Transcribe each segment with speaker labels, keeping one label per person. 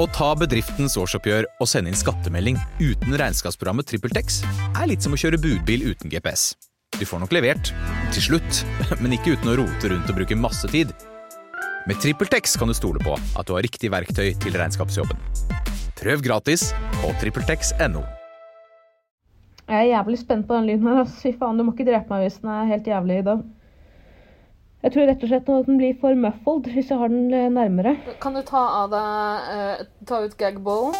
Speaker 1: Å ta bedriftens årsoppgjør og sende inn skattemelding uten regnskapsprogrammet TrippelTex er litt som å kjøre budbil uten GPS. Du får nok levert, til slutt, men ikke uten å rote rundt og bruke masse tid. Med TrippelTex kan du stole på at du har riktig verktøy til regnskapsjobben. Prøv gratis på TrippelTex.no.
Speaker 2: Jeg er jævlig spent på den lyden her. Altså. Fy faen, du må ikke drepe meg hvis den er helt jævlig i dag. Jeg tror rett og slett at den blir for muffled hvis jeg har den eh, nærmere.
Speaker 3: Kan du ta av deg eh, Ta ut gagballen?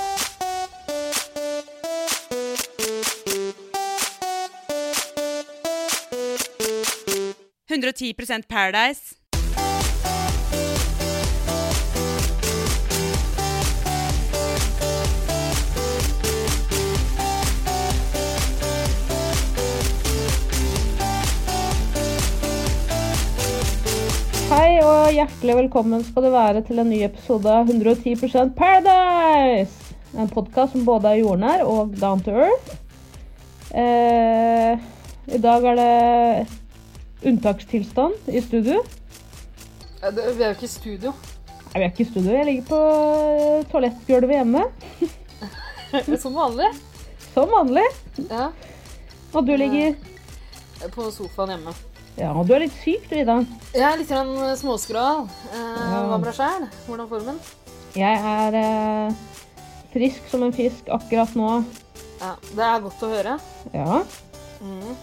Speaker 4: Paradise.
Speaker 2: Hei og hjertelig velkommen skal du være til en ny episode av 110 Paradise! En podkast som både er jordnær og down to earth. Eh, I dag er det unntakstilstand i studio.
Speaker 3: Eh, det- Vi er jo ikke i studio.
Speaker 2: Nei, vi er ikke i studio, jeg ligger på eh, toalettgulvet hjemme.
Speaker 3: Som vanlig.
Speaker 2: Som vanlig.
Speaker 3: Ja.
Speaker 2: Og du ligger
Speaker 3: På sofaen hjemme.
Speaker 2: Ja, du er litt syk du, Ida.
Speaker 3: Jeg er litt grann eh, småskral. Eh,
Speaker 2: Ja.
Speaker 3: Hva med deg sjæl? Hvordan er formen?
Speaker 2: Jeg er eh, frisk som en fisk akkurat nå.
Speaker 3: Ja, det er godt å høre.
Speaker 2: Ja.
Speaker 3: Mm.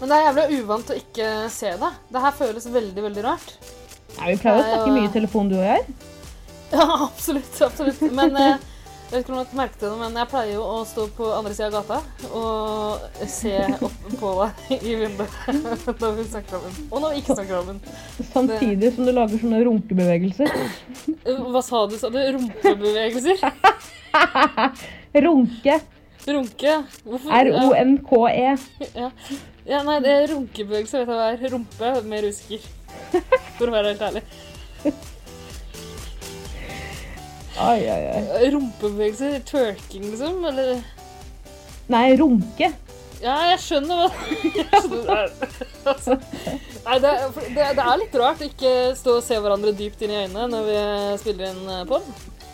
Speaker 3: Men det er jævlig uvant å ikke se deg. Det her føles veldig, veldig rart.
Speaker 2: Nei, vi pleier å
Speaker 3: Det er
Speaker 2: snakke
Speaker 3: jo-
Speaker 2: mye i telefon, du og jeg.
Speaker 3: Ja, absolutt. absolutt. Men eh, jeg vet ikke om du merket det, men jeg pleier jo å stå på andre sida av gata og se opp på deg i vinduet når vi snakker sammen. Og når vi ikke snakker sammen.
Speaker 2: Samtidig som du lager sånne runkebevegelser.
Speaker 3: Eh, Hva sa du? sa du? Rumpebevegelser?
Speaker 2: Runke.
Speaker 3: Runke? Hvorfor?
Speaker 2: R-O-N-K-E.
Speaker 3: Ja. ja, nei, det er runkebevegelse vet jeg hva er. Rumpe mer usikker. For å være helt ærlig.
Speaker 2: Ai, ai, ai.
Speaker 3: Rumpebevegelser? Twerking, liksom? Eller
Speaker 2: Nei, runke.
Speaker 3: Ja, jeg skjønner hva jeg skjønner hva det er. Altså, Nei, det, er- for det, det er litt rart å ikke stå og se hverandre dypt inn i øynene når vi spiller inn eh, pod.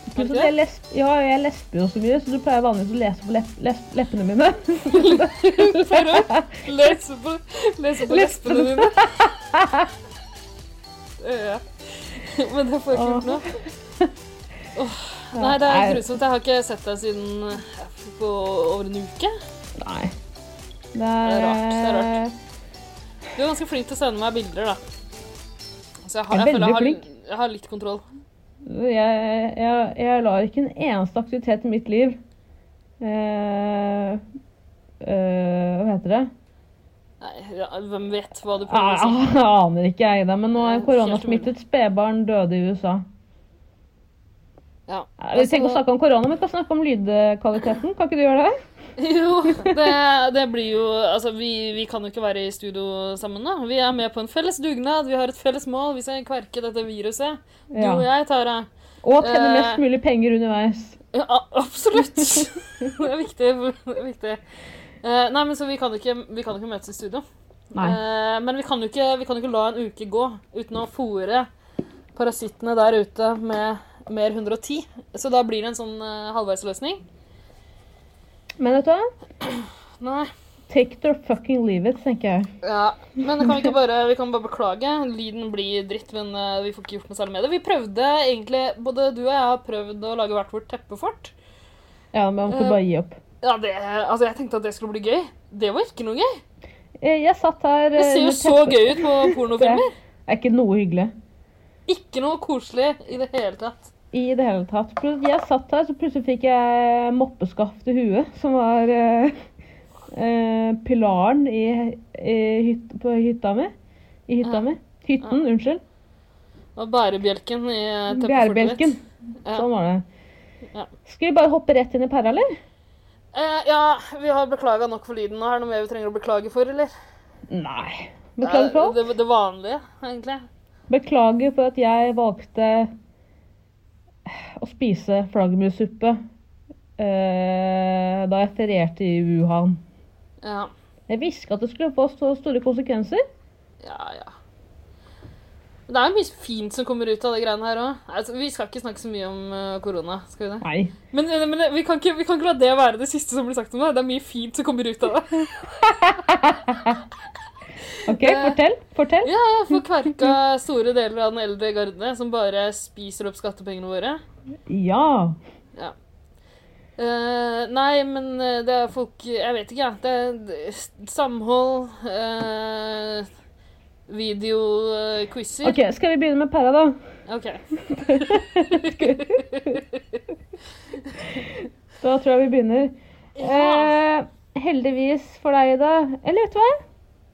Speaker 2: Pluss at jeg, lesp ja, jeg lesper jo så mye, så du pleier vanligvis å lese på lepp lesp leppene mine.
Speaker 3: Lese på, lese på lespene dine. Ja. Men det får jeg ikke gjort nå. Åh, Nei, det er grusomt. Jeg har ikke sett deg siden eh, på over en uke.
Speaker 2: Nei. Det er,
Speaker 3: er rart, det er rart.
Speaker 2: eh,
Speaker 3: Du er ganske flink til å sende meg bilder, da. Så
Speaker 2: Jeg
Speaker 3: jeg, har,
Speaker 2: er
Speaker 3: jeg, føler
Speaker 2: veldig
Speaker 3: jeg,
Speaker 2: flink.
Speaker 3: har, jeg har litt kontroll.
Speaker 2: Jeg, jeg, jeg lar ikke en eneste aktivitet i mitt liv eh, eh, Hva heter det?
Speaker 3: Nei, ja, hvem vet hva du prøver å si?
Speaker 2: Jeg Ah, aner ikke, jeg, da. Men nå er
Speaker 3: Helt
Speaker 2: koronasmittet spedbarn døde i USA.
Speaker 3: Ja.
Speaker 2: Eh, Vi
Speaker 3: Altså,
Speaker 2: trenger ikke å snakke om korona, men vi kan snakke om lydkvaliteten. Kan ikke du gjøre det?
Speaker 3: Jo, det, det blir jo Altså, vi, vi kan jo ikke være i studio sammen, da. Vi er med på en felles dugnad, vi har et felles mål. Vi skal kverke dette viruset. Du
Speaker 2: Ja.
Speaker 3: og jeg, Tara.
Speaker 2: Og tjene
Speaker 3: Eh.
Speaker 2: mest mulig penger underveis.
Speaker 3: Ja, a- absolutt! Det er viktig. Det er viktig. Eh, nei, men så vi kan, ikke, vi kan ikke møtes i studio.
Speaker 2: Nei.
Speaker 3: Eh, men vi kan, jo ikke, vi kan jo ikke la en uke gå uten å fòre parasittene der ute med mer 110. Så da blir det en sånn eh, halvveisløsning.
Speaker 2: Men vet du hva?
Speaker 3: Nei.
Speaker 2: Take it or fucking leave it, tenker jeg.
Speaker 3: Ja, men det kan vi, ikke bare, vi kan bare beklage. Lyden blir dritt, men eh, vi får ikke gjort noe særlig med det. Vi prøvde egentlig, Både du og jeg har prøvd å lage hvert vårt teppefort.
Speaker 2: Ja, men jeg måtte
Speaker 3: Eh.
Speaker 2: bare gi opp.
Speaker 3: Ja, det, altså Jeg tenkte at det skulle bli gøy. Det var ikke noe gøy.
Speaker 2: Eh, Jeg satt her
Speaker 3: Det ser jo så gøy ut på pornofilmer.
Speaker 2: Det er ikke noe hyggelig.
Speaker 3: Ikke noe koselig i det hele tatt.
Speaker 2: I det hele tatt. Plus- Jeg satt her, så plutselig fikk jeg moppeskaft i huet, som var eh, eh, pilaren i, i hyt, på hytta mi. I hytta
Speaker 3: Ja.
Speaker 2: mi. Hytten, unnskyld.
Speaker 3: Og bærebjelken i eh, teppefortet
Speaker 2: Bjærebjelken.
Speaker 3: mitt. Ja.
Speaker 2: Sånn var det.
Speaker 3: Ja.
Speaker 2: Skal vi bare hoppe rett inn i pæra, eller?
Speaker 3: Eh, ja, vi har beklaga nok for lyden. nå. Er det noe mer vi trenger å beklage for, eller? Eh,
Speaker 2: Nei. Beklager for alt.
Speaker 3: det, det vanlige, egentlig.
Speaker 2: Beklager for at jeg valgte eh, å spise flaggermussuppe eh, da jeg ferierte i Wuhan.
Speaker 3: Ja,
Speaker 2: Jeg visste ikke at det skulle få så store konsekvenser.
Speaker 3: ja. ja. Men det er jo mye fint som kommer ut av det greiene her òg. Altså, vi skal ikke snakke så mye om eh, korona. skal vi det?
Speaker 2: Nei.
Speaker 3: Men, eh, men vi, kan ikke, vi kan ikke la det være det siste som blir sagt om det. Det er mye fint som kommer ut av det.
Speaker 2: OK, fortell. Fortell.
Speaker 3: Ja, jeg får kverka store deler av den eldre garde som bare spiser opp skattepengene våre.
Speaker 2: Ja.
Speaker 3: Eh, nei, men eh, det er folk Jeg vet ikke, jeg. Det er det- samhold uh, Videoquizer.
Speaker 2: OK, skal vi begynne med Perra, da? Da tror jeg vi begynner.
Speaker 3: Ja.
Speaker 2: Eh, heldigvis for deg, Ida. Eller vet du hva?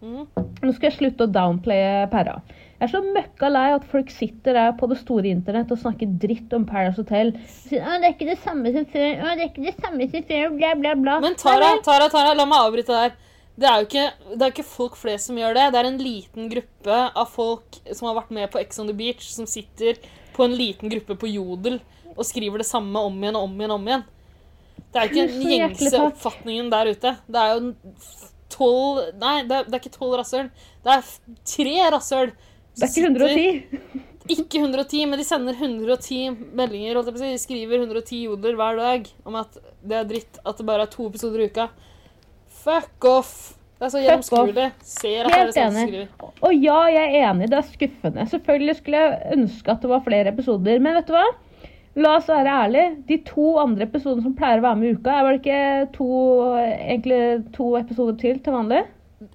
Speaker 3: Mm.
Speaker 2: Nå skal jeg slutte å downplaye Perra. Jeg er så møkka lei at folk sitter der på det store internett og snakker dritt om Paradise Hotel. Og Sier, «Å, 'Det er ikke det samme som før', «Å, 'det er ikke det samme som før', bla, bla, bla.
Speaker 3: Men Tara,
Speaker 2: Nei, nei.
Speaker 3: Tara, Tara, la meg avbryte der. Det er jo ikke, det er ikke folk flest som gjør det. Det er en liten gruppe av folk som har vært med på Ex on the Beach, som sitter på en liten gruppe på Jodel og skriver det samme om igjen og om igjen og om igjen. Det er ikke
Speaker 2: Tusen
Speaker 3: den
Speaker 2: hjertelig
Speaker 3: gjengse
Speaker 2: takk.
Speaker 3: oppfatningen der ute. Det er jo tolv Nei, det er, det er ikke tolv rasshøl. Det er f- tre rasshøl.
Speaker 2: Det er ikke 110.
Speaker 3: Ikke 110, men de sender 110 meldinger. Holdt jeg på å si. De skriver 110 joder hver dag om at det er dritt at det bare er to episoder i uka. Fuck off! Det er så gjennomskuelig. Ser at det er det
Speaker 2: Helt
Speaker 3: samme som
Speaker 2: enig.
Speaker 3: skriver.
Speaker 2: Og ja, jeg er enig, det er skuffende. Selvfølgelig skulle jeg ønske at det var flere episoder, men vet du hva? La oss være ærlige. De to andre episodene som pleier å være med i uka, er vel ikke to, egentlig to episoder til til vanlig?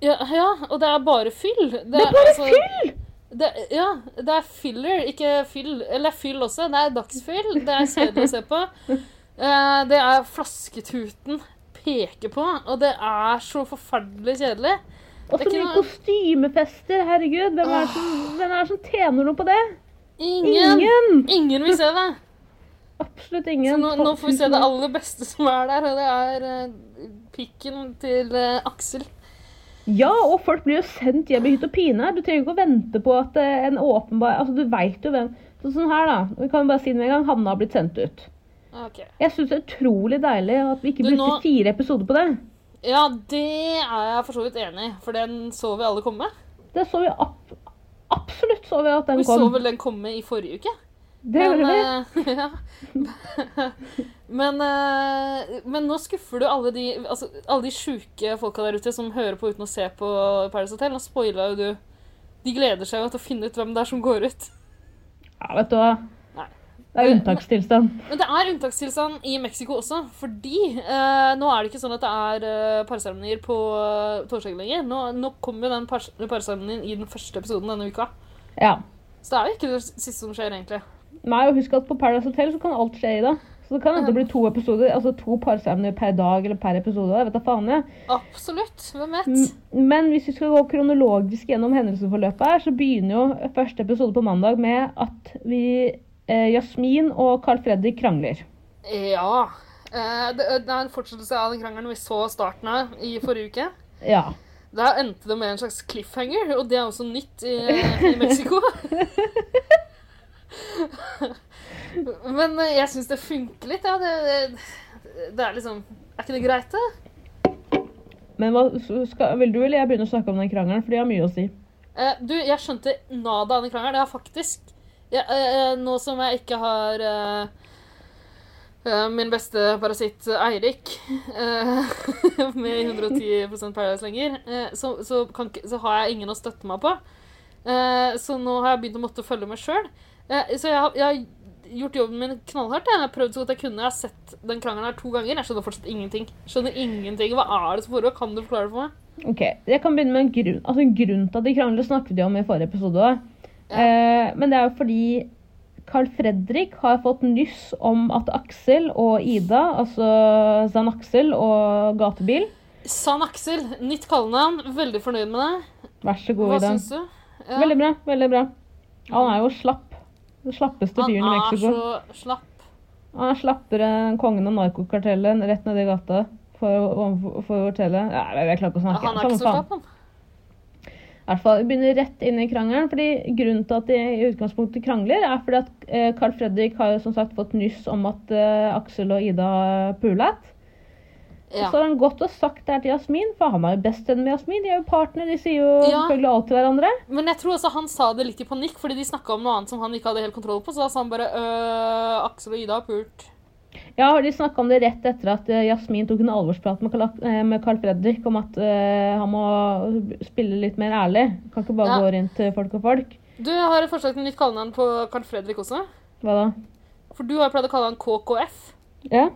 Speaker 3: Ja, ja, og det er bare fyll. Det,
Speaker 2: er bare
Speaker 3: fyll! Det, ja, det er filler, ikke fyll. Eller det er fyll også. Det er dagsfyll. Det er kjedelig å se på. Eh, Det er flasketuten peker på, og det er så forferdelig kjedelig.
Speaker 2: Og så
Speaker 3: Det er ikke
Speaker 2: mye
Speaker 3: noe-
Speaker 2: kostymefester, herregud. Hvem er, det som, hvem er det som tjener noe på det?
Speaker 3: Ingen,
Speaker 2: Ingen!
Speaker 3: ingen vil se det.
Speaker 2: Absolutt
Speaker 3: Så
Speaker 2: ingen.
Speaker 3: nå, nå får vi se det aller beste som er der, og det er eh, pikken til eh, Aksel.
Speaker 2: Ja, og folk blir jo sendt hjem i hytt og pine. her. Du trenger ikke å vente på at eh, en åpenbar Altså, du veit jo hvem Så Sånn her, da. Vi kan jo bare si det med en gang. Hanne har blitt sendt ut.
Speaker 3: Ok.
Speaker 2: Jeg syns det er utrolig deilig at vi ikke
Speaker 3: Du,
Speaker 2: brukte
Speaker 3: nå-
Speaker 2: fire episoder på det.
Speaker 3: Ja, det er jeg for så vidt enig i, for den så vi alle komme.
Speaker 2: Det så vi ab- absolutt så vi at den
Speaker 3: Vi så
Speaker 2: kom.
Speaker 3: vel den komme i forrige uke.
Speaker 2: Det gjorde vi.
Speaker 3: eh, ja. men, eh, men nå skuffer du alle de, altså, alle de sjuke folka der ute som hører på uten å se på Paradise Hotel. Nå spoila jo du. De gleder seg jo til å finne ut hvem det er som går ut.
Speaker 2: Ja, vet du hva.
Speaker 3: eh, Nei.
Speaker 2: Det er unntakstilstand.
Speaker 3: Men det er unntakstilstand i Mexico også, fordi eh, nå er det ikke sånn at det er eh, parseremonier på eh, torsdag lenger. Nå, nå kommer jo den pars- parseremonien i den første episoden denne uka.
Speaker 2: Ja.
Speaker 3: Så det er jo ikke det siste som skjer, egentlig.
Speaker 2: Nei, og husk at på Paradise Hotel så kan alt skje i det. Så det kan hende det blir to episoder, altså to parsemner per dag eller per episode. Jeg vet da faen jeg.
Speaker 3: Absolutt. Hvem vet?
Speaker 2: M- Men hvis vi skal gå kronologisk gjennom hendelsesforløpet her, så begynner jo første episode på mandag med at vi eh, Jasmin og Carl Fredrik krangler.
Speaker 3: Ja. Eh, det, det er en fortsettelse av den krangelen vi så starten av i forrige uke.
Speaker 2: Ja.
Speaker 3: Da endte det med en slags cliffhanger, og det er også nytt i, i Mexico. Men eh, jeg syns det funker litt, ja. Det, det, det er liksom Er ikke det greit, det?
Speaker 2: Men hva, så skal, vil du eller jeg begynne å snakke om den krangelen, for de har mye å si.
Speaker 3: Eh, du, jeg skjønte nada av den krangelen. Jeg har faktisk jeg, eh, eh, Nå som jeg ikke har eh, eh, min beste parasitt eh, Eirik eh, med 110 Paradise lenger, eh, så, så, kan, ikke- så har jeg ingen å støtte meg på. Eh, så nå har jeg begynt å måtte følge med sjøl. Eh, så jeg, har- jeg har gjort jobben min knallhardt. Jeg har prøvd så godt jeg kunne. Jeg har sett den krangelen her to ganger. Jeg skjønner fortsatt ingenting. Skjønner ingenting. Hva er det som foregår? Kan du forklare det for meg?
Speaker 2: Ok, Jeg kan begynne med en grunn. Altså en grunn til at de krangler, snakket vi om i forrige episode. også. Eh, men det er jo fordi Carl Fredrik har fått nyss om at Aksel og Ida, altså Zan Aksel og Gatebil
Speaker 3: San Aksel, nytt kallenavn. Veldig fornøyd med det.
Speaker 2: Vær så god,
Speaker 3: Hva
Speaker 2: Ida.
Speaker 3: syns du? Ja,
Speaker 2: Veldig bra. veldig bra. Han er jo slapp. Den slappeste
Speaker 3: han
Speaker 2: fyren i
Speaker 3: er
Speaker 2: Mexico.
Speaker 3: så slapp.
Speaker 2: Han er slappere enn kongen av narkokartellen rett nedi gata for, overfor- for hotellet. Nei, jeg, jeg klarer ikke å snakke.
Speaker 3: han er
Speaker 2: Samme
Speaker 3: ikke så
Speaker 2: faen.
Speaker 3: slapp, han.
Speaker 2: I hvert fall, Vi begynner rett inn i krangelen. fordi Grunnen til at de i utgangspunktet krangler, er fordi at eh, Carl Fredrik har jo som sagt fått nyss om at eh, Aksel og Ida har pulet. Og
Speaker 3: Ja.
Speaker 2: så har han gått og sagt det her til Jasmin, for han er jo bestevenn med Jasmin. De er jo partner, de sier jo
Speaker 3: Ja.
Speaker 2: selvfølgelig alt til hverandre.
Speaker 3: Men jeg tror også han sa det litt i panikk, fordi de snakka om noe annet som han ikke hadde helt kontroll på. Så da sa han bare øh, Aksel og Ida har pult.
Speaker 2: Ja, de snakka om det rett etter at eh, Jasmin tok en alvorsprat med Karl- eh, med Carl Fredrik om at eh, han må spille litt mer ærlig. Kan ikke bare
Speaker 3: Ja.
Speaker 2: gå rundt eh, folk og folk.
Speaker 3: Du jeg har et forslag til nytt kallenavn på Carl Fredrik også.
Speaker 2: Hva da?
Speaker 3: For du har jo pleid å kalle han KKF.
Speaker 2: Ja?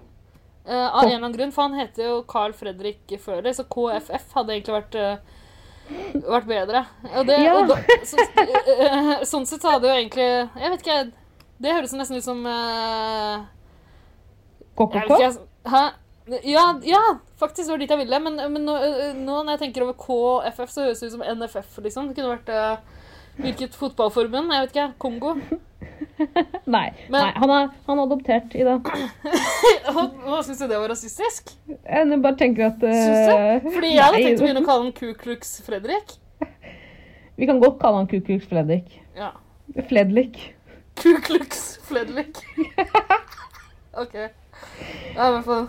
Speaker 3: Eh, av en eller annen grunn, for han heter jo Carl Fredrik før det, så KFF hadde egentlig vært eh, vært bedre. Og det,
Speaker 2: Ja.
Speaker 3: og da, så, eh, sånn sett så hadde jo egentlig Jeg vet ikke, jeg. Det høres jo nesten ut som eh, jeg
Speaker 2: KKK?
Speaker 3: vet ikke, jeg, Hæ? Ja, ja, faktisk var det dit jeg ville. Men, men nå, eh, nå når jeg tenker over KFF, så høres det ut som NFF, liksom. Det kunne vært eh, Hvilket fotballforbund? Jeg vet ikke. Kongo?
Speaker 2: Nei.
Speaker 3: Men-
Speaker 2: Nei han, er, han er adoptert i dag.
Speaker 3: Hva Syns du det var rasistisk?
Speaker 2: Jeg bare tenker at eh,
Speaker 3: Syns du? Fordi jeg hadde
Speaker 2: nei,
Speaker 3: tenkt å begynne å kalle han Ku Klux Fredrik.
Speaker 2: Vi kan godt kalle han Kukuks Fredrik.
Speaker 3: Ja.
Speaker 2: Fledlik.
Speaker 3: Ku Klux Fredrik. OK. Ja, i hvert fall.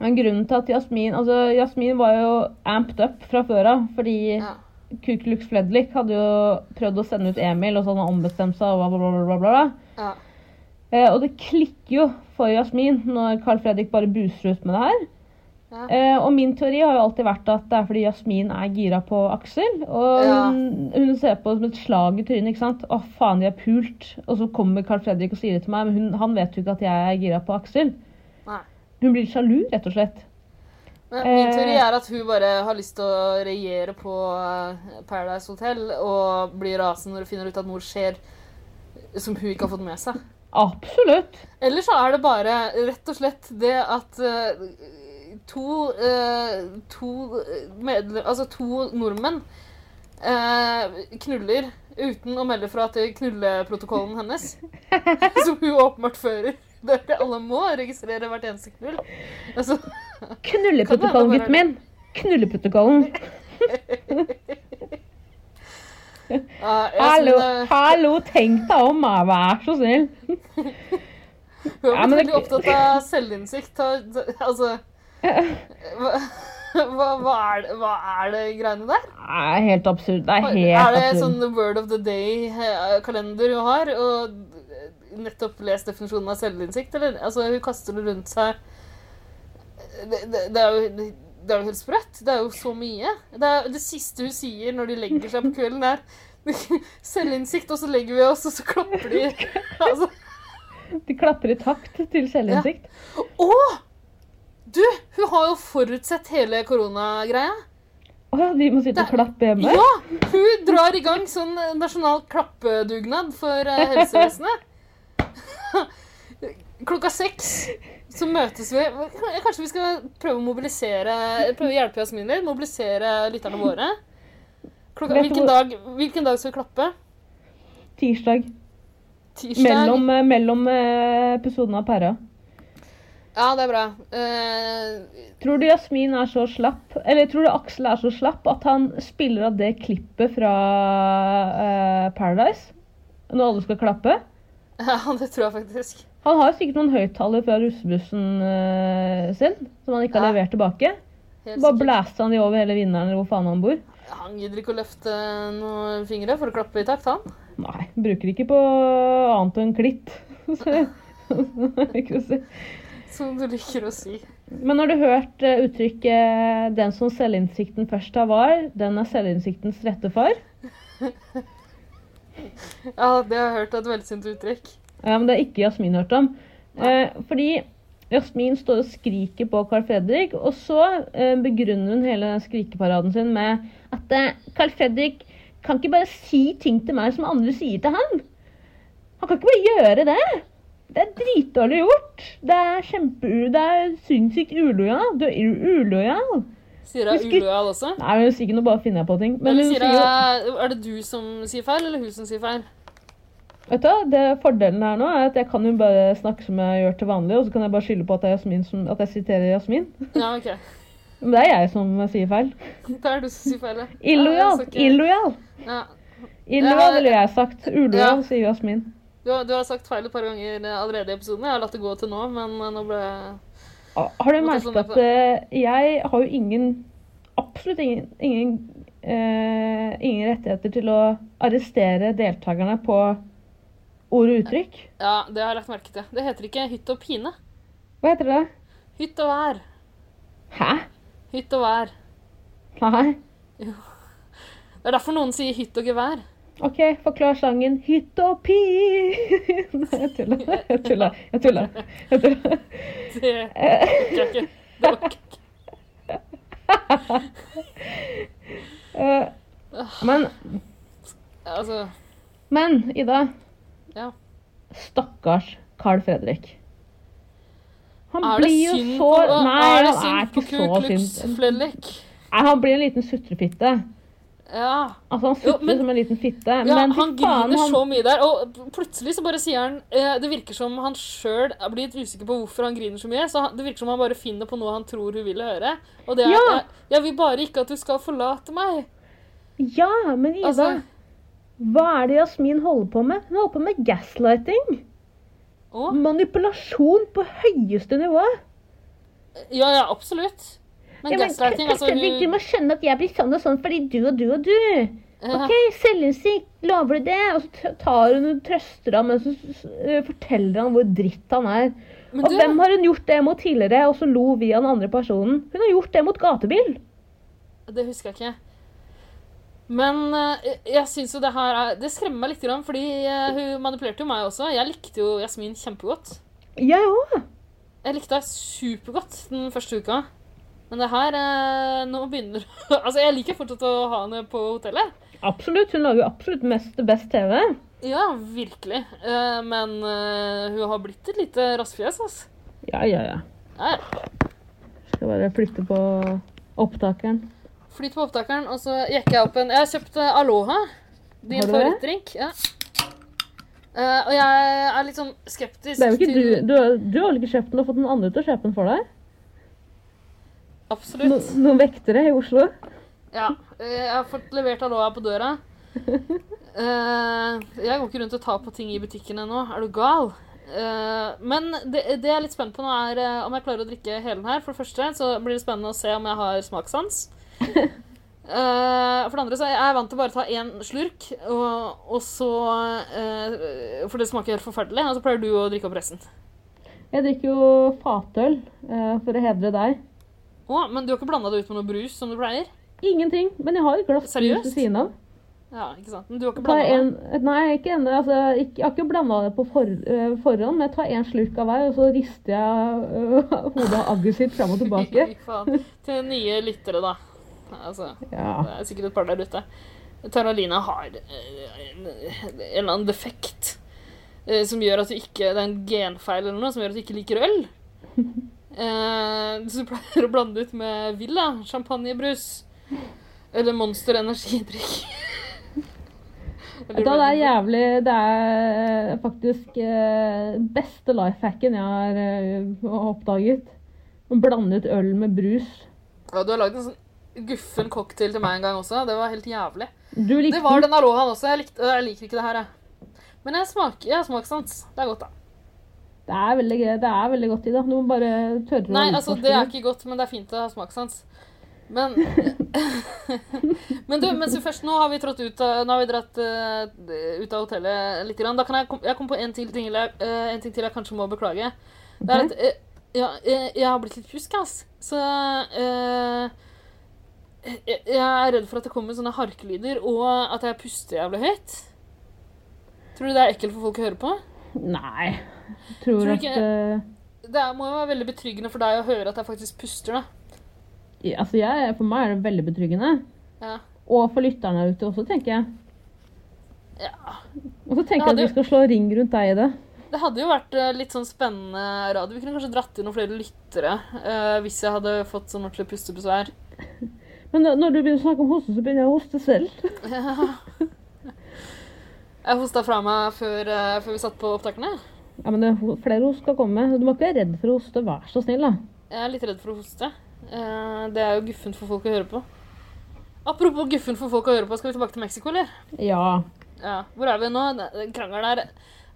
Speaker 2: Men grunnen til at Jasmin altså Jasmin var jo amped up fra før av. Fordi
Speaker 3: Ja.
Speaker 2: Kukelux Fledlik hadde jo prøvd å sende ut Emil, og så hadde han ombestemt seg. og Bla, bla, bla, bla, bla.
Speaker 3: Ja.
Speaker 2: Eh, og det klikker jo for Jasmin når Carl Fredrik bare buser ut med det her.
Speaker 3: Ja.
Speaker 2: Eh, og min teori har jo alltid vært at det er fordi Jasmin er gira på Aksel. Og
Speaker 3: Ja.
Speaker 2: hun, hun ser på det som et slag i trynet. ikke sant? Å, faen, de er pult. Og så kommer Carl Fredrik og sier det til meg, men hun, han vet jo ikke at jeg er gira på Aksel.
Speaker 3: Nei.
Speaker 2: Hun blir sjalu, rett og slett.
Speaker 3: Men min
Speaker 2: Eh.
Speaker 3: teori er at hun bare har lyst til å regjere på eh, Paradise Hotel og blir rasende når hun finner ut at noe skjer som hun ikke har fått med seg.
Speaker 2: Absolutt.
Speaker 3: Eller så er det bare rett og slett det at eh, to, eh, to, medle- altså to nordmenn eh, knuller uten å melde fra til knulleprotokollen hennes. Som hun åpenbart fører. Det er det alle må registrere hvert eneste knull. Altså,
Speaker 2: Knulleprotokollen,
Speaker 3: Kan det være
Speaker 2: gutten min. Knulleprotokollen.
Speaker 3: ja, jeg
Speaker 2: Hallo,
Speaker 3: synes det-
Speaker 2: hallo, tenk deg om, da, vær så snill.
Speaker 3: Hun
Speaker 2: Ja,
Speaker 3: har
Speaker 2: men
Speaker 3: blitt
Speaker 2: det-
Speaker 3: veldig opptatt av selvinnsikt. har- Altså hva, hva, hva, er, det- hva er det greiene der?
Speaker 2: Det er helt absurd. Det er
Speaker 3: Har-
Speaker 2: helt
Speaker 3: Er det
Speaker 2: absurd.
Speaker 3: sånn Word of the Day-kalender hun har? Og eh, nettopp lest definisjonen av selvinnsikt, eller? Altså, hun kaster det rundt seg Det, det, det er jo det er jo helt sprøtt. Det er jo så mye. Det, er, det siste hun sier når de legger seg på kvelden, er selvinnsikt, og så legger vi oss, og så klapper de. Altså,
Speaker 2: De klapper i takt til selvinnsikt.
Speaker 3: å! Du, hun har jo forutsett hele koronagreia.
Speaker 2: Å ja, de må sitte og
Speaker 3: Det-
Speaker 2: klappe hjemme?
Speaker 3: Ja! Hun drar i gang sånn nasjonal klappedugnad for eh, helsevesenet. Klokka seks så møtes vi. Kanskje vi skal prøve å mobilisere Prøve å hjelpe Jasmin litt? Mobilisere lytterne våre? Klokka,
Speaker 2: Vet du hvor-
Speaker 3: hvilken, dag, hvilken dag skal vi klappe?
Speaker 2: Tirsdag.
Speaker 3: Tirsdag?
Speaker 2: Mellom, eh, mellom eh, episoden av Perra.
Speaker 3: Ja, det er bra. Eh,
Speaker 2: Tror du Jasmin er så slapp, eller tror du Aksel er så slapp at han spiller av det klippet fra eh, Paradise? Når alle skal klappe?
Speaker 3: ja, det tror jeg faktisk.
Speaker 2: Han har jo sikkert noen høyttaler fra russebussen eh, sin som han ikke har
Speaker 3: Ja.
Speaker 2: levert tilbake.
Speaker 3: Helt
Speaker 2: Bare
Speaker 3: sikkert.
Speaker 2: blæste han de over hele vinneren eller hvor faen han bor.
Speaker 3: Han gidder ikke å løfte noen fingre for å klappe i takt, han.
Speaker 2: Nei, bruker ikke på annet enn klitt. Så- ikke å si.
Speaker 3: Som du liker å si.
Speaker 2: Men har du hørt eh, uttrykket 'den som selvinnsikten først har var, den er selvinnsiktens rette far'?
Speaker 3: Ja, det har jeg hørt er et velsynt uttrykk.
Speaker 2: Ja, men det har ikke Jasmin hørt om. Eh, fordi Jasmin står og skriker på Carl Fredrik, og så eh, begrunner hun hele den skrikeparaden sin med at eh, Carl Fredrik kan ikke bare si ting til meg som andre sier til han. Han kan ikke bare gjøre det. Det er dritdårlig gjort. Det er kjempe... Det er sinnssykt ulojal. Du er u- ulojal.
Speaker 3: Sier hun
Speaker 2: Husker-
Speaker 3: ulojal også?
Speaker 2: Nei, hun sier ikke noe, bare finner jeg på ting. Men
Speaker 3: Eller
Speaker 2: hun
Speaker 3: sier
Speaker 2: sier jo
Speaker 3: hun, er det du som sier feil, eller hun som sier feil?
Speaker 2: Vet du, hva, det Fordelen her nå er at jeg kan jo bare snakke som jeg gjør til vanlig, og så kan jeg bare skylde på at, det er Jasmin som, at jeg siterer Jasmin.
Speaker 3: Ja, OK.
Speaker 2: Men det er jeg som sier feil.
Speaker 3: Det er du som sier feil, ja. Ja,
Speaker 2: Illojal!
Speaker 3: det er så kult.
Speaker 2: Illojal!
Speaker 3: Ja.
Speaker 2: Illojal ville jeg sagt. Ulojal,
Speaker 3: Ja.
Speaker 2: sier Jasmin.
Speaker 3: Du, har- du har sagt feil et par ganger eh, allerede i episoden. Jeg har latt det gå til nå, men eh, nå ble jeg
Speaker 2: Å, Ah, Har du
Speaker 3: Nå
Speaker 2: merket
Speaker 3: kan jeg
Speaker 2: at eh, jeg har jo ingen Absolutt ingen ingen, eh, ingen rettigheter til å arrestere deltakerne på ord og uttrykk?
Speaker 3: Ja, det har jeg lagt merke til. Det heter ikke hytt og pine.
Speaker 2: Hva heter det?
Speaker 3: Hytt og vær.
Speaker 2: Hæ?
Speaker 3: Hytt og vær.
Speaker 2: Nei?
Speaker 3: Det er derfor noen sier hytt og gevær.
Speaker 2: OK, forklar sangen 'Hytte og pi'. Nei, jeg tuller. Jeg tuller. Jeg tuller. Jeg tuller.
Speaker 3: Det orker jeg ikke. Det orker jeg ikke.
Speaker 2: Eh, Men,
Speaker 3: Altså,
Speaker 2: men Ida.
Speaker 3: ja.
Speaker 2: Stakkars Carl Fredrik. Han
Speaker 3: Er det
Speaker 2: blir jo så
Speaker 3: synd på,
Speaker 2: Nei,
Speaker 3: er
Speaker 2: han
Speaker 3: det
Speaker 2: er
Speaker 3: synd på
Speaker 2: ikke
Speaker 3: Ku
Speaker 2: så
Speaker 3: Klux
Speaker 2: synd.
Speaker 3: Fredrik?
Speaker 2: Nei, han blir en liten sutrefitte.
Speaker 3: Ja.
Speaker 2: Altså, han
Speaker 3: Jo,
Speaker 2: sutrer
Speaker 3: men-
Speaker 2: som en liten fitte.
Speaker 3: Ja,
Speaker 2: men fy
Speaker 3: han
Speaker 2: faen,
Speaker 3: griner
Speaker 2: han
Speaker 3: så mye der, og pl- plutselig så bare sier han eh, Det virker som han sjøl er blitt usikker på hvorfor han griner så mye. Så han, det virker som han bare finner på noe han tror hun vil høre. Og det er
Speaker 2: Ja!
Speaker 3: jeg, 'Jeg vil bare ikke at du skal forlate meg'.
Speaker 2: Ja, men Ida,
Speaker 3: Altså,
Speaker 2: hva er det Jasmin holder på med? Hun holder på med gaslighting.
Speaker 3: å?
Speaker 2: Manipulasjon på høyeste nivå.
Speaker 3: Ja, ja, absolutt. Men
Speaker 2: Ja, men
Speaker 3: gaslighting,
Speaker 2: Carl
Speaker 3: altså
Speaker 2: Fredrik, du
Speaker 3: hun
Speaker 2: må skjønne at jeg blir sånn og sånn fordi du og du og du.
Speaker 3: Ja.
Speaker 2: Ok, selvinnsikt, lover du det? Og så t- tar hun og trøster ham, men så s- s- forteller han hvor dritt han er.
Speaker 3: Men
Speaker 2: Og
Speaker 3: du,
Speaker 2: hvem har hun gjort det mot tidligere, og så lo vi av den andre personen? Hun har gjort det mot gatebil.
Speaker 3: det husker jeg ikke. Men eh, jeg syns jo det her er Det skremmer meg litt, grann, fordi eh, hun manipulerte jo meg også. Jeg likte jo Jasmin kjempegodt.
Speaker 2: Jeg òg.
Speaker 3: Jeg likte deg supergodt den første uka. Men det her eh, Nå begynner Altså, jeg liker fortsatt å ha henne på hotellet.
Speaker 2: Absolutt. Hun lager jo absolutt mest best TV.
Speaker 3: Ja, virkelig. Eh, men eh, hun har blitt et lite rassfjes, altså.
Speaker 2: Ja, ja, ja.
Speaker 3: Ja, ja.
Speaker 2: Skal bare flytte på opptakeren.
Speaker 3: Flyt på opptakeren, og så jekker jeg opp en Jeg har kjøpt eh, Aloha. Din
Speaker 2: Har du det?
Speaker 3: favorittdrink. Ja. Eh, og jeg er litt sånn skeptisk
Speaker 2: Det er jo ikke du, du, du har vel ikke kjøpt den og fått noen andre til å kjøpe den for deg?
Speaker 3: Absolutt.
Speaker 2: No, noen vektere i Oslo?
Speaker 3: Ja. eh, Jeg har fått levert aloha på døra. Eh, Jeg går ikke rundt og tar på ting i butikken ennå. Er du gal? Eh, Men det, det jeg er litt spent på nå, er eh, om jeg klarer å drikke hele den her. For det første så blir det spennende å se om jeg har smakssans. Eh, for det andre så er jeg vant til bare å ta én slurk, og, og så eh, For det smaker helt forferdelig. Og så pleier du å drikke opp resten.
Speaker 2: Jeg drikker jo fatøl eh, for å hedre deg.
Speaker 3: Å, men du har ikke blanda det ut med noe brus, som du pleier?
Speaker 2: Ingenting, men jeg har et glass brus
Speaker 3: Seriøst?
Speaker 2: ved siden av.
Speaker 3: Ja, ikke sant? Men du har ikke
Speaker 2: Tar
Speaker 3: blanda det?
Speaker 2: en, eh, nei, ikke ennå. Altså, ikke- jeg har ikke blanda det på for, eh, forhånd, men jeg tar en slurk av hver, og så rister jeg eh, hodet av agget sitt fram og tilbake.
Speaker 3: Fy faen. Til nye lyttere, da. Altså,
Speaker 2: Ja.
Speaker 3: det er sikkert et par der ute. Taralina har eh, en en eller annen defekt eh, som gjør at du ikke Det er en genfeil eller noe som gjør at du ikke liker øl. Eh, Så du pleier å blande ut med Villa, champagnebrus eller Monster energidrikk.
Speaker 2: Vet du hva, det er jævlig Det er faktisk eh, beste life hacken jeg har eh, oppdaget. Å blande ut øl med brus.
Speaker 3: Ja, du har lagd en sånn guffen cocktail til meg en gang også. Det var helt jævlig.
Speaker 2: Du
Speaker 3: Det
Speaker 2: likte
Speaker 3: var
Speaker 2: den.
Speaker 3: den alohaen også. Jeg, likte, jeg liker ikke det her, jeg. Men jeg, smaker, jeg har smakssans. Det er godt, da.
Speaker 2: Det er veldig, gøy- det er veldig godt, Ida. Du må bare tørre å
Speaker 3: Nei, altså, det er
Speaker 2: utforske
Speaker 3: ikke godt, men det er fint å ha smakssans. Men Men du, mens vi først nå har vi trådt ut av Nå har vi dratt eh, ut av hotellet litt. Grann. Da kan jeg, kom, jeg kom på en, til ting, eller, eh, en ting til jeg kanskje må beklage. Det er
Speaker 2: Ok.
Speaker 3: at eh, ja, jeg, jeg har blitt litt pjusk, ass. Så eh, jeg, jeg er redd for at det kommer sånne harkelyder, og at jeg puster jævlig høyt. Tror du det er ekkelt for folk å høre på?
Speaker 2: Nei. Jeg tror,
Speaker 3: Tror du
Speaker 2: at
Speaker 3: ikke-
Speaker 2: eh,
Speaker 3: Det er- må jo være veldig betryggende for deg å høre at jeg faktisk puster, da.
Speaker 2: ja, Altså, jeg, for meg er det veldig betryggende.
Speaker 3: Ja.
Speaker 2: Og for lytterne der ute også, tenker jeg.
Speaker 3: Ja.
Speaker 2: Og så tenker
Speaker 3: Ja,
Speaker 2: jeg at
Speaker 3: det-
Speaker 2: vi skal slå ring rundt deg i det.
Speaker 3: Det hadde jo vært eh, litt sånn spennende radio. Vi kunne kanskje dratt inn noen flere lyttere eh, hvis jeg hadde fått sånn ordentlig pustebesvær.
Speaker 2: Men da- når du begynner å snakke om hoste, så begynner jeg å hoste selv.
Speaker 3: Jeg hosta fra meg før, eh, før vi satt på opptakene.
Speaker 2: Ja, men det, er ho- Flere host skal komme. Du må ikke være redd for å hoste. Vær så snill, da.
Speaker 3: Jeg er litt redd for å hoste. Eh, det er jo guffent for folk å høre på. Apropos guffent for folk å høre på, skal vi tilbake til Mexico, eller?
Speaker 2: Ja.
Speaker 3: Ja. Hvor er vi nå? Det- det Krangelen er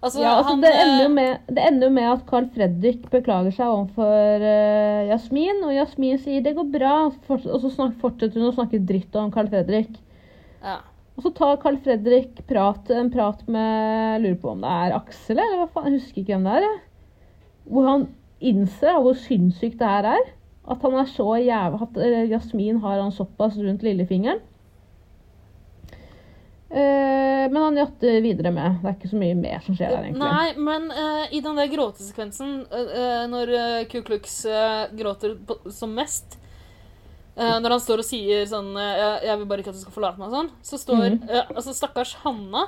Speaker 3: Altså,
Speaker 2: Ja, altså,
Speaker 3: han,
Speaker 2: det, ender jo
Speaker 3: eh,
Speaker 2: med, det ender jo med at Carl Fredrik beklager seg overfor eh, Jasmin, og Jasmin sier 'det går bra', og så forts- og så snak, fortsetter hun å snakke dritt om Carl Fredrik.
Speaker 3: ja.
Speaker 2: Og så tar Carl Fredrik prat, en prat med Lurer på om det er Aksel, eller hva faen? Jeg husker ikke hvem det er. jeg. Hvor han innser hvor sinnssykt det her er. At han er så jævla At eh, Jasmin har han såpass rundt lillefingeren. Eh, men han jatter videre med. Det er ikke så mye mer som skjer der, egentlig.
Speaker 3: Nei, men eh, i den der gråtesekvensen, eh, eh, når eh, Ku Klux eh, gråter på, som mest eh, Når han står og sier sånn eh, jeg, 'Jeg vil bare ikke at du skal forlate meg' og sånn, så står eh, altså stakkars Hanna,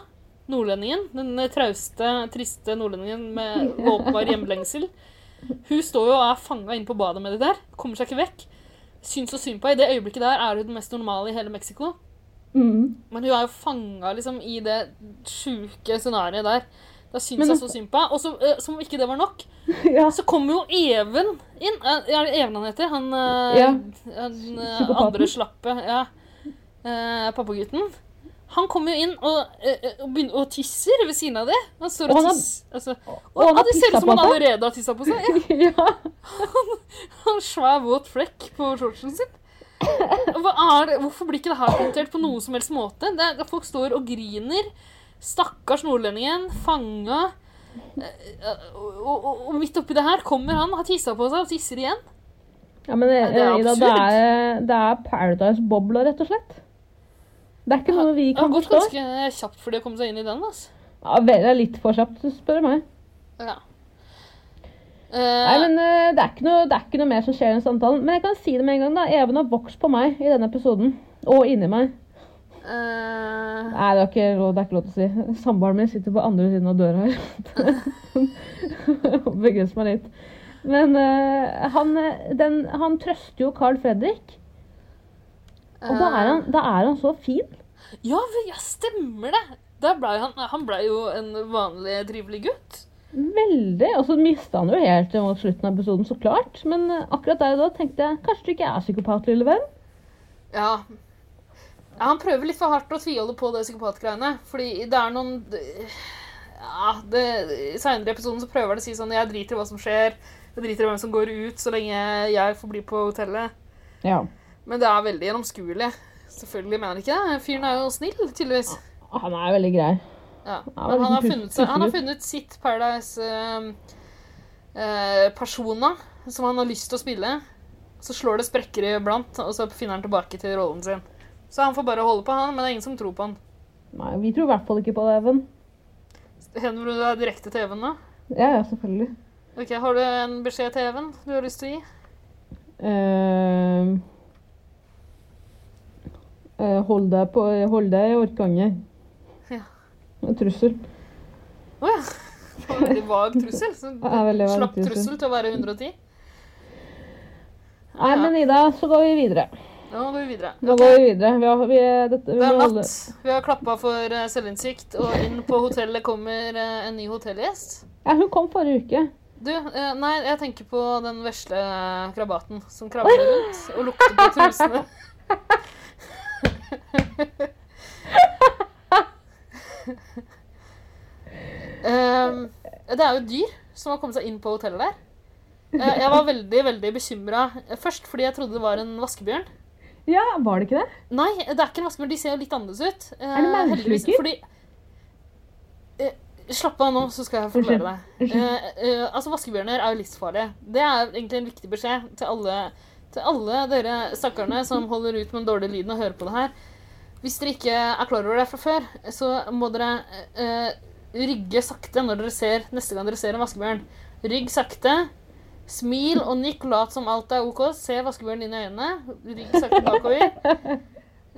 Speaker 3: nordlendingen, den eh, trauste, triste nordlendingen med åpenbar hjemlengsel, hun står jo og er fanga inne på badet med de der. Kommer seg ikke vekk. Syns så synd på henne. I det øyeblikket der er hun den mest normale i hele Mexico.
Speaker 2: Mm.
Speaker 3: Men hun er jo fanga liksom, i det sjuke scenarioet der. Da syns
Speaker 2: Men-
Speaker 3: jeg så synd på henne. Og så, eh, som om ikke det var nok,
Speaker 2: Ja,
Speaker 3: så kommer jo Even inn. Eh, Er det Even han heter? Han, eh,
Speaker 2: Ja.
Speaker 3: han eh,
Speaker 2: Psykopaten.
Speaker 3: andre slappe. Ja. Eh, Pappagutten. Han kommer jo inn og, eh, eh, og, begynner, og tisser ved siden av det. Han står
Speaker 2: Og
Speaker 3: og
Speaker 2: han har-
Speaker 3: tisser. Altså,
Speaker 2: og han
Speaker 3: ja,
Speaker 2: har
Speaker 3: det ser ut
Speaker 2: tisset
Speaker 3: som han
Speaker 2: på seg.
Speaker 3: allerede har tissa på seg. Ja.
Speaker 2: ja.
Speaker 3: En svær, våt flekk på shortsen sin. Hva er, hvorfor blir ikke det her kommentert på noen som helst måte? Det er, folk står og griner. Stakkars nordlendingen. Fanga. Eh, Og, og, og midt oppi det her kommer han, har tissa på seg og tisser igjen.
Speaker 2: ja men
Speaker 3: Ja, det er
Speaker 2: eh, Ida, det
Speaker 3: absurd.
Speaker 2: er, det er Paradise-bobla, rett og slett. Det er ikke noe vi
Speaker 3: Det har
Speaker 2: kan
Speaker 3: gått
Speaker 2: forstå.
Speaker 3: ganske kjapt for de å komme seg inn i den. Altså.
Speaker 2: Ja, vel, det er litt for kjapt, spør du meg.
Speaker 3: Ja.
Speaker 2: Nei,
Speaker 3: Eh,
Speaker 2: men eh, det er, ikke noe, det er ikke noe mer som skjer i den samtalen. Men jeg kan si det med en gang, da. Even har vokst på meg i denne episoden. Og inni meg.
Speaker 3: eh,
Speaker 2: Nei, det er ikke lov, det er ikke lov til å si. Samboeren min sitter på andre siden av døra her. Begrenser meg litt. Men eh, han, eh, den, han trøster jo Carl Fredrik. Og da er han, da er han så fin.
Speaker 3: Ja, vel, ja, stemmer det! Der ble han, han ble jo en vanlig trivelig gutt.
Speaker 2: Veldig. Og så mista han jo helt til mot slutten av episoden, så klart. Men eh, akkurat der og da tenkte jeg kanskje du ikke er psykopat, lille venn.
Speaker 3: Ja. ja. Han prøver litt for hardt å tviholde på det psykopatgreiene. Fordi det er noen ja, det, I seinere episoden så prøver han å si sånn Jeg driter i hva som skjer. Jeg driter i hvem som går ut, så lenge jeg får bli på hotellet.
Speaker 2: Ja.
Speaker 3: Men det er veldig gjennomskuelig. Selvfølgelig mener han ikke det. Fyren er jo snill, tydeligvis.
Speaker 2: Han er veldig grei.
Speaker 3: Ja.
Speaker 2: Ja,
Speaker 3: Men han har
Speaker 2: pus-
Speaker 3: funnet, seg, han har
Speaker 2: pussegutt.
Speaker 3: funnet sitt Paradise-persona som han har lyst til å spille. Så slår det sprekker iblant, og så finner han tilbake til rollen sin. Så han får bare holde på, han, men det er ingen som tror på han.
Speaker 2: Nei, vi tror i hvert fall ikke på det, Even.
Speaker 3: Henvender du deg direkte til Even nå?
Speaker 2: Ja, ja, selvfølgelig.
Speaker 3: Ok, Har du en beskjed til Even du har lyst til å gi?
Speaker 2: Ehm. Eh, hold deg på Hold deg i orkanget.
Speaker 3: Ja.
Speaker 2: En trussel.
Speaker 3: Å ja. Det var en Veldig vag trussel. Så
Speaker 2: Det er veldig vag
Speaker 3: slapp
Speaker 2: trussel.
Speaker 3: trussel til å være 110.
Speaker 2: Nei, men Ida, så går vi videre.
Speaker 3: Nå går vi videre.
Speaker 2: Nå går vi videre. Vi har, vi, dette, vi
Speaker 3: Det er
Speaker 2: må holde-
Speaker 3: natt. Vi har klappa for eh, selvinnsikt, og inn på hotellet kommer eh, en ny hotellgjest.
Speaker 2: Ja, hun kom forrige uke.
Speaker 3: Du, eh, nei, jeg tenker på den vesle krabaten som krabber rundt og lukter på trusene. Ehm, det er jo dyr som har kommet seg inn på hotellet der. Eh, jeg var veldig veldig bekymra først fordi jeg trodde det var en vaskebjørn.
Speaker 2: Ja, var det ikke det?
Speaker 3: Nei, det er ikke en vaskebjørn. De ser jo litt annerledes ut. Eh,
Speaker 2: det maurfluker?
Speaker 3: heldigvis, Fordi Eh, Slapp av nå, så skal jeg
Speaker 2: Unnskyld.
Speaker 3: forklare deg. Eh, eh, altså, Vaskebjørner er jo livsfarlige. Det er egentlig en viktig beskjed til alle, til alle dere stakkarene som holder ut med den dårlige lyden og hører på det her. Hvis dere ikke er klar over det fra før, så må dere eh, rygge sakte når dere ser, neste gang dere ser en vaskebjørn. Rygg sakte. Smil og nikk, lat som alt er OK. Se vaskebjørnen inn i øynene. Rygg sakte bakover.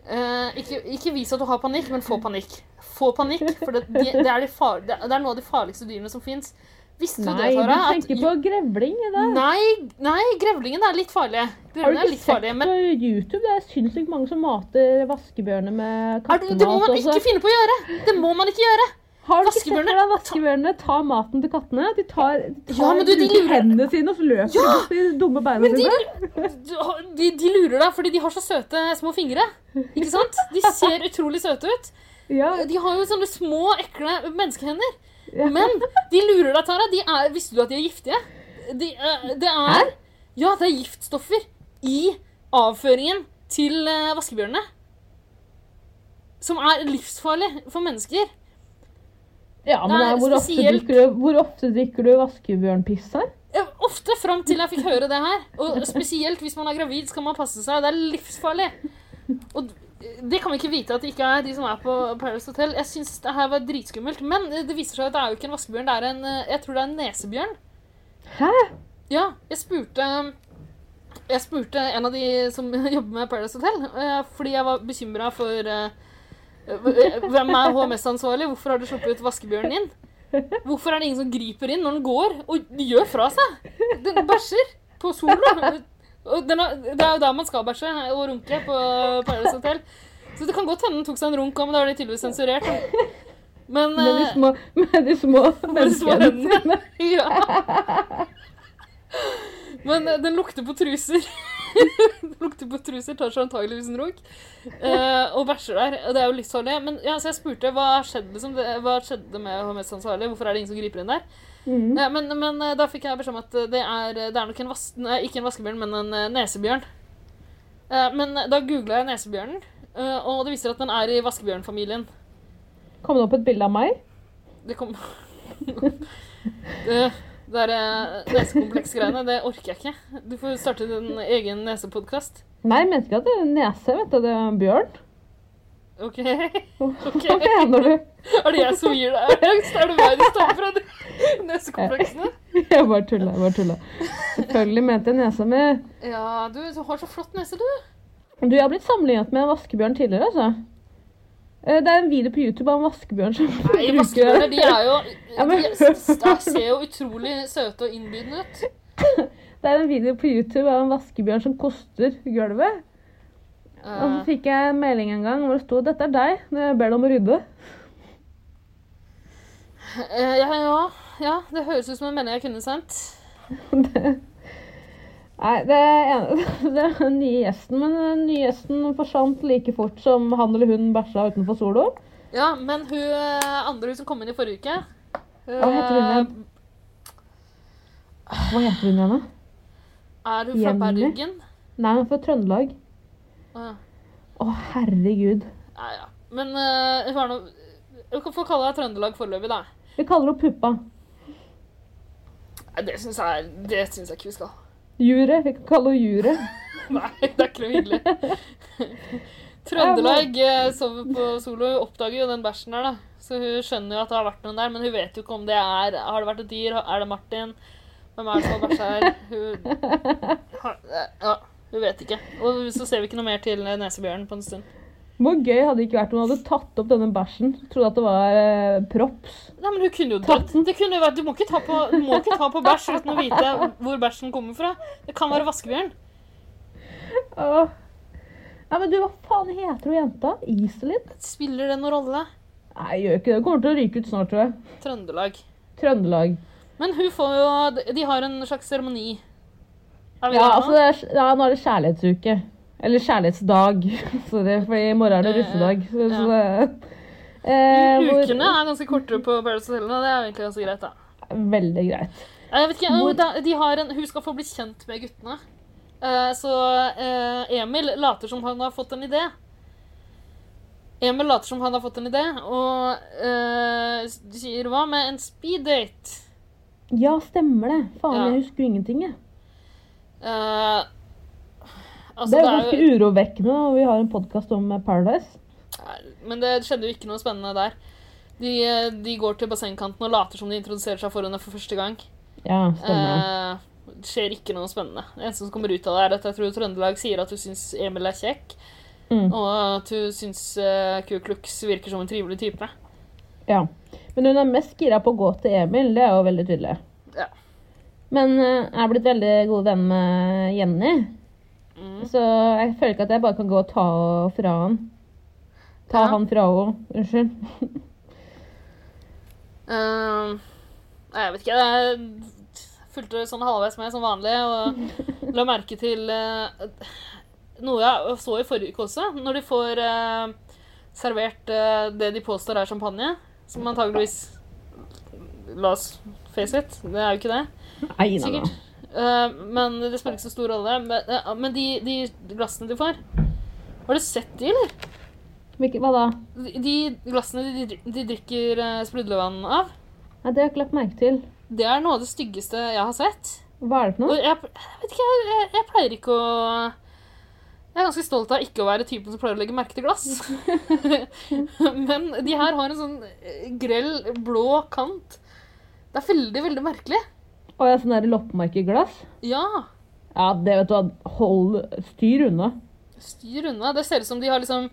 Speaker 3: Eh, ikke, ikke vis at du har panikk, men få panikk. Få panikk, for det, de, det, er, de far, det er noe av de farligste dyrene som fins. Visste du
Speaker 2: Nei,
Speaker 3: det,
Speaker 2: du
Speaker 3: Tara? at-
Speaker 2: tenker på grevling. Ida.
Speaker 3: Nei, nei, grevlingene er litt farlige.
Speaker 2: Har du
Speaker 3: Grevlingene er
Speaker 2: ikke
Speaker 3: litt
Speaker 2: sett
Speaker 3: farlige, men
Speaker 2: på YouTube? Det er sinnssykt mange som mater vaskebjørner med
Speaker 3: er det, det
Speaker 2: kattemat.
Speaker 3: må man
Speaker 2: også.
Speaker 3: ikke finne på å gjøre! Det må man ikke gjøre!
Speaker 2: Har du ikke sett
Speaker 3: Vaskebjørner-
Speaker 2: hvordan vaskebjørnene tar maten til kattene? De tar, de tar
Speaker 3: Ja, men du, de
Speaker 2: bruker
Speaker 3: lurer-
Speaker 2: hendene sine og så løper de
Speaker 3: Ja!
Speaker 2: bort med de dumme beina
Speaker 3: Men de,
Speaker 2: sine.
Speaker 3: de, de lurer deg fordi de har så søte små fingre. Ikke sant? De ser utrolig søte ut.
Speaker 2: Ja,
Speaker 3: De har jo sånne små, ekle menneskehender. Men de lurer deg, Tara. De er, visste du at de er giftige? De, eh, det er Ja, det er giftstoffer i avføringen til eh, vaskebjørnene. Som er livsfarlig for mennesker.
Speaker 2: Ja, men
Speaker 3: Nei,
Speaker 2: det er hvor, ofte
Speaker 3: spesielt-
Speaker 2: drikker du, hvor ofte drikker du vaskebjørnpiss her?
Speaker 3: Eh, Ofte fram til jeg fikk høre det her. Og spesielt hvis man er gravid, skal man passe seg. Det er livsfarlig. Og det kan vi ikke vite at det ikke er de som er på Paris Hotel. Jeg syns det her var dritskummelt. Men eh, det viser seg at det er jo ikke en vaskebjørn. Det er en, eh, jeg tror det er en nesebjørn.
Speaker 2: Hæ?
Speaker 3: Ja, jeg spurte Jeg spurte en av de som jobber med Paradise Hotel, eh, fordi jeg var bekymra for eh, hvem er HMS-ansvarlig? Hvorfor har du sluppet ut vaskebjørnen inn? Hvorfor er det ingen som griper inn når den går og gjør fra seg? Den bæsjer på sola. Og den har, det er jo der man skal bæsje og runke på Paradise Hotel. Så det kan godt hende den tok seg en runk òg, men da var det tydeligvis sensurert. da. Men,
Speaker 2: Med de
Speaker 3: eh,
Speaker 2: små, med de små
Speaker 3: de små
Speaker 2: menneskene sine.
Speaker 3: ja. Men eh, den lukter på truser. den lukter på truser, tar seg antageligvis en runk. eh, og bæsjer der. Og det er jo livsfarlig. Men ja, så jeg spurte hva skjedde, liksom, det, hva skjedde med HMS ansvarlig? Hvorfor er det ingen som griper inn der?
Speaker 2: Mm.
Speaker 3: Eh, men, men eh, da fikk jeg beskjed om at eh, det er, det er nok en vas nei, ikke en vaskebjørn, men en eh, nesebjørn. Eh, men eh, da googla jeg nesebjørnen, eh, og det viser at den er i vaskebjørnfamilien.
Speaker 2: Kom det opp et bilde av meg?
Speaker 3: Det kom Det det der eh, nesekompleks-greiene, det orker jeg ikke. Du får starte din egen nesepodkast.
Speaker 2: Nei, jeg mente ikke at det er en nese, vet du. Det er en bjørn.
Speaker 3: OK?
Speaker 2: Hva mener du?
Speaker 3: Er det jeg som gir deg angst? Er det meg du står fra de nesekompleksene?
Speaker 2: Jeg bare tulla, jeg bare tulla. Selvfølgelig mente jeg nesa mi.
Speaker 3: Ja, du, du har så flott nese, du.
Speaker 2: Du, jeg har blitt sammenlignet med en vaskebjørn tidligere, altså. Eh, Det er en video på YouTube av en vaskebjørn som
Speaker 3: Nei, vaskebjørner, de er jo
Speaker 2: Ja, men-
Speaker 3: De er- ser jo utrolig søte og innbydende ut.
Speaker 2: Det er en video på YouTube av en vaskebjørn som koster gulvet. Og så
Speaker 3: Eh,
Speaker 2: fikk jeg en melding en gang hvor det sto 'Dette er deg når jeg ber deg om å rydde'.
Speaker 3: eh, ja, ja, ja, det høres ut som en melding jeg kunne sendt.
Speaker 2: Det- Nei, det er, en, det er den nye gjesten, men den nye gjesten forsvant like fort som han eller hun bæsja utenfor solo.
Speaker 3: Ja, men hun eh, andre hun som kom inn i forrige uke eh,
Speaker 2: Hva heter hun igjen? Hva heter hun igjen? da?
Speaker 3: Er hun fra
Speaker 2: Jenny?
Speaker 3: Bergen?
Speaker 2: Nei, hun er fra Trøndelag.
Speaker 3: Ah,
Speaker 2: Å, herregud.
Speaker 3: ja, ja. Men eh, hun er nå Du kan få kalle deg Trøndelag foreløpig, da.
Speaker 2: Vi kaller henne Puppa.
Speaker 3: Nei, Det syns jeg, er- det syns jeg ikke vi skal.
Speaker 2: Jure. Vi kan kalle henne Jure.
Speaker 3: Nei, det er ikke noe hyggelig. Trøndelag eh, sover på solo. Hun oppdager jo den bæsjen der, da. Så hun skjønner jo at det har vært noen der, men hun vet jo ikke om det er Har det vært et dyr? Er det Martin? Hvem er det som har bæsja her? Hun har, ja, hun vet ikke. Og så ser vi ikke noe mer til nesebjørnen på en stund.
Speaker 2: Hvor gøy hadde det ikke vært om hun hadde tatt opp denne bæsjen? Trodde at det var eh, props.
Speaker 3: Nei, men hun kunne jo dødd. Det kunne jo vært, du må ikke ta på, du må ikke ta på bæsj uten å vite hvor bæsjen kommer fra. Det kan være vaskebjørn.
Speaker 2: Åh. Nei, men du, hva faen heter hun jenta? Iselin?
Speaker 3: Spiller det noen rolle?
Speaker 2: Nei, gjør ikke det. Hun Kommer til å ryke ut snart, tror jeg.
Speaker 3: Trøndelag.
Speaker 2: Trøndelag.
Speaker 3: Men hun får jo De har en slags seremoni. Er vi
Speaker 2: Ja,
Speaker 3: der nå?
Speaker 2: altså, det er, ja, nå er det kjærlighetsuke. Eller kjærlighetsdag. Sorry, for i morgen er det russedag. Så, så det, eh, hvor-
Speaker 3: Ukene er ganske kortere på Paradise Hotel, og det er jo egentlig ganske greit, da.
Speaker 2: Veldig greit.
Speaker 3: Jeg vet ikke,
Speaker 2: Hvor-
Speaker 3: da- de har en, Hun skal få bli kjent med guttene. Eh, Så eh, Emil later som han har fått en idé. Emil later som han har fått en idé, og eh, sier hva med en speeddate?
Speaker 2: Ja, stemmer det. Faen,
Speaker 3: Ja.
Speaker 2: jeg husker jo ingenting, jeg.
Speaker 3: Eh, altså,
Speaker 2: Det er jo ganske urovekkende når vi har en podkast om eh, Paradise.
Speaker 3: Nei, Men det skjedde jo ikke noe spennende der. De, eh, de går til bassengkanten og later som de introduserer seg for henne for første gang.
Speaker 2: Ja, stemmer.
Speaker 3: Eh, det skjer ikke noe spennende. Det eneste som kommer ut av det, er at jeg tror Trøndelag sier at hun syns Emil er kjekk,
Speaker 2: Mm.
Speaker 3: og at hun syns eh, Ku Klux virker som en trivelig type. Eh,
Speaker 2: Ja. Men hun er mest gira på å gå til Emil, det er jo veldig tydelig.
Speaker 3: Ja.
Speaker 2: Men eh, jeg er blitt veldig god venn med Jenny,
Speaker 3: Mm.
Speaker 2: så jeg føler ikke at jeg bare kan gå og ta henne fra han. Ta
Speaker 3: Ja.
Speaker 2: han fra henne. Unnskyld.
Speaker 3: Eh, nei, jeg vet ikke. Jeg fulgte sånn halvveis med som vanlig og la merke til eh, noe jeg så i forrige uke også. Når de får eh, servert eh, det de påstår er champagne, som antageligvis la oss face it, det er jo ikke det.
Speaker 2: Nei, nei, nei.
Speaker 3: Sikkert. Eh, men det spiller ikke så stor rolle. Men, eh, men de, de glassene de får Har du sett de, eller?
Speaker 2: Hvilke- Hva da?
Speaker 3: De, de glassene de, dri- de drikker eh, sprudlevann av,
Speaker 2: Nei, det har jeg ikke lagt merke til.
Speaker 3: det er noe av det styggeste jeg har sett.
Speaker 2: Hva er det for
Speaker 3: Og
Speaker 2: noe?
Speaker 3: jeg, jeg vet ikke, jeg, jeg, jeg pleier ikke å Jeg er ganske stolt av ikke å være typen som pleier å legge merke til glass. Men de her har en sånn eh, grell, blå kant. Det er veldig, veldig merkelig.
Speaker 2: Å, jeg har sånn der loppemarkedglass?
Speaker 3: Ja.
Speaker 2: Ja, det vet du hva. Hold styr unna.
Speaker 3: Styr unna. Det ser ut som de har liksom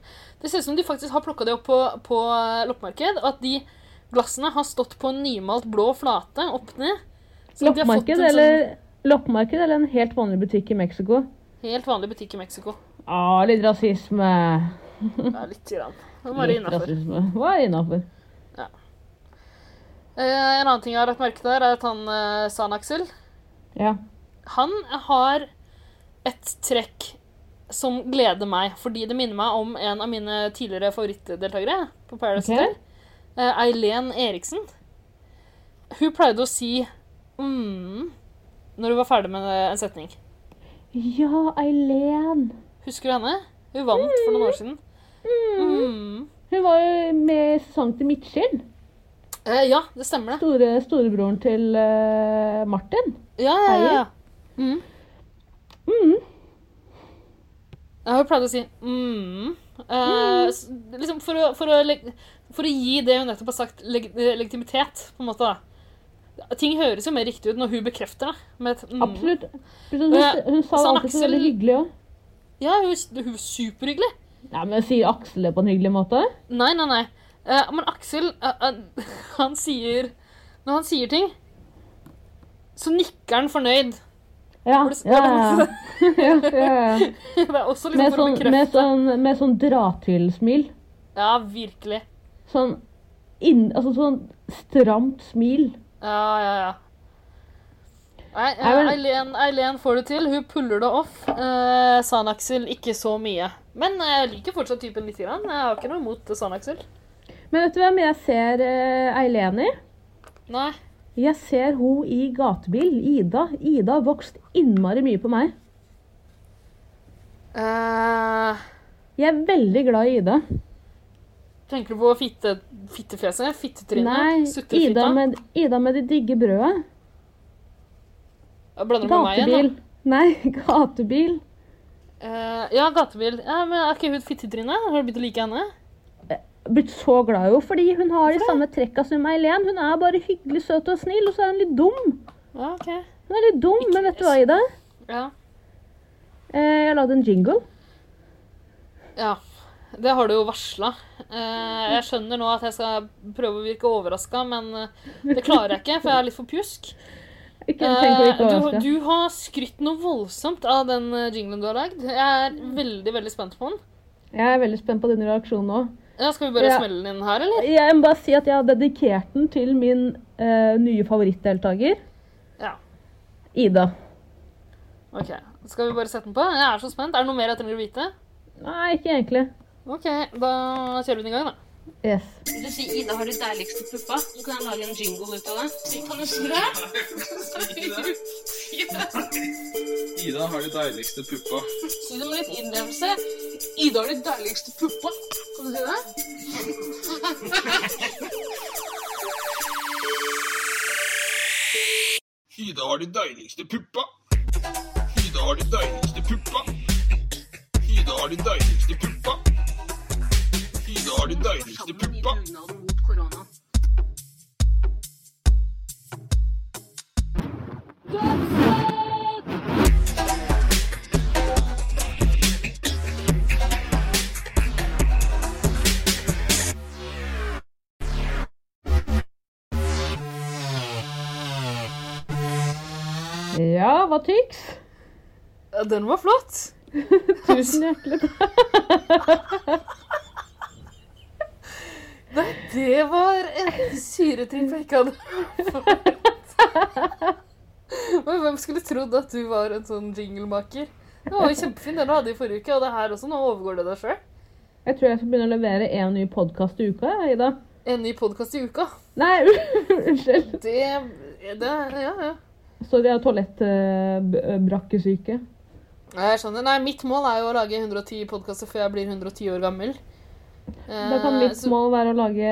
Speaker 3: Det ser ut som de faktisk har plukka det opp på, på eh, loppemarked. Og at de glassene har stått på en nymalt blå flate opp ned. Så de har fått
Speaker 2: Loppemarked
Speaker 3: en
Speaker 2: eller, loppemarked eller en helt vanlig butikk i Mexico?
Speaker 3: sånn helt vanlig butikk i Mexico.
Speaker 2: Ja, litt rasisme.
Speaker 3: Det er litt grann. Det må være
Speaker 2: Litt
Speaker 3: innafor.
Speaker 2: rasisme. Hva er innafor?
Speaker 3: Eh, en annen ting jeg har lagt merke til, er at han eh, San Axel
Speaker 2: Ja.
Speaker 3: Han har et trekk som gleder meg, fordi det minner meg om en av mine tidligere favorittdeltakere på Paradise
Speaker 2: Ok.
Speaker 3: Hotel. eh, Eileen Eriksen. Hun pleide å si mm når hun var ferdig med en setning.
Speaker 2: Ja, Eileen.
Speaker 3: Husker du henne? Hun vant for noen år siden. Mm.
Speaker 2: Hun var jo med i sesong til Midtskill.
Speaker 3: Eh, ja, det stemmer, det.
Speaker 2: Store, storebroren til eh, Martin.
Speaker 3: Ja, ja, ja. Mm.
Speaker 2: Mhm.
Speaker 3: Ja, hun pleide å si mm. Eh, s- liksom for, å, for, å leg for å gi det hun nettopp har sagt, leg eh, legitimitet, på en måte. da. Ting høres jo mer riktig ut når hun bekrefter det. Med et, mm. sånn
Speaker 2: Absolutt. Hun,
Speaker 3: Og jeg-
Speaker 2: hun sa det
Speaker 3: San
Speaker 2: alltid så
Speaker 3: Axel-
Speaker 2: veldig hyggelig òg.
Speaker 3: Ja, hun, hun er superhyggelig.
Speaker 2: Ja, men sier Aksel det på en hyggelig måte?
Speaker 3: Nei, nei, nei. Eh, men Aksel, eh, eh, han sier Når han sier ting, så nikker han fornøyd.
Speaker 2: Ja.
Speaker 3: Var det s-
Speaker 2: ja,
Speaker 3: var
Speaker 2: ja. ja, ja, ja.
Speaker 3: Det er også liksom
Speaker 2: Med
Speaker 3: for å
Speaker 2: sånn,
Speaker 3: bekrefte.
Speaker 2: med sånn, med sånn dra-til-smil.
Speaker 3: Ja, virkelig.
Speaker 2: Sånn, inn, altså sånn stramt smil.
Speaker 3: Ja, ja, ja. Nei, eh,
Speaker 2: Nei, men-
Speaker 3: Eileen, Eileen får det til. Hun puller det off. Eh, Sanaksel ikke så mye. Men eh, jeg liker fortsatt typen lite grann. Jeg har ikke noe imot Sanaksel.
Speaker 2: Men vet du hvem jeg ser eh, Eileen i?
Speaker 3: Nei.
Speaker 2: Jeg ser hun i gatebil, Ida. Ida har vokst innmari mye på meg.
Speaker 3: Eh,
Speaker 2: Jeg er veldig glad i Ida.
Speaker 3: tenker du på fitte, fittefjeset?
Speaker 2: Nei,
Speaker 3: Fittetrynet? Sutrefitta?
Speaker 2: Ida med, Ida med det digge brødet.
Speaker 3: Jeg Blander du med meg igjen?
Speaker 2: Gatebil. Nei, gatebil.
Speaker 3: da? Eh, ja, gatebil. Ja, men Er ikke hun fittetrynet? Har du begynt å like henne?
Speaker 2: Blitt så glad i henne fordi hun har de samme trekka som Eileen. Hun er bare hyggelig, søt og snill, og så er hun litt dum.
Speaker 3: Ja, ok.
Speaker 2: Hun er litt dum, men vet du hva, Ida?
Speaker 3: Ja.
Speaker 2: Eh, jeg har lagd en jingle.
Speaker 3: ja. Det har du jo varsla. Eh, jeg skjønner nå at jeg skal prøve å virke overraska, men eh, det klarer jeg ikke, for jeg er litt for pjusk.
Speaker 2: Ikke tenk på
Speaker 3: Eh,
Speaker 2: ikke å
Speaker 3: du,
Speaker 2: overraske.
Speaker 3: du har skrytt noe voldsomt av den eh, jinglen du har lagd. Jeg er veldig veldig spent på den.
Speaker 2: Jeg er veldig spent på din reaksjon nå.
Speaker 3: Ja, skal vi bare
Speaker 2: Ja.
Speaker 3: smelle den inn her, eller?
Speaker 2: Jeg må bare si at jeg har dedikert den til min eh, nye favorittdeltaker,
Speaker 3: Ja.
Speaker 2: Ida.
Speaker 3: Ok, Skal vi bare sette den på? Jeg er så spent. Er det noe mer jeg trenger å vite?
Speaker 2: Nei, ikke egentlig.
Speaker 3: OK, da kjører vi den i gang, da.
Speaker 2: Yes.
Speaker 4: Vil du si Ida har de deiligste puppa? Så kan jeg lage en jingle ut av det. Kan du snurre?
Speaker 5: Ida har de deiligste puppa.
Speaker 4: Si det med litt innlevelse. Ida har de deiligste puppa. Kan du si det?
Speaker 5: Ida har de deiligste puppa. Ida har de deiligste puppa. Ida har de deiligste puppa. Ida har de deiligste puppa.
Speaker 4: dugnaden mot korona.
Speaker 2: Ja, hva tyks?
Speaker 3: Ja, Den var flott.
Speaker 2: Tusen hjertelig takk.
Speaker 3: Nei, det var en syretripp jeg ikke hadde Men hvem skulle trodd at du var en sånn jinglemaker? Det var jo kjempefin den du hadde i forrige uke, og det her også. Nå overgår det deg sjøl.
Speaker 2: Jeg tror jeg skal begynne å levere én ny podkast i uka, jeg, Ida.
Speaker 3: en ny podkast i uka.
Speaker 2: Nei, unnskyld.
Speaker 3: Det, det Ja, ja.
Speaker 2: Sorry, jeg har toalettbrakkesyke.
Speaker 3: Ja, Jeg skjønner. Nei, mitt mål er jo å lage 110 podkaster før jeg blir 110 år gammel.
Speaker 2: Da
Speaker 3: Eh,
Speaker 2: kan mitt mål være å lage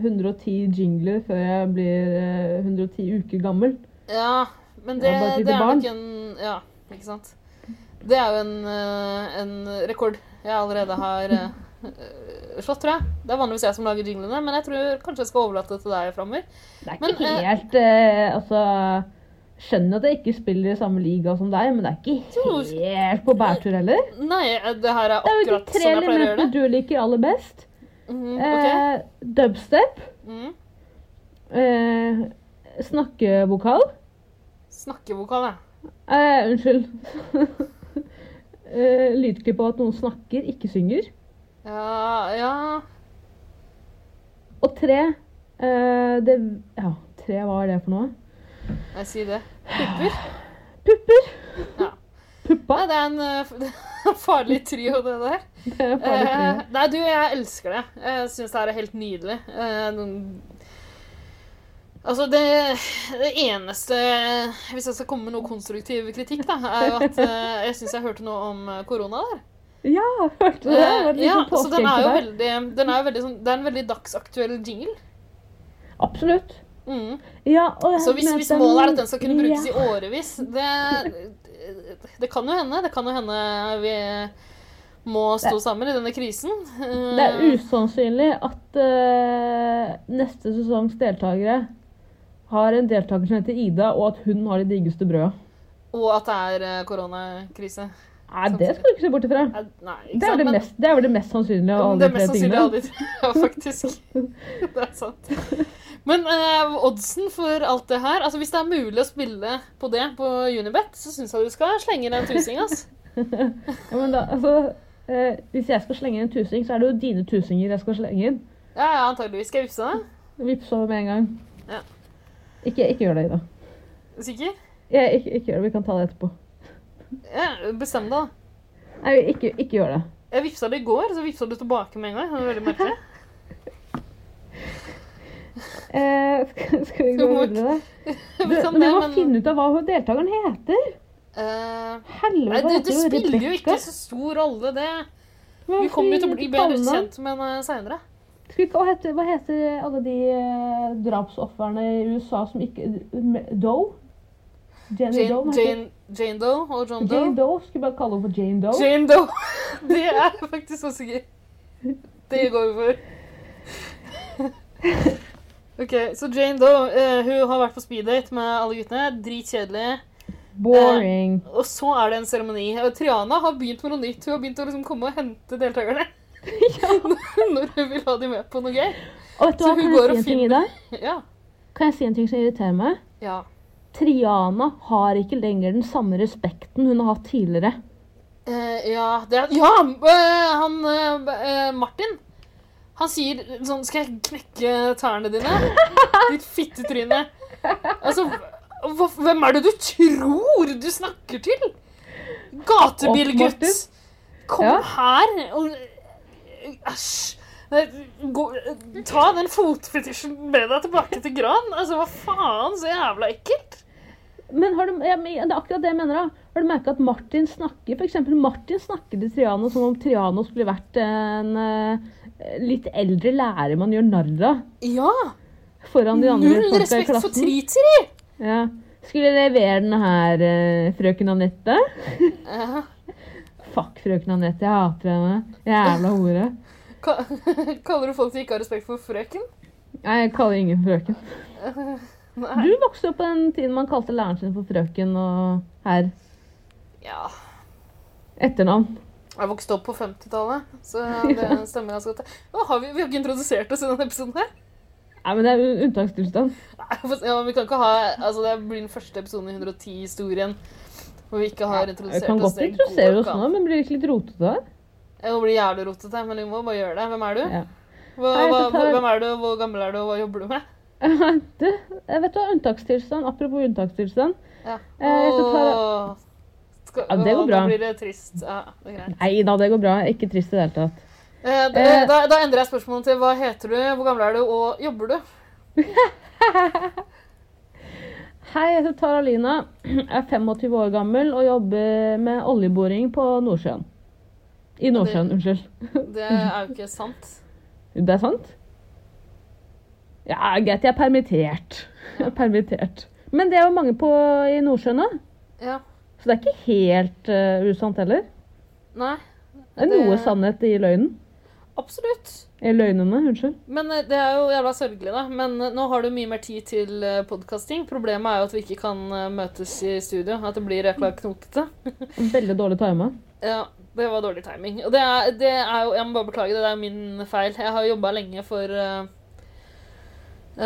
Speaker 2: 110 jingler før jeg blir eh, 110 uker gammel.
Speaker 3: Ja, men det,
Speaker 2: Ja, bare et lite
Speaker 3: det er
Speaker 2: barn.
Speaker 3: nok en Ja, ikke sant. Det er jo en, eh, en rekord jeg allerede har eh, eh, slått, tror jeg. Det er vanligvis jeg som lager jinglene, men jeg tror kanskje jeg skal overlate det til deg framover.
Speaker 2: Det er
Speaker 3: Men,
Speaker 2: ikke
Speaker 3: eh,
Speaker 2: helt eh, Altså Skjønner at jeg ikke spiller i samme liga som deg, men det er
Speaker 3: Jo.
Speaker 2: ikke helt på bærtur heller.
Speaker 3: Nei, eh, det her er
Speaker 2: Det er jo de
Speaker 3: akkurat
Speaker 2: tre
Speaker 3: som jeg pleier å gjøre
Speaker 2: elementene
Speaker 3: det.
Speaker 2: du liker aller best.
Speaker 3: Mhm, ok.
Speaker 2: Eh, dubstep.
Speaker 3: Mhm.
Speaker 2: Eh, snakkevokal.
Speaker 3: Snakkevokal, ja.
Speaker 2: Eh, unnskyld. eh, lydklipp av at noen snakker, ikke synger.
Speaker 3: Ja, ja.
Speaker 2: Og tre eh, det, Ja, tre, hva er det for noe?
Speaker 3: Jeg sier det.
Speaker 2: Pupper.
Speaker 3: Ja.
Speaker 2: Puppa.
Speaker 3: Nei, det er en eh, f- det er en farlig trio, det der.
Speaker 2: Det er farlig for
Speaker 3: Eh,
Speaker 2: meg.
Speaker 3: nei, du, jeg elsker det. Jeg syns det er helt nydelig. Eh, den- altså, det, det eneste Hvis jeg skal komme med noe konstruktiv kritikk, da, er jo at eh, jeg syns jeg hørte noe om eh, korona der.
Speaker 2: Ja, hørte du det? det? var
Speaker 3: Eh,
Speaker 2: et
Speaker 3: ja,
Speaker 2: lite
Speaker 3: så den er jo
Speaker 2: påskeegg der.
Speaker 3: veldig, den er jo veldig sånn, Det er en veldig dagsaktuell jingle.
Speaker 2: Absolutt.
Speaker 3: Mm.
Speaker 2: Ja, og
Speaker 3: Så hvis,
Speaker 2: men
Speaker 3: hvis
Speaker 2: den-
Speaker 3: målet er at den skal kunne
Speaker 2: ja.
Speaker 3: brukes i årevis det, det kan jo hende. Det kan jo hende vi må stå sammen i denne krisen. Eh,
Speaker 2: Det er usannsynlig at eh, neste sesongs deltakere har en deltaker som heter Ida, og at hun har det diggeste brødet.
Speaker 3: Og at det er eh, koronakrise.
Speaker 2: Nei, det skal du ikke se bort ifra.
Speaker 3: Eh, Nei, ikke
Speaker 2: Det er vel det,
Speaker 3: men-
Speaker 2: mest- det, er vel det mest sannsynlige av alle de
Speaker 3: det er
Speaker 2: tre
Speaker 3: mest sannsynlig
Speaker 2: tingene.
Speaker 3: alle de tre, ja, faktisk. Det er sant. Men eh, oddsen for alt det her altså Hvis det er mulig å spille på det på Unibet, så syns jeg du skal slenge deg en tusing. ass.
Speaker 2: Ja, men da, altså, eh, hvis jeg skal slenge inn en tusing, så er det jo dine tusinger jeg skal slenge inn.
Speaker 3: Ja, ja, antageligvis. Skal jeg vippse deg?
Speaker 2: Vips over med en gang.
Speaker 3: Ja.
Speaker 2: Ikke, ikke gjør det, Ida.
Speaker 3: Sikker?
Speaker 2: Jeg, ikke, ikke gjør det, Vi kan ta det etterpå.
Speaker 3: Ja, Bestem deg, da.
Speaker 2: Nei, ikke, ikke gjør det.
Speaker 3: Jeg vippsa det i går, så vippsa du tilbake med en gang. Det var veldig merkelig.
Speaker 2: Eh, skal, skal vi gå
Speaker 3: må-
Speaker 2: videre? Du,
Speaker 3: Vi kan
Speaker 2: men vi
Speaker 3: det,
Speaker 2: må
Speaker 3: men-
Speaker 2: finne ut av hva deltakeren heter.
Speaker 3: Eh,
Speaker 2: Helvete,
Speaker 3: Nei,
Speaker 2: hva
Speaker 3: det,
Speaker 2: heter
Speaker 3: det
Speaker 2: hun?
Speaker 3: spiller jo
Speaker 2: Rebecca?
Speaker 3: ikke så stor rolle, det.
Speaker 2: Hva
Speaker 3: Vi kommer jo til å
Speaker 2: heter
Speaker 3: bli bedre
Speaker 2: Anna?
Speaker 3: kjent med henne seinere.
Speaker 2: Skal vi ikke- Hva heter, hva heter alle de eh, drapsofrene i USA som ikke M- Doe? Jane,
Speaker 3: Jane,
Speaker 2: Doe? hva heter-
Speaker 3: Jane, Jane Doe og John Doe.
Speaker 2: Jane Doe? Skulle vi bare kalle henne for Jane Doe?
Speaker 3: Jane Doe. Det er jeg faktisk også gøy. Det går vi for. OK, så Jane Doe eh, hun har vært på speeddate med alle guttene. Dritkjedelig.
Speaker 2: Boring.
Speaker 3: Og så er det en seremoni. Og Triana har begynt med noe nytt. Hun har begynt å liksom komme og hente deltakerne. Når hun vil ha dem med på noe gøy.
Speaker 2: og vet du
Speaker 3: så
Speaker 2: hva,
Speaker 3: hun
Speaker 2: kan jeg si
Speaker 3: går og
Speaker 2: en ting i
Speaker 3: finner-
Speaker 2: dag?
Speaker 3: Ja.
Speaker 2: Kan jeg si en ting som irriterer meg?
Speaker 3: ja.
Speaker 2: Triana har ikke lenger den samme respekten hun har hatt tidligere.
Speaker 3: Eh, ja, det er, ja eh, han eh, eh, Martin. Han sier sånn Skal jeg knekke tærne dine? Ditt fittetryne. Altså, hva, hvem er det du tror du snakker til? Gatebilgutt.
Speaker 2: Opp,
Speaker 3: Kom
Speaker 2: Ja.
Speaker 3: her og Æsj. Nei, Gå, ta den fotfetisjen med deg tilbake til Gran. Altså, hva faen? Så jævla ekkelt.
Speaker 2: Men har du, ja, men det er akkurat det jeg mener. da. Har du merka at Martin snakker for eksempel, Martin snakker til Triano som om Triano skulle vært en eh, litt eldre lærer man gjør narr av
Speaker 3: Ja.
Speaker 2: foran de andre
Speaker 3: Null
Speaker 2: folka i
Speaker 3: respekt for
Speaker 2: klassen?
Speaker 3: triteri.
Speaker 2: Ja. Skulle jeg levere den her, eh, frøken Anette?
Speaker 3: Uh.
Speaker 2: Fuck frøken Anette, jeg hater henne. Jævla hore.
Speaker 3: Ka- Kaller du folk som ikke har respekt for frøken?
Speaker 2: Nei, jeg kaller ingen frøken.
Speaker 3: Nei.
Speaker 2: Du vokste opp på den tiden man kalte læreren sin for frøken og herr.
Speaker 3: Ja.
Speaker 2: Etternavn.
Speaker 3: Jeg vokste opp på 50-tallet, så det stemmer ganske godt. Å, har vi, vi har ikke introdusert oss i denne episoden her.
Speaker 2: Nei, men det er un- unntakstilstand.
Speaker 3: Nei, for- Ja, men vi kan ikke ha, altså Det blir den første episoden i 110-historien hvor vi ikke har
Speaker 2: Vi
Speaker 3: introdusert
Speaker 2: kan godt
Speaker 3: Det går
Speaker 2: introdusere oss
Speaker 3: ikke an.
Speaker 2: nå, men blir det ikke litt rotete? da?
Speaker 3: Det blir jævlig rotete, men vi må bare gjøre det. Hvem er du?
Speaker 2: Ja.
Speaker 3: Hva,
Speaker 2: Nei,
Speaker 3: hva,
Speaker 2: så tar-
Speaker 3: hvem er du, hvor gammel er du, og hva jobber du med?
Speaker 2: Du, jeg vet du hva, unntakstilstand, apropos unntakstilstand.
Speaker 3: Ja.
Speaker 2: Eh, så tar-
Speaker 3: Åh. Skal,
Speaker 2: Ja, det går
Speaker 3: Åh,
Speaker 2: bra.
Speaker 3: Nå blir det trist. Ja, det er greit.
Speaker 2: Nei da, det går bra. Ikke trist i det hele tatt.
Speaker 3: Eh, d- eh, da, da endrer jeg spørsmålet til hva heter du, hvor gammel er du, og jobber du?
Speaker 2: Hei, jeg heter Tara Lina. Er 25 år gammel og jobber med oljeboring på Nordsjøen. I Nordsjøen, unnskyld.
Speaker 3: Det er jo ikke sant.
Speaker 2: Det er sant? Ja, greit, jeg er permittert. Jeg er permittert. Men det er jo mange på i Nordsjøen òg,
Speaker 3: Ja.
Speaker 2: så det er ikke helt eh, usant heller.
Speaker 3: Nei.
Speaker 2: Det er noe
Speaker 3: Det-
Speaker 2: sannhet i løgnen.
Speaker 3: Absolutt.
Speaker 2: I løgnene, unnskyld.
Speaker 3: Men eh, det er jo jævla sørgelig, da. Men eh, nå har du mye mer tid til podkasting. Problemet er jo at vi ikke kan eh, møtes i studio. At det blir jækla knotete.
Speaker 2: Veldig dårlig time.
Speaker 3: Ja, det var dårlig timing. Og det er, det er jo Jeg må bare beklage, det det er min feil. Jeg har jobba lenge for eh,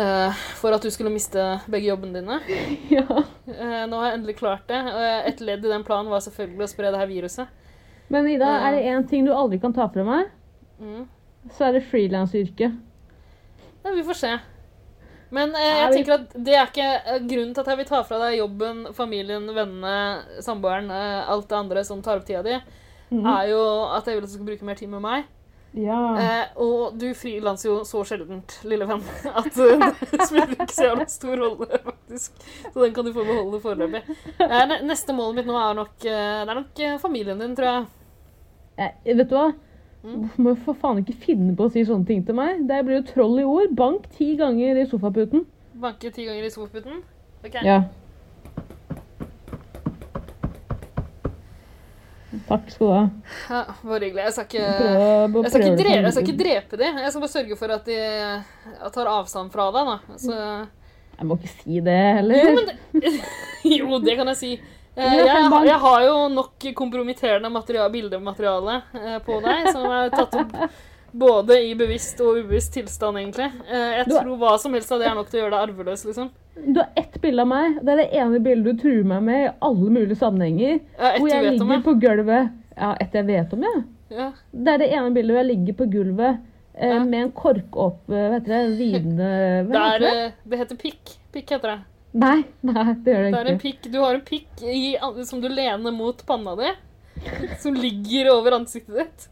Speaker 3: eh, For at du skulle miste begge jobbene dine.
Speaker 2: Ja.
Speaker 3: Eh, nå har jeg endelig klart det. Og eh, et ledd i den planen var selvfølgelig å spre det her viruset.
Speaker 2: Men Ida,
Speaker 3: Ja.
Speaker 2: er det én ting du aldri kan ta fra meg,
Speaker 3: Mm.
Speaker 2: så er det frilansyrket.
Speaker 3: Ja, vi får se. Men eh,
Speaker 2: Ja,
Speaker 3: jeg
Speaker 2: vi-
Speaker 3: tenker at det er ikke eh, grunnen til at jeg vil ta fra deg jobben, familien, vennene, samboeren, eh, alt det andre som tar opp tida di, er jo at jeg vil at du skal bruke mer tid med meg.
Speaker 2: Mhm. Ja.
Speaker 3: Eh, og du frilanser jo så sjeldent, lille venn, at eh, det spiller ikke så jævla stor rolle, faktisk. Så den kan du få beholde foreløpig. Eh, ne- neste målet mitt nå er nok, eh, det er nok eh, familien din, tror jeg.
Speaker 2: Eh, vet du hva?
Speaker 3: Mm.
Speaker 2: Hvorfor må du for faen ikke finne på å si sånne ting til meg? Det blir jo troll i ord. Bank ti ganger i sofaputen.
Speaker 3: Banke ti ganger i sofaputen. Ok.
Speaker 2: Ja. Takk skal du ha.
Speaker 3: Ja, bare hyggelig. Jeg skal
Speaker 2: Prøv-
Speaker 3: ikke
Speaker 2: prøv-
Speaker 3: Jeg skal, ikke
Speaker 2: prøv-
Speaker 3: drepe, jeg skal ikke drepe de. Jeg skal bare sørge for at de eh, tar avstand fra deg, da. Så,
Speaker 2: Jeg må ikke si det heller.
Speaker 3: jo, men det, jo, det kan jeg si. Eh,
Speaker 2: Ja,
Speaker 3: Jeg,
Speaker 2: men man-
Speaker 3: jeg har jo nok kompromitterende materia- bildemateriale eh, på deg, som er tatt opp både i bevisst og ubevisst tilstand, egentlig. Eh, Jeg
Speaker 2: Du er-
Speaker 3: tror hva som helst av det er nok til å gjøre deg arveløs, liksom.
Speaker 2: Du har ett bilde av meg. Det er det ene bildet du truer meg med i alle mulige sammenhenger.
Speaker 3: Ja, et
Speaker 2: Hvor
Speaker 3: du
Speaker 2: jeg
Speaker 3: vet om,
Speaker 2: ligger
Speaker 3: ja.
Speaker 2: på gulvet. Ja, et jeg vet om, ja.
Speaker 3: ja.
Speaker 2: Det er det ene bildet hvor jeg ligger på gulvet eh,
Speaker 3: Ja.
Speaker 2: med en kork opp eh, Hva heter det? Ridende
Speaker 3: Det,
Speaker 2: Hva heter
Speaker 3: er,
Speaker 2: det?
Speaker 3: eh, det heter pikk. Pikk heter det.
Speaker 2: Nei, nei, det gjør
Speaker 3: Det er
Speaker 2: det
Speaker 3: en
Speaker 2: ikke.
Speaker 3: pikk, du har en pikk i, som du lener mot panna di, som ligger over ansiktet ditt.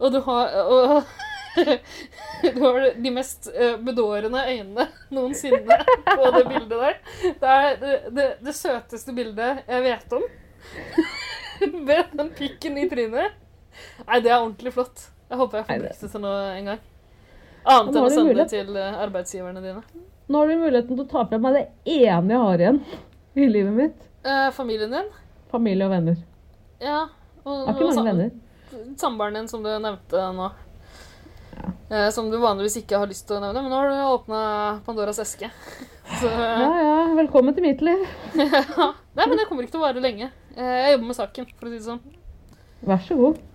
Speaker 3: Og du har, og, du har de mest eh, bedårende øynene noensinne på det bildet der. Det er det, det, det søteste bildet jeg vet om. Med den pikken i trynet. Nei, det er ordentlig flott. Jeg håper jeg
Speaker 2: Nei,
Speaker 3: får
Speaker 2: det-
Speaker 3: brukt det til noe en gang.
Speaker 2: Men
Speaker 3: Annet
Speaker 2: nå
Speaker 3: enn
Speaker 2: er
Speaker 3: å
Speaker 2: det
Speaker 3: sende
Speaker 2: mulig.
Speaker 3: det til eh, arbeidsgiverne dine.
Speaker 2: Nå har du muligheten til å ta fra meg det ene jeg har igjen i livet mitt.
Speaker 3: Eh, familien din?
Speaker 2: Familie og venner.
Speaker 3: Ja. Og,
Speaker 2: Jeg har ikke mange
Speaker 3: og sam-
Speaker 2: venner.
Speaker 3: samboeren din som du nevnte nå. Eh, Som du vanligvis ikke har lyst til å nevne, men nå har du åpna Pandoras eske. Så,
Speaker 2: Ja ja, velkommen til mitt liv.
Speaker 3: Nei, men det kommer ikke til å vare lenge. Eh, Jeg jobber med saken, for å si det sånn.
Speaker 2: Vær så god.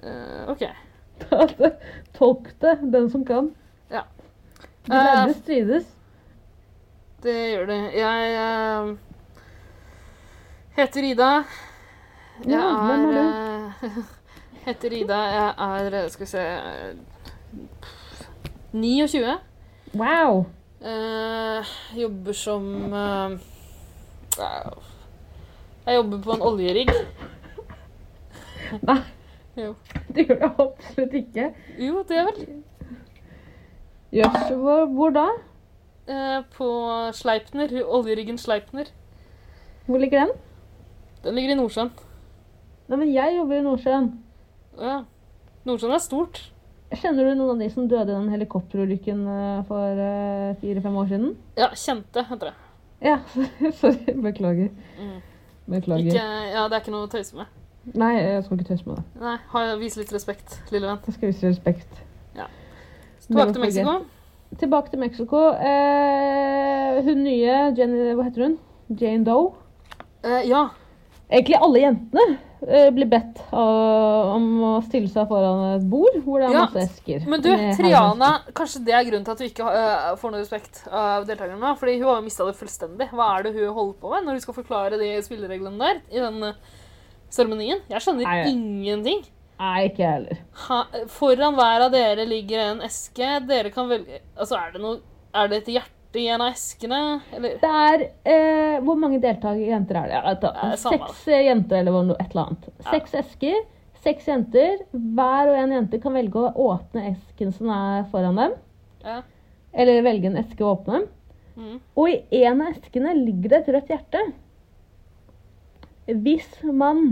Speaker 3: Eh, OK.
Speaker 2: Tolk det, den som kan.
Speaker 3: Ja.
Speaker 2: De lærde strides.
Speaker 3: Det gjør det. Jeg eh, heter Ida. Jeg
Speaker 2: Ja, hvem er
Speaker 3: er eh, Heter Ida. Jeg er eh, Skal vi se eh, 29.
Speaker 2: Wow.
Speaker 3: Eh, jobber som eh, eh, Jeg jobber på en oljerigg.
Speaker 2: Nei.
Speaker 3: Jo.
Speaker 2: Det gjør jeg absolutt ikke.
Speaker 3: Jo, det vel.
Speaker 2: Jøss, hvor, hvor da?
Speaker 3: Eh, på Sleipner. Oljeriggen Sleipner.
Speaker 2: Hvor ligger den?
Speaker 3: Den ligger i Nordsjøen.
Speaker 2: Nei, men jeg jobber i Nordsjøen.
Speaker 3: Ja. Nordsjøen er stort.
Speaker 2: Kjenner du noen av de som døde i den helikopterulykken eh, for eh, fire-fem år siden?
Speaker 3: Ja, kjente, heter det.
Speaker 2: Ja, sorry. Beklager.
Speaker 3: Mm.
Speaker 2: Beklager.
Speaker 3: Ikke, ja, det er ikke noe å tøyse med.
Speaker 2: Nei, jeg skal ikke tøyse med det.
Speaker 3: Nei, ha- Vis litt respekt, lille venn.
Speaker 2: Jeg skal vise respekt.
Speaker 3: Ja.
Speaker 2: Mellom
Speaker 3: Tilbake til Mexico.
Speaker 2: folket. Tilbake til Mexico. Eh, hun nye Jenny Hva heter hun? Jane Doe.
Speaker 3: Eh, ja.
Speaker 2: Egentlig alle jentene eh, blir bedt av, om å stille seg foran et bord hvor det er
Speaker 3: Ja,
Speaker 2: masse esker.
Speaker 3: Men du,
Speaker 2: med
Speaker 3: Triana, kanskje det er grunnen til at du ikke øh, får noe respekt av deltakerne nå? Fordi hun har jo mista det fullstendig. Hva er det hun holder på med når hun skal forklare de spillereglene der? I den øh, seremonien? Jeg skjønner
Speaker 2: Nei, jeg-
Speaker 3: ingenting.
Speaker 2: heis. Nei, ikke jeg heller.
Speaker 3: Ha, foran hver av dere ligger en eske. Dere kan velge Altså, er det noe Er det et hjerte i en av eskene? Eller
Speaker 2: Det er eh, Hvor mange deltakerjenter er det? Jeg vet da.
Speaker 3: Ja, det er samme,
Speaker 2: Seks eh, jenter eller noe, et eller annet. Seks esker, Seks jenter. Hver og en jente kan velge å åpne esken som er foran dem.
Speaker 3: Ja.
Speaker 2: Eller velge en eske å åpne.
Speaker 3: Mhm.
Speaker 2: Og i en av eskene ligger det et rødt hjerte. Hvis man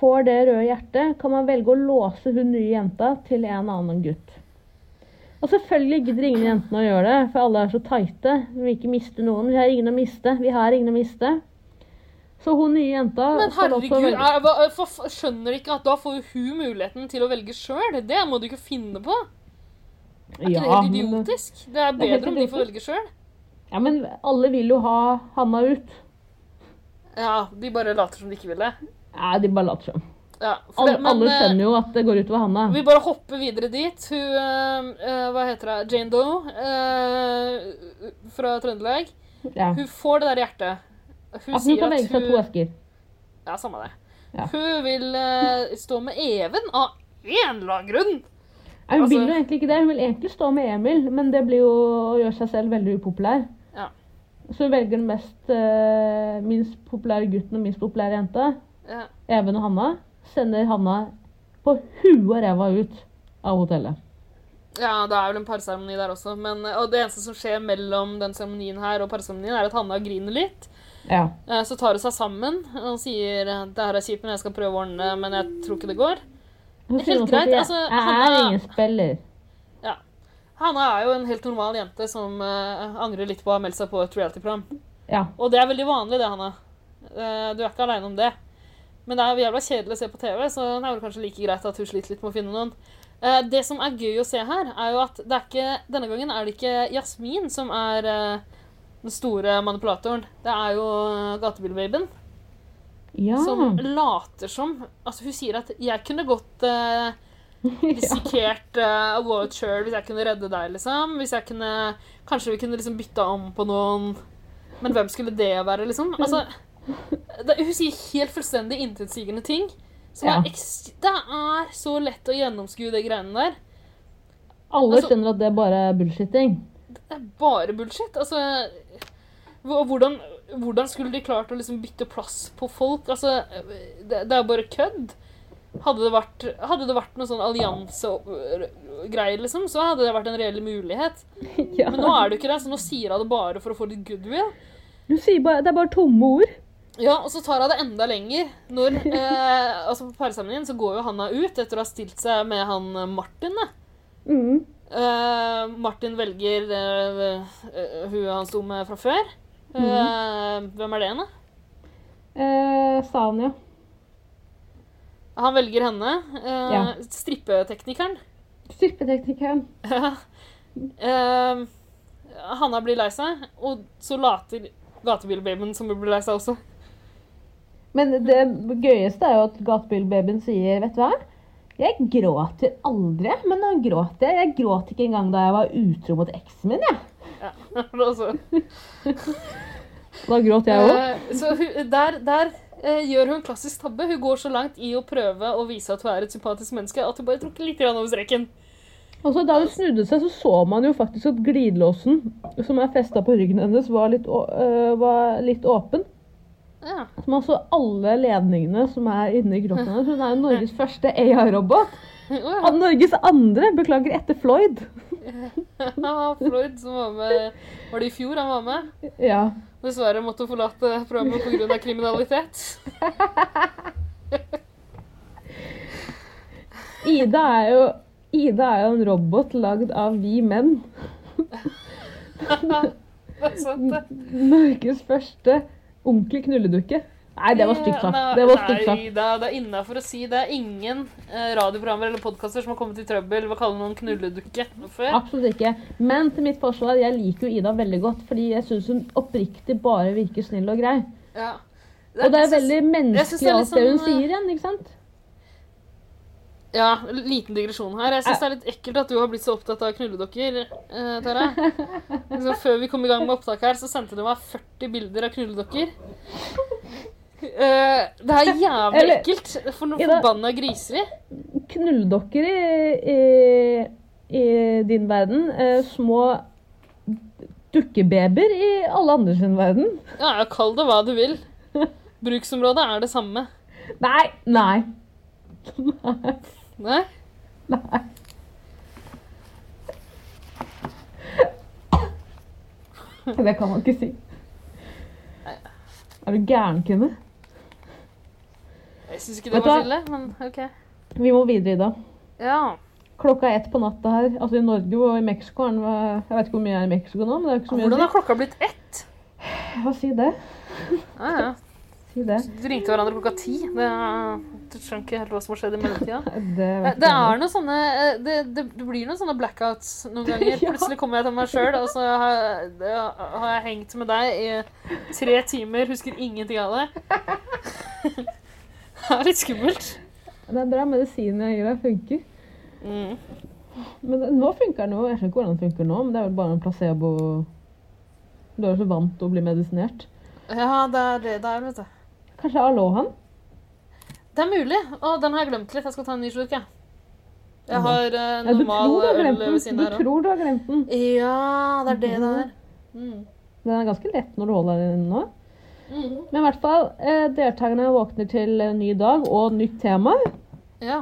Speaker 2: får det røde hjertet, kan man velge å låse hun nye jenta til en annen gutt. Og selvfølgelig gidder ingen jentene å gjøre det, for alle er så tighte. Vi vil ikke miste noen. Vi har ingen å miste. Vi har ingen å miste. Så hun nye jenta
Speaker 3: Men
Speaker 2: får lov til å
Speaker 3: herregud,
Speaker 2: velge-
Speaker 3: er, hva, eh, for, for- skjønner du ikke at da får jo hun muligheten til å velge sjøl? Det må du ikke finne på. Er ikke det
Speaker 2: Ja,
Speaker 3: helt
Speaker 2: men- eh,
Speaker 3: idiotisk? Det er
Speaker 2: Det er helt
Speaker 3: bedre om de får velge sjøl.
Speaker 2: Ja, men alle vil jo ha Hanna ut.
Speaker 3: Ja, de bare later som de ikke vil det.
Speaker 2: Nei, de bare later som.
Speaker 3: Ja, for
Speaker 2: Alle,
Speaker 3: det- men,
Speaker 2: alle
Speaker 3: eh,
Speaker 2: skjønner jo at det går utover Hanna.
Speaker 3: Vi bare hopper videre dit. Hun eh, eh, Hva heter hun? Jane Doe eh, fra Trøndelag.
Speaker 2: Ja.
Speaker 3: Hun får det der hjertet. Hun
Speaker 2: At Altså, hun kan velge seg to esker.
Speaker 3: Ja, samme det.
Speaker 2: Ja.
Speaker 3: Hun vil eh, stå med Even av en eller annen grunn.
Speaker 2: Nei, Hun vil
Speaker 3: altså-
Speaker 2: jo egentlig ikke det. Hun vil egentlig stå med Emil, men det blir jo å gjøre seg selv veldig upopulær.
Speaker 3: Ja.
Speaker 2: Så hun velger den mest, eh, minst populære gutten og minst populære jenta.
Speaker 3: Ja.
Speaker 2: Even og Hanna. Sender Hanna på huet og ræva ut av hotellet.
Speaker 3: Ja, det er vel en parseremoni der også. Men, eh, og det eneste som skjer mellom den seremonien her og parseremonien, er at Hanna griner litt.
Speaker 2: Ja.
Speaker 3: Eh, Så tar hun seg sammen og sier det her er kjipt, men jeg skal prøve å ordne det, men jeg tror ikke det går.
Speaker 2: Hun
Speaker 3: Det er
Speaker 2: sier
Speaker 3: helt
Speaker 2: også at
Speaker 3: greit,
Speaker 2: jeg-
Speaker 3: altså,
Speaker 2: jeg er
Speaker 3: Hanna-
Speaker 2: ingen spiller.
Speaker 3: Ja. Hanna er jo en helt normal jente som eh, angrer litt på å ha meldt seg på et reality-program.
Speaker 2: Ja.
Speaker 3: Og det er veldig vanlig, det, Hanna. Eh, du er ikke aleine om det. Men det er jo jævla kjedelig å se på TV, så det er vel kanskje like greit at hun sliter litt med å finne noen. Eh, det som er gøy å se her, er jo at det er ikke, denne gangen er det ikke Jasmin som er eh, den store manipulatoren. Det er jo eh, gatebilbabyen
Speaker 2: Ja.
Speaker 3: som later som Altså, hun sier at 'jeg kunne godt eh, risikert eh, award sjøl hvis jeg kunne redde deg', liksom. Hvis jeg kunne Kanskje vi kunne liksom bytta om på noen Men hvem skulle det være, liksom? Altså det, Hun sier helt fullstendig intetsigende ting. Som
Speaker 2: Ja.
Speaker 3: er eks- det er så lett å gjennomskue de greiene der.
Speaker 2: Alle
Speaker 3: altså-
Speaker 2: skjønner at det er bare bullshitting.
Speaker 3: Det er bare bullshit. Altså hvor- hvordan, hvordan skulle de klart å liksom bytte plass på folk? Altså, det, det er bare kødd. Hadde det vært, hadde det vært noe sånn alliansegreier, liksom, så hadde det vært en reell mulighet.
Speaker 2: Ja.
Speaker 3: Men nå er det jo ikke det, så nå sier hun det bare for å få litt goodwill.
Speaker 2: Du sier bare, det er bare tomme ord.
Speaker 3: Ja, og så tar hun det enda lenger. Når, eh, altså På parsamlingen så går jo Hanna ut etter å ha stilt seg med han eh, Martin. da.
Speaker 2: Mm.
Speaker 3: Eh, Martin velger eh, eh, hun han sto med fra før. Eh, Hvem er det, da?
Speaker 2: Eh, Sanja.
Speaker 3: Han velger henne. Eh,
Speaker 2: Ja.
Speaker 3: Strippeteknikeren.
Speaker 2: Strippeteknikeren.
Speaker 3: Eh, Hanna blir lei seg, og så later gatebilbabyen som hun blir lei seg også.
Speaker 2: Men det gøyeste er jo at gatebilbabyen sier, vet du hva? Jeg gråter aldri, men nå gråter jeg. Jeg gråt ikke engang da jeg var utro mot eksen min, jeg.
Speaker 3: Ja, altså.
Speaker 2: Da gråt jeg òg.
Speaker 3: Eh, så hun, der, der eh, gjør hun klassisk tabbe. Hun går så langt i å prøve å vise at hun er et sympatisk menneske, at hun bare tråkker litt grann over streken.
Speaker 2: Og så da hun snudde seg, så så man jo faktisk at glidelåsen som er festa på ryggen hennes, var litt, å- øh, var litt åpen.
Speaker 3: Ja.
Speaker 2: Så man så alle ledningene som er inni kroppen hennes. Hun er jo Norges første AI-robot.
Speaker 3: Å,
Speaker 2: Av Norges andre, beklager, etter Floyd.
Speaker 3: ja. Floyd som var med Var det i fjor han var med?
Speaker 2: Ja.
Speaker 3: Dessverre måtte hun forlate programmet pga. kriminalitet.
Speaker 2: Ida er jo, Ida er jo en robot lagd av vi menn.
Speaker 3: Det er sant, det.
Speaker 2: Norges første ordentlige knulledukke. Nei, det var stygt sagt.
Speaker 3: Nei,
Speaker 2: Det var stygt sagt.
Speaker 3: Nei, da, det er innafor å si. Det er ingen eh, radioprogrammer eller podkaster som har kommet i trøbbel ved å kalle noen knulledukke før.
Speaker 2: Absolutt ikke. Men til mitt forsvar, jeg liker jo Ida veldig godt, fordi jeg syns hun oppriktig bare virker snill og grei.
Speaker 3: Ja.
Speaker 2: Og det
Speaker 3: jeg
Speaker 2: er
Speaker 3: synes-
Speaker 2: veldig
Speaker 3: jeg synes det
Speaker 2: menneskelig
Speaker 3: er
Speaker 2: alt det hun
Speaker 3: litt sånn,
Speaker 2: sier igjen, ikke sant?
Speaker 3: Ja, liten digresjon her. Jeg syns det er litt ekkelt at du har blitt så opptatt av knulledukker, eh, Tara. Liksom, før vi kom i gang med opptaket her, så sendte du meg 40 bilder av knulledukker. Eh, det er jævlig
Speaker 2: Eller-
Speaker 3: ekkelt. For noen
Speaker 2: Ida-
Speaker 3: forbanna griseri.
Speaker 2: Knulledokker i, i, i din verden. Eh, små dukkebabyer i alle andre sin verden.
Speaker 3: Ja, ja, kall det hva du vil. Bruksområdet er det samme.
Speaker 2: Nei, nei.
Speaker 3: Nei?
Speaker 2: Nei. Det kan man ikke si. Er du gæren, kvinne?
Speaker 3: Jeg syns ikke det
Speaker 2: Vet du hva?
Speaker 3: var så ille, men OK.
Speaker 2: Vi må videre, Ida.
Speaker 3: Ja.
Speaker 2: Klokka er ett på natta her. Altså I Norge og i Mexico er den hva- Jeg vet ikke hvor mye jeg er i Mexico nå, men det er jo ikke så mye
Speaker 3: Hvordan
Speaker 2: å
Speaker 3: har klokka blitt ett?
Speaker 2: si. Hva si det?
Speaker 3: Ja, ja.
Speaker 2: Si det.
Speaker 3: De ringte hverandre klokka ti. Det, du skjønner ikke helt hva som har skjedd i mellomtida.
Speaker 2: Det,
Speaker 3: Det, det er noe sånne eh, det, det, det blir noen sånne blackouts noen ganger.
Speaker 2: Ja.
Speaker 3: Plutselig kommer jeg til meg sjøl, og så har, det, har jeg hengt med deg i tre timer, husker ingenting av det. Det er litt skummelt.
Speaker 2: det er bra medisin jeg gir deg. Funker.
Speaker 3: Mm.
Speaker 2: Men det, nå funker den jo. Jeg skjønner ikke hvordan den funker nå, men det er vel bare en placebo Du er jo så vant til å bli medisinert.
Speaker 3: Ja, det er det det er, vet du.
Speaker 2: Kanskje alohaen?
Speaker 3: Det er mulig. Å, den har jeg glemt litt. Jeg skal ta en ny slurk, jeg. Jeg har eh,
Speaker 2: Ja, du
Speaker 3: normal
Speaker 2: tror du har
Speaker 3: øl
Speaker 2: glemt
Speaker 3: ved
Speaker 2: den.
Speaker 3: siden
Speaker 2: Du
Speaker 3: her òg.
Speaker 2: tror du har glemt den.
Speaker 3: Ja, det er det det er. Mm.
Speaker 2: Den er ganske lett når du holder den nå. Men i hvert fall, eh, deltakerne våkner til en ny dag og nytt tema.
Speaker 3: Ja.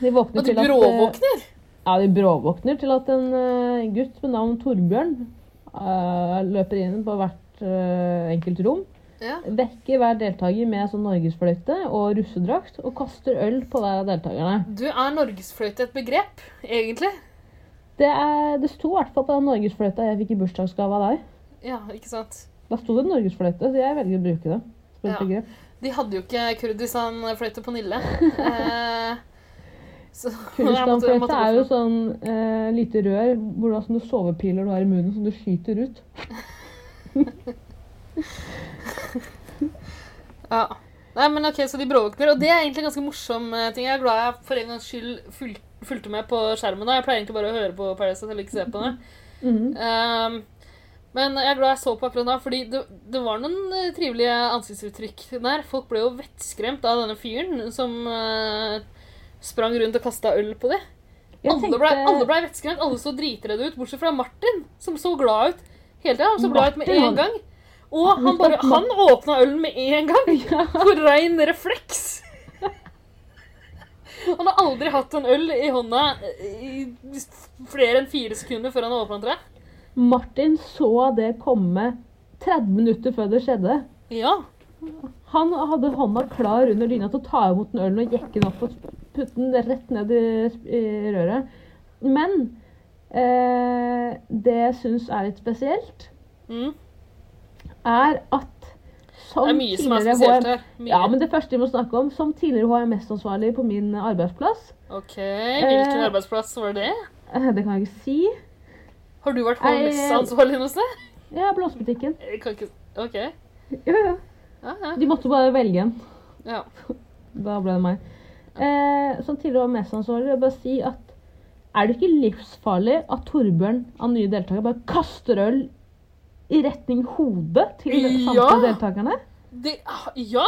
Speaker 2: De våkner
Speaker 3: Og du
Speaker 2: til at, eh,
Speaker 3: bråvåkner?
Speaker 2: Ja, de bråvåkner til at en eh, gutt med navn Torbjørn eh, løper inn på hvert eh, enkelt rom.
Speaker 3: Ja.
Speaker 2: Vekker hver deltaker med sånn norgesfløyte og russedrakt og kaster øl på hver av deltakerne.
Speaker 3: Du er norgesfløyte et begrep, egentlig?
Speaker 2: Det, er, det sto i hvert fall på den norgesfløyta jeg fikk i bursdagsgave av deg.
Speaker 3: Ja, ikke sant?
Speaker 2: Da sto det norgesfløyte, så jeg velger å bruke det. som et
Speaker 3: Ja.
Speaker 2: begrep.
Speaker 3: De hadde jo ikke Kurdistan-fløyte på Nille. Eh, så jeg måtte- jeg måtte
Speaker 2: Kurdistan-fløyte
Speaker 3: gå
Speaker 2: er jo
Speaker 3: for-
Speaker 2: sånn eh, lite rør hvor det er sånne sovepiler du har i munnen som du skyter ut.
Speaker 3: ja. Nei, men ok, Så de bråvåkner. Og det er egentlig en ganske morsom eh, ting. Jeg er glad jeg for en gangs skyld ful fulgte med på skjermen. da. Jeg pleier egentlig bare å høre på Paradise Hotel, ikke se på det.
Speaker 2: Mhm.
Speaker 3: Ehm, men jeg er glad jeg så på akkurat da, fordi det, det var noen eh, trivelige ansiktsuttrykk der. Folk ble jo vettskremt av denne fyren som eh, sprang rundt og kasta øl på dem.
Speaker 2: Jeg
Speaker 3: Alle ble, alle ble vettskremt, alle så dritredde ut, bortsett fra Martin, som så glad ut hele tida. Han så glad ut med
Speaker 2: Martin,
Speaker 3: en
Speaker 2: han-
Speaker 3: gang. Og han, bare, han åpna ølen med en gang! På rein refleks. Han har aldri hatt en øl i hånda eh, i flere enn fire sekunder før han åpna, tror jeg.
Speaker 2: Martin så det komme 30 minutter før det skjedde.
Speaker 3: Ja.
Speaker 2: Han hadde hånda klar under dyna til å ta imot den ølen og jekke den opp og putte den rett ned i, i røret. Men eh, det jeg syns er litt spesielt,
Speaker 3: Mm.
Speaker 2: er at som
Speaker 3: Det er mye som er
Speaker 2: tidligere
Speaker 3: spesielt
Speaker 2: HM
Speaker 3: her. Mye.
Speaker 2: Ja, men det første vi må snakke om, som tidligere HMS-ansvarlig på min arbeidsplass
Speaker 3: OK, hvilken arbeidsplass var det?
Speaker 2: eh, Det kan jeg ikke si.
Speaker 3: Har du vært
Speaker 2: Nei, eh.
Speaker 3: HMS-ansvarlig noe sted?
Speaker 2: Ja, blåsebutikken.
Speaker 3: Jeg kan ikke OK.
Speaker 2: Ja, ja.
Speaker 3: Ja, ja.
Speaker 2: De måtte bare velge en.
Speaker 3: ja.
Speaker 2: Da ble det meg. Eh, som tidligere HMS-ansvarlig vil jeg bare si at er det ikke livsfarlig at Torbjørn av nye deltakere bare kaster øl i retning hodet til samtlige
Speaker 3: Ja!
Speaker 2: deltakerne?
Speaker 3: Det Ja!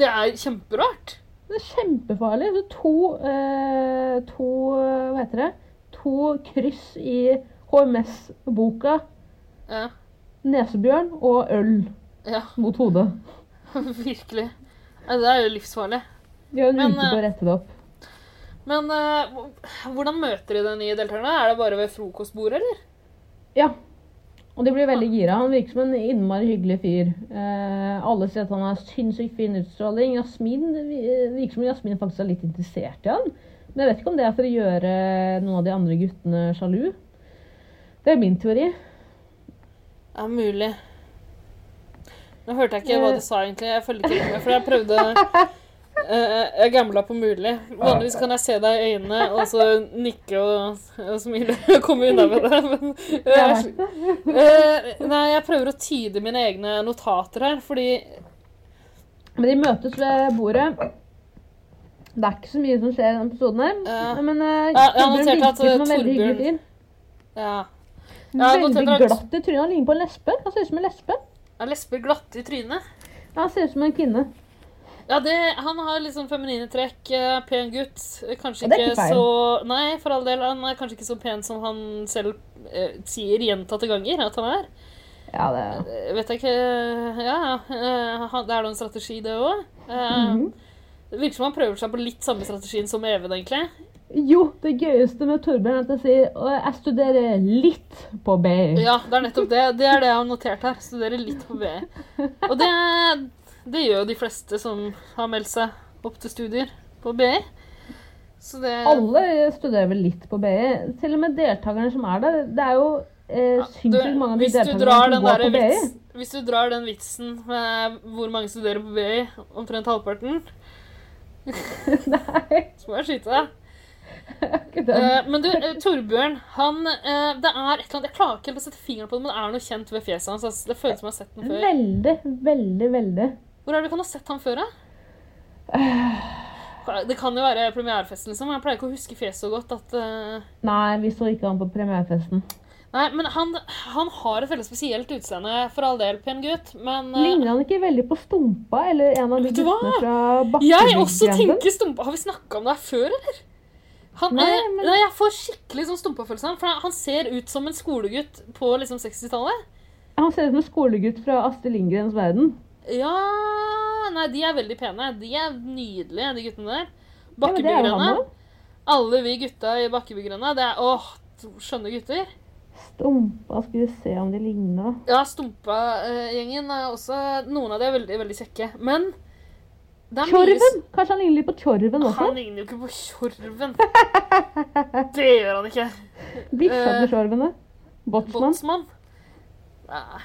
Speaker 3: Det er kjemperart.
Speaker 2: Det er kjempefarlig. Så to, eh, to eh, Hva heter det? To kryss i HMS-boka
Speaker 3: Ja.
Speaker 2: nesebjørn og øl
Speaker 3: ja.
Speaker 2: mot hodet.
Speaker 3: Virkelig. Nei, Det er jo livsfarlig.
Speaker 2: De har en
Speaker 3: Men,
Speaker 2: uke på å
Speaker 3: eh,
Speaker 2: rette det opp.
Speaker 3: Men eh, hv- hvordan møter de de nye deltakerne? Er det bare ved frokostbordet, eller?
Speaker 2: Ja. Og de blir veldig gira. Han virker som en innmari hyggelig fyr. Eh, alle sier at han har sinnssykt fin utstråling. Jasmin det vi- eh, virker som Jasmin faktisk er litt interessert i han. Men jeg vet ikke om det er for å gjøre eh, noen av de andre guttene sjalu. Det er min teori.
Speaker 3: Ja, mulig. Nå hørte jeg ikke hva du sa egentlig. Jeg følger ikke med, for jeg prøvde eh, Jeg gambla på mulig. Vanligvis kan jeg se deg i øynene og så nikke og, og smile og komme unna med det. Men
Speaker 2: Jeg
Speaker 3: jeg,
Speaker 2: vet det.
Speaker 3: eh, Nei, jeg prøver å tyde mine egne notater her, fordi
Speaker 2: Men de møtes ved bordet. Det er ikke så mye som skjer i denne episoden her.
Speaker 3: Ja.
Speaker 2: Men eh,
Speaker 3: Ja, jeg har
Speaker 2: Torbjørn
Speaker 3: notert
Speaker 2: virker
Speaker 3: at,
Speaker 2: som en
Speaker 3: eh,
Speaker 2: veldig hyggelig
Speaker 3: Torbjørn-
Speaker 2: fyr.
Speaker 3: Ja. Ja, jeg har
Speaker 2: Veldig
Speaker 3: notert at-
Speaker 2: glatt i trynet. Han ligner på en lesbe. Han ser ut som en lesbe.
Speaker 3: Er lesber glatte i trynet?
Speaker 2: Ja, han ser ut som en kvinne.
Speaker 3: Ja, det, Han har litt sånn feminine trekk. eh, Pen gutt. Eh, Kanskje
Speaker 2: Ja, det er
Speaker 3: ikke
Speaker 2: ikke feil.
Speaker 3: så Nei, for all del. Han er kanskje ikke så pen som han selv eh, sier gjentatte ganger at han er.
Speaker 2: Ja, det er... Mhm.
Speaker 3: Eh, Vet jeg ikke Ja, eh, han- det er da en strategi, det òg. Det virker som han prøver seg på litt samme strategien som Even, egentlig.
Speaker 2: Jo, det gøyeste med Torbjørn er at jeg sier «Å, jeg studerer litt på B. E
Speaker 3: Ja, det er nettopp det. Det er det jeg har notert her. Studerer litt på BI. Og det, det gjør jo de fleste som har meldt seg opp til studier på BI. Så det
Speaker 2: Alle studerer vel litt på B. E Til og med deltakerne som er der. Det er jo eh,
Speaker 3: du,
Speaker 2: sinnssykt mange av de
Speaker 3: hvis, du
Speaker 2: deltakerne
Speaker 3: drar den
Speaker 2: som går
Speaker 3: derre
Speaker 2: på B. E
Speaker 3: vits, hvis du drar den vitsen med hvor mange studerer på BI, omtrent halvparten,
Speaker 2: Nei,
Speaker 3: så må jeg skyte deg.
Speaker 2: ikke det.
Speaker 3: Eh, men du, eh, Torbjørn, han eh, Det er et eller annet Jeg klarer ikke helt å sette fingeren på det, men det er noe kjent ved fjeset hans. ass. Det føles som jeg har sett den før.
Speaker 2: Veldig, veldig, veldig.
Speaker 3: Hvor er det du kan ha sett han før,
Speaker 2: Eh.
Speaker 3: da? Det kan jo være premierefesten, liksom. Jeg pleier ikke å huske fjeset så godt at eh,
Speaker 2: Nei, vi så ikke han på premierefesten.
Speaker 3: Nei, men han, han har et veldig spesielt utseende, for all del, pen gutt, men eh,
Speaker 2: Ligner han ikke veldig på Stumpa eller en av de
Speaker 3: Vet du hva?
Speaker 2: guttene fra
Speaker 3: Jeg også
Speaker 2: Bakkebyggrensen?
Speaker 3: tenker stumpa. Har vi snakka om det her før, eller? Han,
Speaker 2: Nei,
Speaker 3: eh,
Speaker 2: men-
Speaker 3: nei, jeg får skikkelig sånn stumpa-følelse. av han, For han- han ser ut som en skolegutt på liksom 60-tallet.
Speaker 2: Han ser ut som en skolegutt fra Astrid Lindgrens verden.
Speaker 3: Ja Nei, de er veldig pene. De er nydelige, de guttene der.
Speaker 2: Ja, men det er jo han
Speaker 3: Bakkebygrønne.
Speaker 2: også.
Speaker 3: Alle vi gutta i Bakkebygrønne. Det er åh, skjønne gutter.
Speaker 2: Stumpa, skal vi se om de ligner.
Speaker 3: Ja, Stumpa-gjengen er også Noen av de er veldig, veldig kjekke. Men det er mye
Speaker 2: Tjorven! Kanskje han ligner litt på Tjorven også?
Speaker 3: Han ligner jo ikke på Tjorven. Det gjør han ikke. Eh,
Speaker 2: Bikkjatjorvene. Botsman.
Speaker 3: Båtsmann? Nei,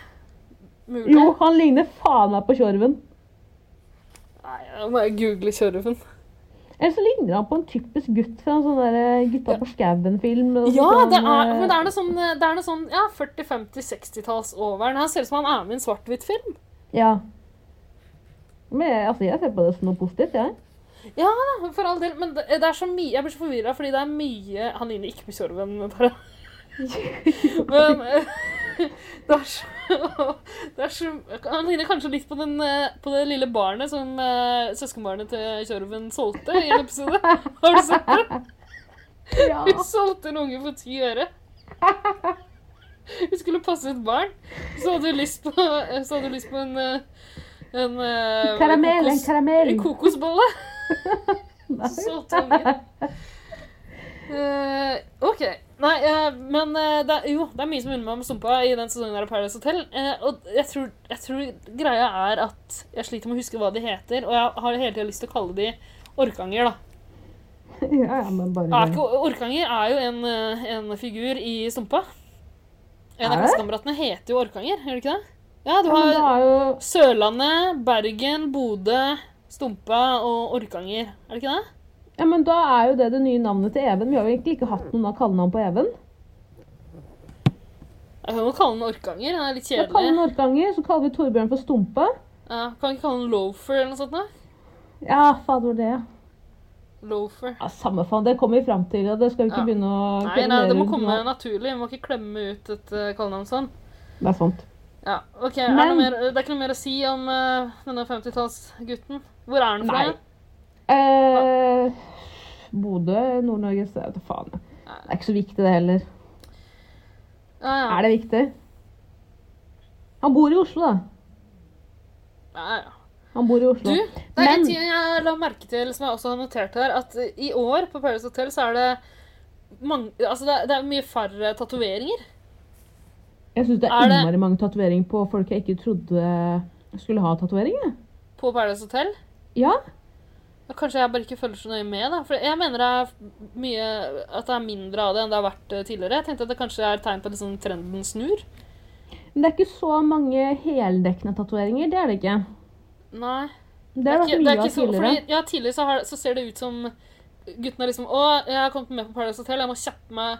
Speaker 3: mulig?
Speaker 2: Jo, han ligner faen meg på Tjorven.
Speaker 3: Nei, nå må jeg google kjørerfen.
Speaker 2: Eller så ligner han på en typisk gutt fra en sånn der Gutta på skauen-film. og
Speaker 3: Ja,
Speaker 2: sånn,
Speaker 3: det er,
Speaker 2: eh,
Speaker 3: men det er noe sånn, det er noe sånn ja, 40-, 50-, 60-talls over. den. Han ser ut som han er med i en svart-hvitt-film.
Speaker 2: Ja. Men jeg, altså, jeg ser på det som noe positivt, jeg.
Speaker 3: Ja da, for all del. Men det, det er så mye Jeg blir så forvirra fordi det er mye Han ligner ikke på Tjorven, bare. Men eh, det er så, det er så Han ligner kanskje litt på, den, eh, på det lille barnet som eh, søskenbarnet til Tjorven solgte i en episode. Har du sett det?
Speaker 2: Ja.
Speaker 3: Vi solgte en unge for ti øre. Vi skulle passe et barn. Så hadde du lyst på, så hadde du lyst på en, eh, en eh,
Speaker 2: Karamell, en
Speaker 3: kokos-
Speaker 2: karamell.
Speaker 3: En kokosbolle.
Speaker 2: Nei.
Speaker 3: Så solgte ungen. Eh, OK. Nei, eh, men eh, det er, jo, det er mye som minner meg om Sumpa i den sesongen her av Paradise Hotel. Eh, og jeg tror, jeg tror greia er at jeg sliter med å huske hva de heter, og jeg har hele tida lyst til å kalle de orkanger, da.
Speaker 2: Ja, ja, men
Speaker 3: Er
Speaker 2: bare
Speaker 3: ikke, Orkanger er jo en, eh, en figur i Stumpa. En
Speaker 2: Er
Speaker 3: av
Speaker 2: det?
Speaker 3: klassekameratene heter jo Orkanger, gjør det ikke det? Ja, du
Speaker 2: Ja, men det
Speaker 3: har
Speaker 2: er jo
Speaker 3: Sørlandet, Bergen, Bodø, Stumpa og Orkanger. Er det ikke det?
Speaker 2: Ja, men da er jo det det nye navnet til Even. Vi har jo egentlig ikke hatt noen av kallenavn på Even.
Speaker 3: Jeg kan jo kalle den Orkanger. Den er litt
Speaker 2: Da kaller vi
Speaker 3: kjedelig.
Speaker 2: den Orkanger, så kaller vi Torbjørn for Stumpe.
Speaker 3: Ja, kan vi ikke kalle den Loafer eller noe sånt? da?
Speaker 2: Ja, faen var det, ja.
Speaker 3: Loafer.
Speaker 2: ja. Samme faen, det kommer vi fram til, og det skal vi ikke
Speaker 3: Ja.
Speaker 2: begynne å
Speaker 3: Nei, nei, det må
Speaker 2: kverulere
Speaker 3: komme
Speaker 2: rundt nå.
Speaker 3: naturlig. Vi må ikke klemme ut et eh, kallenavn sånn.
Speaker 2: Det er sant.
Speaker 3: Ja, ok. Er det,
Speaker 2: Men-
Speaker 3: noe mer, det er ikke noe mer å si om eh, denne 50-tallsgutten? Hvor er han fra?
Speaker 2: Nei.
Speaker 3: igjen?
Speaker 2: Eh, Bodø, Nord-Norge så- vet du faen. Det er ikke så viktig, det heller.
Speaker 3: Ja, ja.
Speaker 2: Er det viktig? Han bor i Oslo, da.
Speaker 3: Ja, ja.
Speaker 2: Han bor i Oslo.
Speaker 3: Du, det er en
Speaker 2: Men-
Speaker 3: ting jeg la merke til som jeg også har notert her, at i år på Paradise Hotel så er det mange, altså det, er, det er mye færre tatoveringer.
Speaker 2: Jeg syns det er,
Speaker 3: er det-
Speaker 2: innmari mange tatoveringer på folk jeg ikke trodde skulle ha tatovering. jeg.
Speaker 3: På Paradise Hotel.
Speaker 2: Ja.
Speaker 3: Og Kanskje jeg bare ikke følger så nøye med. da, for Jeg mener det er mye, at det er mindre av det enn det har vært eh, tidligere. Jeg tenkte at det kanskje er tegn på at liksom trenden snur.
Speaker 2: Men det er ikke så mange heldekkende tatoveringer. Det er det ikke.
Speaker 3: Nei.
Speaker 2: Det er det
Speaker 3: ikke-
Speaker 2: mye av
Speaker 3: ikke så-
Speaker 2: tidligere.
Speaker 3: fordi, ja, tidligere så, har, så ser det ut som guttene er liksom Å, jeg har kommet med på Paradise Hotel, jeg må kjappe meg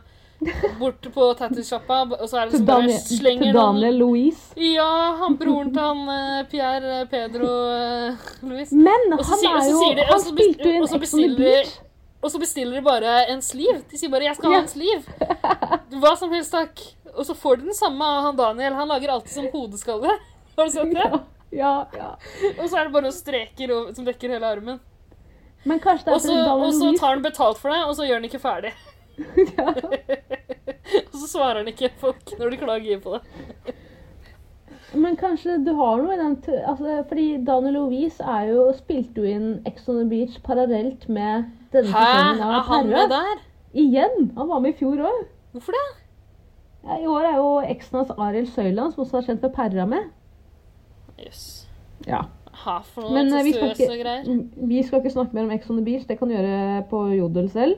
Speaker 3: bort på tattis-sjappa. Og så er det
Speaker 2: Til
Speaker 3: liksom bare
Speaker 2: Daniel,
Speaker 3: slenger
Speaker 2: til
Speaker 3: noen
Speaker 2: Daniel Louise.
Speaker 3: Ja, han broren til han eh, Pierre eh, Pedro eh, Luis.
Speaker 2: Men
Speaker 3: Og så
Speaker 2: han
Speaker 3: sier- og
Speaker 2: er
Speaker 3: så
Speaker 2: jo
Speaker 3: sier de- og
Speaker 2: Han
Speaker 3: så bes-
Speaker 2: spilte jo i en
Speaker 3: og så
Speaker 2: Ex on the
Speaker 3: bestiller-
Speaker 2: Beach.
Speaker 3: Og så bestiller de bare en sliv. De sier bare 'jeg skal ha en sliv'. Hva som helst, takk. Og så får de den samme av han Daniel. Han lager alltid sånn hodeskalle. Har du sett det?
Speaker 2: Ja, ja.
Speaker 3: Og så er det bare noen streker over- som dekker hele armen.
Speaker 2: Men kanskje det
Speaker 3: Og
Speaker 2: er
Speaker 3: så,
Speaker 2: fordi
Speaker 3: og
Speaker 2: Daniel
Speaker 3: så
Speaker 2: Louise
Speaker 3: tar han betalt for det, og så gjør han ikke ferdig. og så svarer han ikke folk når de klager på det.
Speaker 2: Men kanskje du har noe i den t- altså, Fordi Daniel Lovise er jo, spilte jo inn Ex on the Beach parallelt med denne
Speaker 3: Hæ?
Speaker 2: sesongen
Speaker 3: Er
Speaker 2: av
Speaker 3: han med
Speaker 2: Herre.
Speaker 3: der?
Speaker 2: Igjen! Han var med i fjor òg.
Speaker 3: Hvorfor det?
Speaker 2: Ja, I år er jo eksen hans Arild Søyland, som også er kjent for Perra med.
Speaker 3: Jøss.
Speaker 2: Ja.
Speaker 3: Hæ, for noe
Speaker 2: Men, eh, vi skal
Speaker 3: testiøse
Speaker 2: ikke-
Speaker 3: greier.
Speaker 2: Vi skal ikke snakke mer om Ex on the Beach, det kan du gjøre på Jodel selv.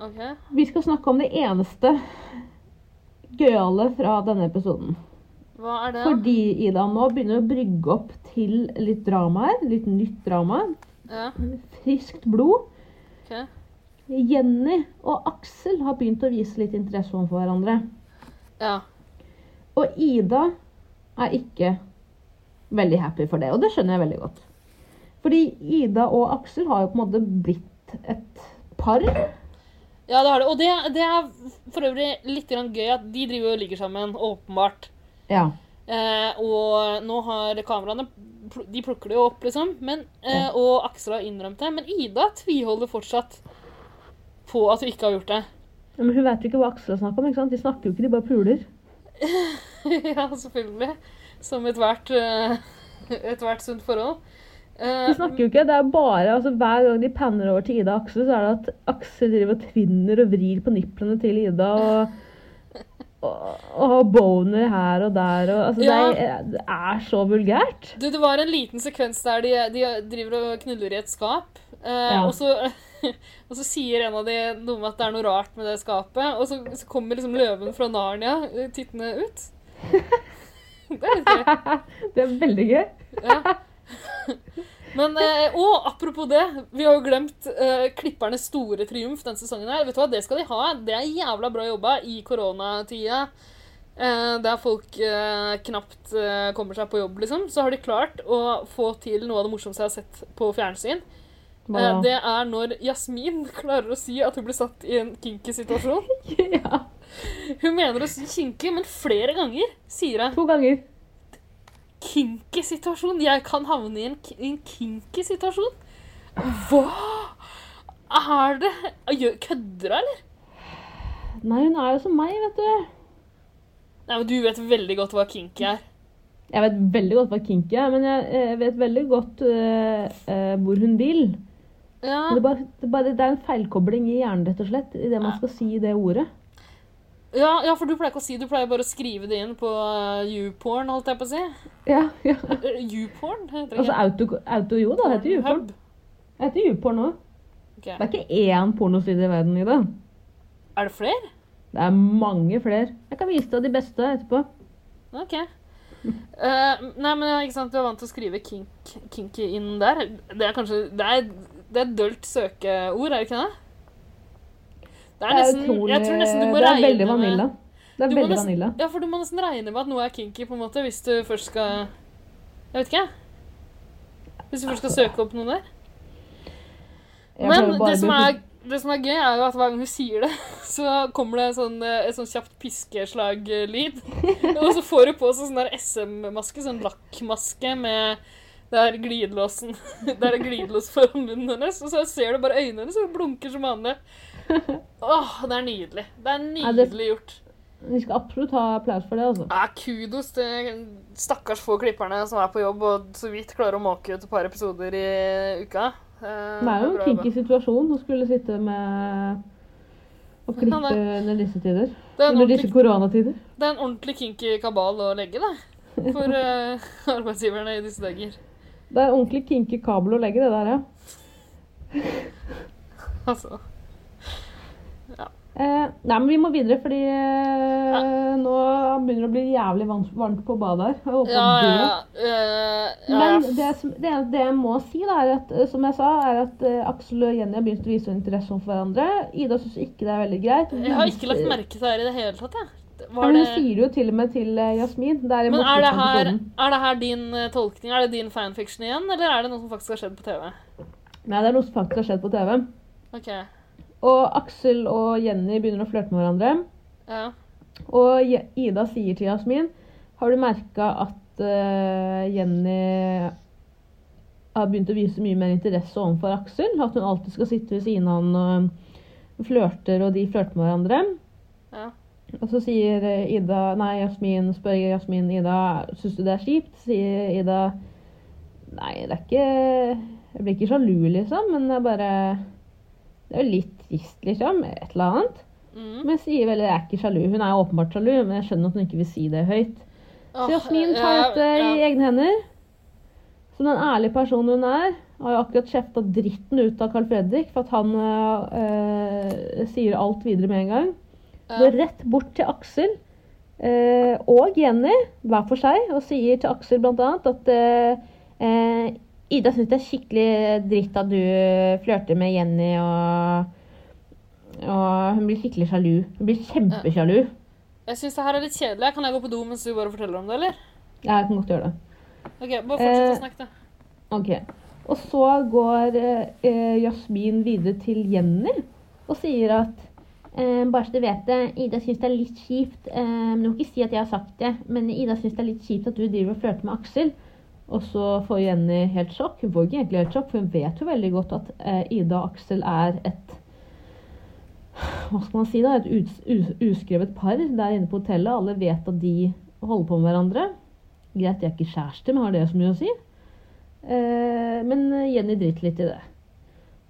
Speaker 3: Ok.
Speaker 2: Vi skal snakke om det eneste gøyale fra denne episoden.
Speaker 3: Hva er det?
Speaker 2: Fordi Ida nå begynner å brygge opp til litt drama her. Litt nytt drama.
Speaker 3: Ja,
Speaker 2: Friskt blod.
Speaker 3: ok.
Speaker 2: Jenny og Aksel har begynt å vise litt interesse overfor hverandre.
Speaker 3: Ja.
Speaker 2: Og Ida er ikke veldig happy for det, og det skjønner jeg veldig godt. Fordi Ida og Aksel har jo på en måte blitt et par.
Speaker 3: Ja, det har det. Og det, det er for øvrig litt grann gøy at de driver og ligger sammen, åpenbart.
Speaker 2: Ja.
Speaker 3: Eh, og nå har kameraene pl- De plukker det jo opp, liksom. Men, eh, og Aksel har innrømt det. Men Ida tviholder fortsatt på at hun ikke har gjort det.
Speaker 2: Men hun veit jo ikke hva Aksel har snakka om. ikke sant? De snakker jo ikke, de bare puler.
Speaker 3: ja, selvfølgelig. Som ethvert eh, ethvert sunt forhold. Eh,
Speaker 2: De snakker jo ikke, det er bare, altså Hver gang de panner over til Ida og Aksel, så er det at Aksel driver og tvinner og vrir på niplene til Ida. og og, og har boner her og der og altså,
Speaker 3: Ja.
Speaker 2: det, er, det er så vulgært.
Speaker 3: Du, det var en liten sekvens der de, de driver og knuller i et skap. Eh,
Speaker 2: Ja.
Speaker 3: og, så, og så sier en av de noe om at det er noe rart med det skapet. Og så, så kommer liksom løven fra Narnia eh, tittende ut. Det er litt gøy.
Speaker 2: Det er veldig gøy.
Speaker 3: Ja. Men, eh, og apropos det, vi har jo glemt eh, klippernes store triumf denne sesongen. her. Vet du hva, Det skal de ha. Det er jævla bra jobba i koronatida. Eh, der folk eh, knapt eh, kommer seg på jobb, liksom. Så har de klart å få til noe av det morsomste jeg har sett på fjernsyn. Eh,
Speaker 2: Hva da?
Speaker 3: det er når Jasmin klarer å si at hun ble satt i en kinky situasjon.
Speaker 2: ja,
Speaker 3: Hun mener å si kinky, men flere ganger sier hun
Speaker 2: to ganger.
Speaker 3: kinky situasjon. Jeg kan havne i en, ki- en kinky situasjon. Hva er det? Gjør- Kødder hun, eller?
Speaker 2: Nei, hun er jo som meg, vet du.
Speaker 3: Nei, men Du vet veldig godt hva kinky er.
Speaker 2: Jeg vet veldig godt hva kinky er, men jeg, eh, vet veldig godt eh, eh, hvor hun vil.
Speaker 3: Ja,
Speaker 2: Men Det er, bare, det, er bare, det er en feilkobling i hjernen, rett og slett, i det man skal si i det ordet.
Speaker 3: ja, ja, for du pleier ikke å si Du pleier bare å skrive det inn på eh, YouPorn, holdt jeg på å si.
Speaker 2: Ja, ja.
Speaker 3: Eh, YouPorn? heter det
Speaker 2: Altså
Speaker 3: ikke?
Speaker 2: auto, auto jo, da. Heter YouPorn.
Speaker 3: Hub.
Speaker 2: Jeg Heter YouPorn òg.
Speaker 3: Ok.
Speaker 2: Det er ikke én pornoside i verden, Ida.
Speaker 3: Er det flere?
Speaker 2: Det er mange flere. Jeg kan vise deg de beste etterpå.
Speaker 3: OK. Eh, nei, men ja, ikke sant, du er vant til å skrive kink, kinky inn der. Det er kanskje Det er, det er et dølt søkeord, er det ikke det? Det er nesten Jeg tror nesten du må
Speaker 2: det er
Speaker 3: regne
Speaker 2: veldig vanilla.
Speaker 3: med
Speaker 2: Det
Speaker 3: du
Speaker 2: er
Speaker 3: må
Speaker 2: veldig
Speaker 3: nesten-
Speaker 2: vanilla.
Speaker 3: Ja, for du må nesten regne med at noe er kinky, på en måte, hvis du først skal Jeg vet ikke, jeg. Hvis du først skal søke opp noe der.
Speaker 2: Jeg
Speaker 3: Men
Speaker 2: prøver bare
Speaker 3: det som,
Speaker 2: å bli-
Speaker 3: er, det som er gøy, er jo at hver gang hun sier det, så kommer det sånn, eh, et sånn kjapt piskeslag-lyd. Og så får hun på seg sånn der SM-maske, sånn lakkmaske med der glidelåsen Der er glidelås foran munnen hennes, og så ser du bare øynene hennes og hun blunker som vanlig. Åh, det er nydelig. Det er
Speaker 2: Ja, det-
Speaker 3: nydelig gjort.
Speaker 2: Vi skal absolutt ha applaus for det, altså.
Speaker 3: Ja, kudos til stakkars få klipperne som er på jobb og så vidt klarer å måke ut et par episoder i uka. Eh,
Speaker 2: Det er jo en
Speaker 3: bra
Speaker 2: kinky
Speaker 3: jobba.
Speaker 2: situasjon å skulle sitte med og klippe
Speaker 3: Ja, Sånn det-
Speaker 2: under disse tider.
Speaker 3: Det er, en
Speaker 2: Under disse
Speaker 3: ordentlig,
Speaker 2: koronatider.
Speaker 3: det er en ordentlig kinky kabal å legge, det. For eh, arbeidsgiverne i disse dager.
Speaker 2: Det er ordentlig kinky kabel å legge, det der, ja.
Speaker 3: Altså.
Speaker 2: Eh, nei, men vi må videre, fordi eh, nå begynner det å bli jævlig vans- varmt på badet her. Jeg håper
Speaker 3: Ja,
Speaker 2: å dø.
Speaker 3: ja, ja. Eh, ja.
Speaker 2: Men det, som, det, det jeg må si, da, er at, eh, som jeg sa, er at eh, Aksel og Jenny har begynt å vise interesse for hverandre. Ida syns ikke det er veldig greit.
Speaker 3: Jeg har ikke lagt merke til det her i det hele tatt, jeg.
Speaker 2: Ja,
Speaker 3: Var
Speaker 2: men
Speaker 3: det
Speaker 2: Hun sier det jo til og med til eh, Jasmin. Det liksom er i
Speaker 3: men er det, her,
Speaker 2: Morsomt-episoden.
Speaker 3: er det her din eh, tolkning? Er det din fanfiction igjen, eller er det noe som faktisk har skjedd på TV?
Speaker 2: Nei, det er noe som faktisk har skjedd på TV.
Speaker 3: OK.
Speaker 2: Og Aksel og Jenny begynner å flørte med hverandre.
Speaker 3: Ja.
Speaker 2: Og Je- Ida sier til Jasmin Har du merka at eh, Jenny har begynt å vise mye mer interesse overfor Aksel? At hun eh, alltid skal sitte ved siden av han og flørter, og de flørter med hverandre?
Speaker 3: Ja.
Speaker 2: Og så sier eh, Ida Nei, Jasmin spør Jasmin Ida syns du det er kjipt. Sier Ida Nei, det er ikke Jeg blir ikke sjalu, liksom, men det er bare Det er jo litt trist, liksom. Et eller annet.
Speaker 3: Mm.
Speaker 2: Men jeg sier vel jeg er ikke sjalu. Hun er jo åpenbart sjalu, men jeg skjønner at hun ikke vil si det høyt. Så
Speaker 3: Åh,
Speaker 2: Jasmin tar
Speaker 3: ja,
Speaker 2: dette
Speaker 3: ja.
Speaker 2: i egne hender. Som den ærlige personen hun er. Har jo akkurat kjefta dritten ut av Carl Fredrik for at han eh, eh, sier alt videre med en gang. Går rett bort til Aksel eh, og Jenny hver for seg og sier til Aksel bl.a. at eh, eh, Ida syns det er skikkelig dritt at du flørter med Jenny og og hun blir skikkelig sjalu. Hun blir kjempesjalu.
Speaker 3: Jeg syns det her er litt kjedelig. Kan jeg gå på do mens du bare forteller om det, eller?
Speaker 2: Jeg kan godt gjøre det.
Speaker 3: Ok, Bare fortsett
Speaker 2: Eh.
Speaker 3: å snakke, da.
Speaker 2: Ok. Og så går eh, eh, Jasmin videre til Jenny og sier at eh, bare så du vet det, Ida syns det er litt kjipt. Eh, men du må ikke si at jeg har sagt det, men Ida syns det er litt kjipt at du driver og flørter med Aksel. Og så får Jenny helt sjokk. Hun får ikke egentlig helt sjokk, for hun vet jo veldig godt at eh, Ida og Aksel er et Hva skal man si, da? Et us us uskrevet par der inne på hotellet. Alle vet at de holder på med hverandre. Greit, de er ikke kjærester, men har det så mye å si? Eh, men Jenny driter litt i det.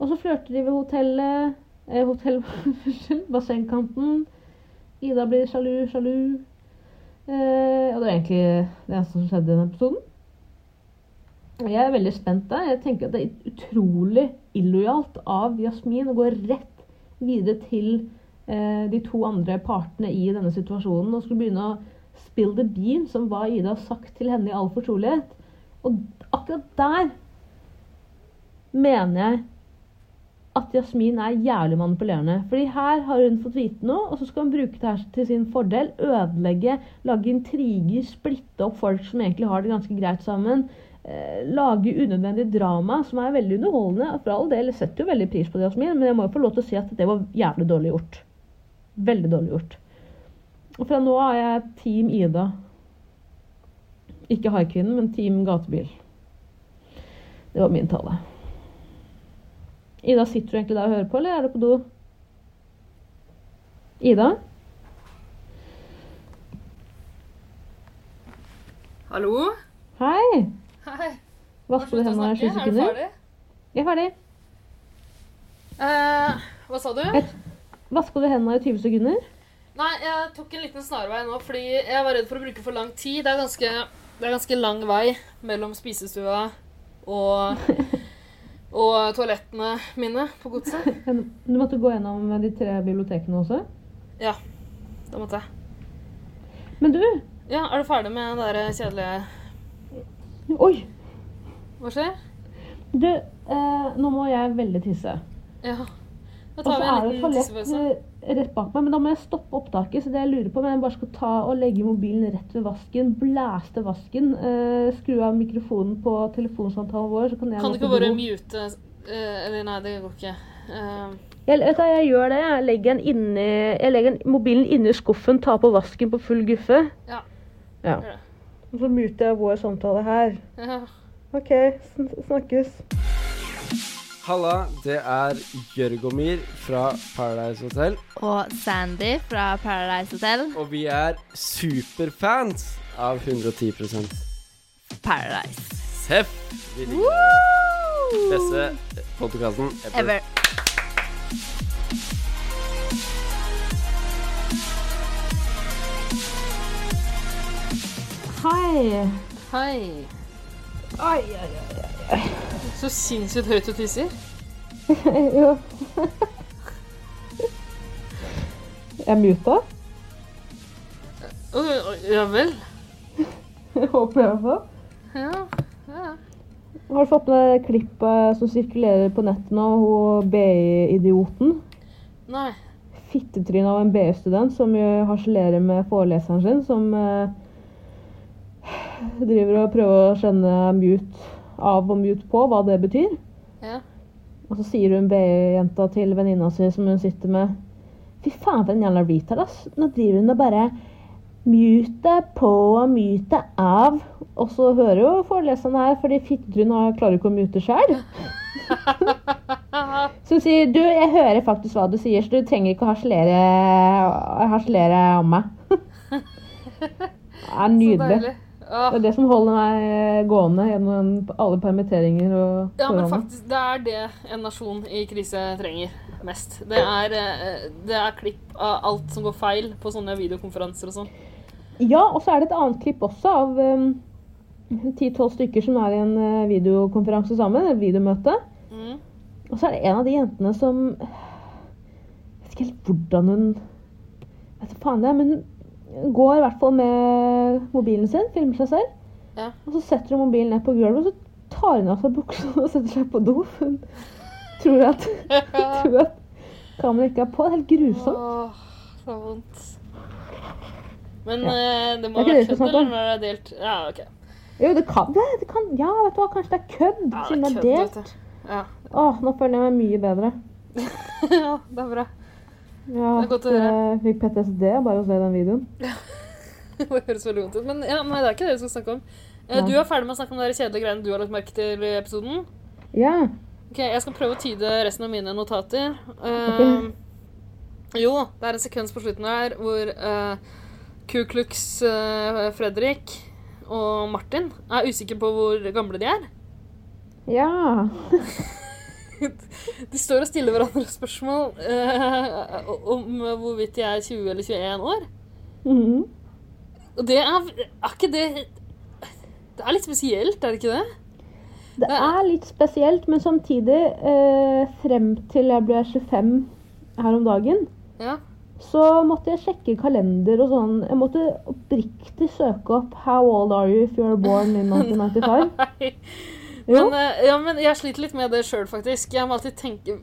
Speaker 2: Og så flørter de ved hotellet. Eh, hotell, unnskyld, bassengkanten. Ida blir sjalu, sjalu. Eh, og det er egentlig det eneste som skjedde i den episoden. Og Jeg er veldig spent der. Jeg tenker at det er utrolig illojalt av Jasmin å gå rett videre til eh, de to andre partene i denne situasjonen og skulle begynne å spill the beans om hva Ida har sagt til henne i all fortrolighet. Og akkurat der mener jeg at Jasmin er jævlig manipulerende. Fordi her har hun fått vite noe, og så skal hun bruke det her til sin fordel. Ødelegge, lage intriger, splitte opp folk som egentlig har det ganske greit sammen. Eh, lage unødvendig drama, som er veldig underholdende. Og For all del jeg setter jo veldig pris på det, Jasmin, men jeg må jo få lov til å si at det var jævlig dårlig gjort. Veldig dårlig gjort. Og fra nå av er jeg Team Ida. Ikke haikvinnen, men Team gatebil. Det var min tale. Ida, sitter du egentlig der og hører på, eller er du på do? Ida?
Speaker 3: Hallo?
Speaker 2: Hei!
Speaker 3: Hei.
Speaker 2: Vasker du hendene i sju
Speaker 3: Er du
Speaker 2: sekunder?
Speaker 3: ferdig?
Speaker 2: Jeg er ferdig.
Speaker 3: Eh, hva sa du?
Speaker 2: Vasker du hendene i 20 sekunder?
Speaker 3: Nei, jeg tok en liten snarvei nå, fordi jeg var redd for å bruke for lang tid. Det er ganske, det er ganske lang vei mellom spisestua og, og toalettene mine på godset.
Speaker 2: Du måtte gå gjennom de tre bibliotekene også.
Speaker 3: Ja, da måtte jeg.
Speaker 2: Men du!
Speaker 3: Ja, er du ferdig med det der kjedelige
Speaker 2: Oi!
Speaker 3: Hva skjer?
Speaker 2: Du, eh, nå må jeg veldig tisse.
Speaker 3: Ja. Da
Speaker 2: Og så
Speaker 3: tar vi
Speaker 2: Altså, er
Speaker 3: en
Speaker 2: det
Speaker 3: liten
Speaker 2: toalett
Speaker 3: tissepause.
Speaker 2: eh, rett bak meg, men da må jeg stoppe opptaket. Så det jeg lurer på, om jeg bare skal ta og legge mobilen rett ved vasken, blæste vasken, eh, skru av mikrofonen på telefonsamtalen vår, så kan jeg
Speaker 3: Kan du
Speaker 2: gå
Speaker 3: ikke
Speaker 2: på
Speaker 3: bare
Speaker 2: do.
Speaker 3: mute eh, Eller nei, det går ikke. Eh,
Speaker 2: Jeg, vet du hva, jeg gjør det. Jeg legger, den inni, jeg legger den- mobilen inni skuffen, tar på vasken på full guffe.
Speaker 3: Ja.
Speaker 2: Ja.
Speaker 3: Gjør det.
Speaker 2: Og så muter jeg vår samtale her.
Speaker 3: ja.
Speaker 2: OK, sn- snakkes.
Speaker 6: Halla, det er Jørgomir fra Paradise Hotel.
Speaker 7: og Sandy fra Paradise Hotel.
Speaker 6: Og vi er superfans av 110
Speaker 7: Paradise.
Speaker 6: Seff! Vi liker den beste podkasten ever.
Speaker 7: Ever.
Speaker 2: Hei.
Speaker 3: Hei.
Speaker 2: Ai, ai, ai.
Speaker 3: Så sinnssykt høyt du tisser.
Speaker 2: Jo. Jeg muta.
Speaker 3: Å, å, Ja vel.
Speaker 2: Håper jeg i hvert fall.
Speaker 3: Ja. ja.
Speaker 2: Har du fått med det klippet som sirkulerer på nettet nå, hun BI-idioten?
Speaker 3: Nei.
Speaker 2: Fittetryne av en BI-student som jo harselerer med foreleseren sin, som eh, driver og prøver å skjønne mute av og mute på, hva det betyr.
Speaker 3: Ja.
Speaker 2: Og så sier hun BI-jenta til venninna si, som hun sitter med Fy faen, for en jævla retard, ass. Nå driver hun og bare mute på og mute av. Og så hører jo foreleseren her, fordi fittetrynet klarer ikke å mute sjøl.
Speaker 3: Haha.
Speaker 2: Som sier du, jeg hører faktisk hva du sier, så du trenger ikke å harselere, harselere om meg. det er
Speaker 3: Så
Speaker 2: nydelig.
Speaker 3: deilig. Åh.
Speaker 2: Det er det som holder meg eh, gående gjennom alle permitteringer og
Speaker 3: Ja, men faktisk, det er det en nasjon i krise trenger mest. Det er, eh, det er klipp av alt som går feil på sånne videokonferanser og sånn.
Speaker 2: Ja, og så er det et annet klipp også av ti-tolv stykker som er i en eh, videokonferanse sammen, et videomøte.
Speaker 3: Mm.
Speaker 2: Og så er det en av de jentene som Jeg vet ikke helt hvordan hun Vet da faen det, er, men hun går i hvert fall med mobilen sin, filmer seg selv.
Speaker 3: Ja.
Speaker 2: Og så setter hun mobilen ned på gulvet, og så tar hun av seg buksa og setter seg på do. for Hun tror at, tror at kameraet ikke er på. Det er helt grusomt.
Speaker 3: Åh, så vondt. Men eh, det må
Speaker 2: Det er ikke det
Speaker 3: være
Speaker 2: vi skal
Speaker 3: kødd,
Speaker 2: snakke om.
Speaker 3: eller når det er delt? Ja, OK.
Speaker 2: Jo, det kan det. det kan, ja, vet du hva, kanskje det er kødd,
Speaker 3: Ja,
Speaker 2: siden det er
Speaker 3: kødd, altså.
Speaker 2: delt.
Speaker 3: vet du. Ja.
Speaker 2: Åh, nå føler jeg meg mye bedre.
Speaker 3: ja, det er bra.
Speaker 2: Ja,
Speaker 3: Det er godt å høre.
Speaker 2: jeg fikk PTSD bare av å se den videoen.
Speaker 3: Det høres veldig vondt ut. Men ja, nei, det er ikke det vi skal snakke om. Eh,
Speaker 2: Nei.
Speaker 3: Du er ferdig med å snakke om de kjedelige greiene du har lagt merke til i episoden.
Speaker 2: Ja.
Speaker 3: Ok, Jeg skal prøve å tyde resten av mine notater. Eh, jo, det er en sekvens på slutten her hvor eh, Ku Klux eh, Fredrik og Martin er usikre på hvor gamle de er.
Speaker 2: Ja.
Speaker 3: De står og stiller hverandre spørsmål eh, om hvorvidt de er 20 eller 21 år.
Speaker 2: Mhm.
Speaker 3: Og det er, er ikke det Det er litt spesielt, er det ikke det?
Speaker 2: Det er litt spesielt, men samtidig, eh, frem til jeg ble 25 her om dagen,
Speaker 3: Ja.
Speaker 2: så måtte jeg sjekke kalender og sånn. Jeg måtte oppriktig søke opp 'How old are you if you're born in 1995?'
Speaker 3: Nei.
Speaker 2: Jo.
Speaker 3: Men, eh, ja, men jeg sliter litt med det sjøl, faktisk. Jeg må alltid tenke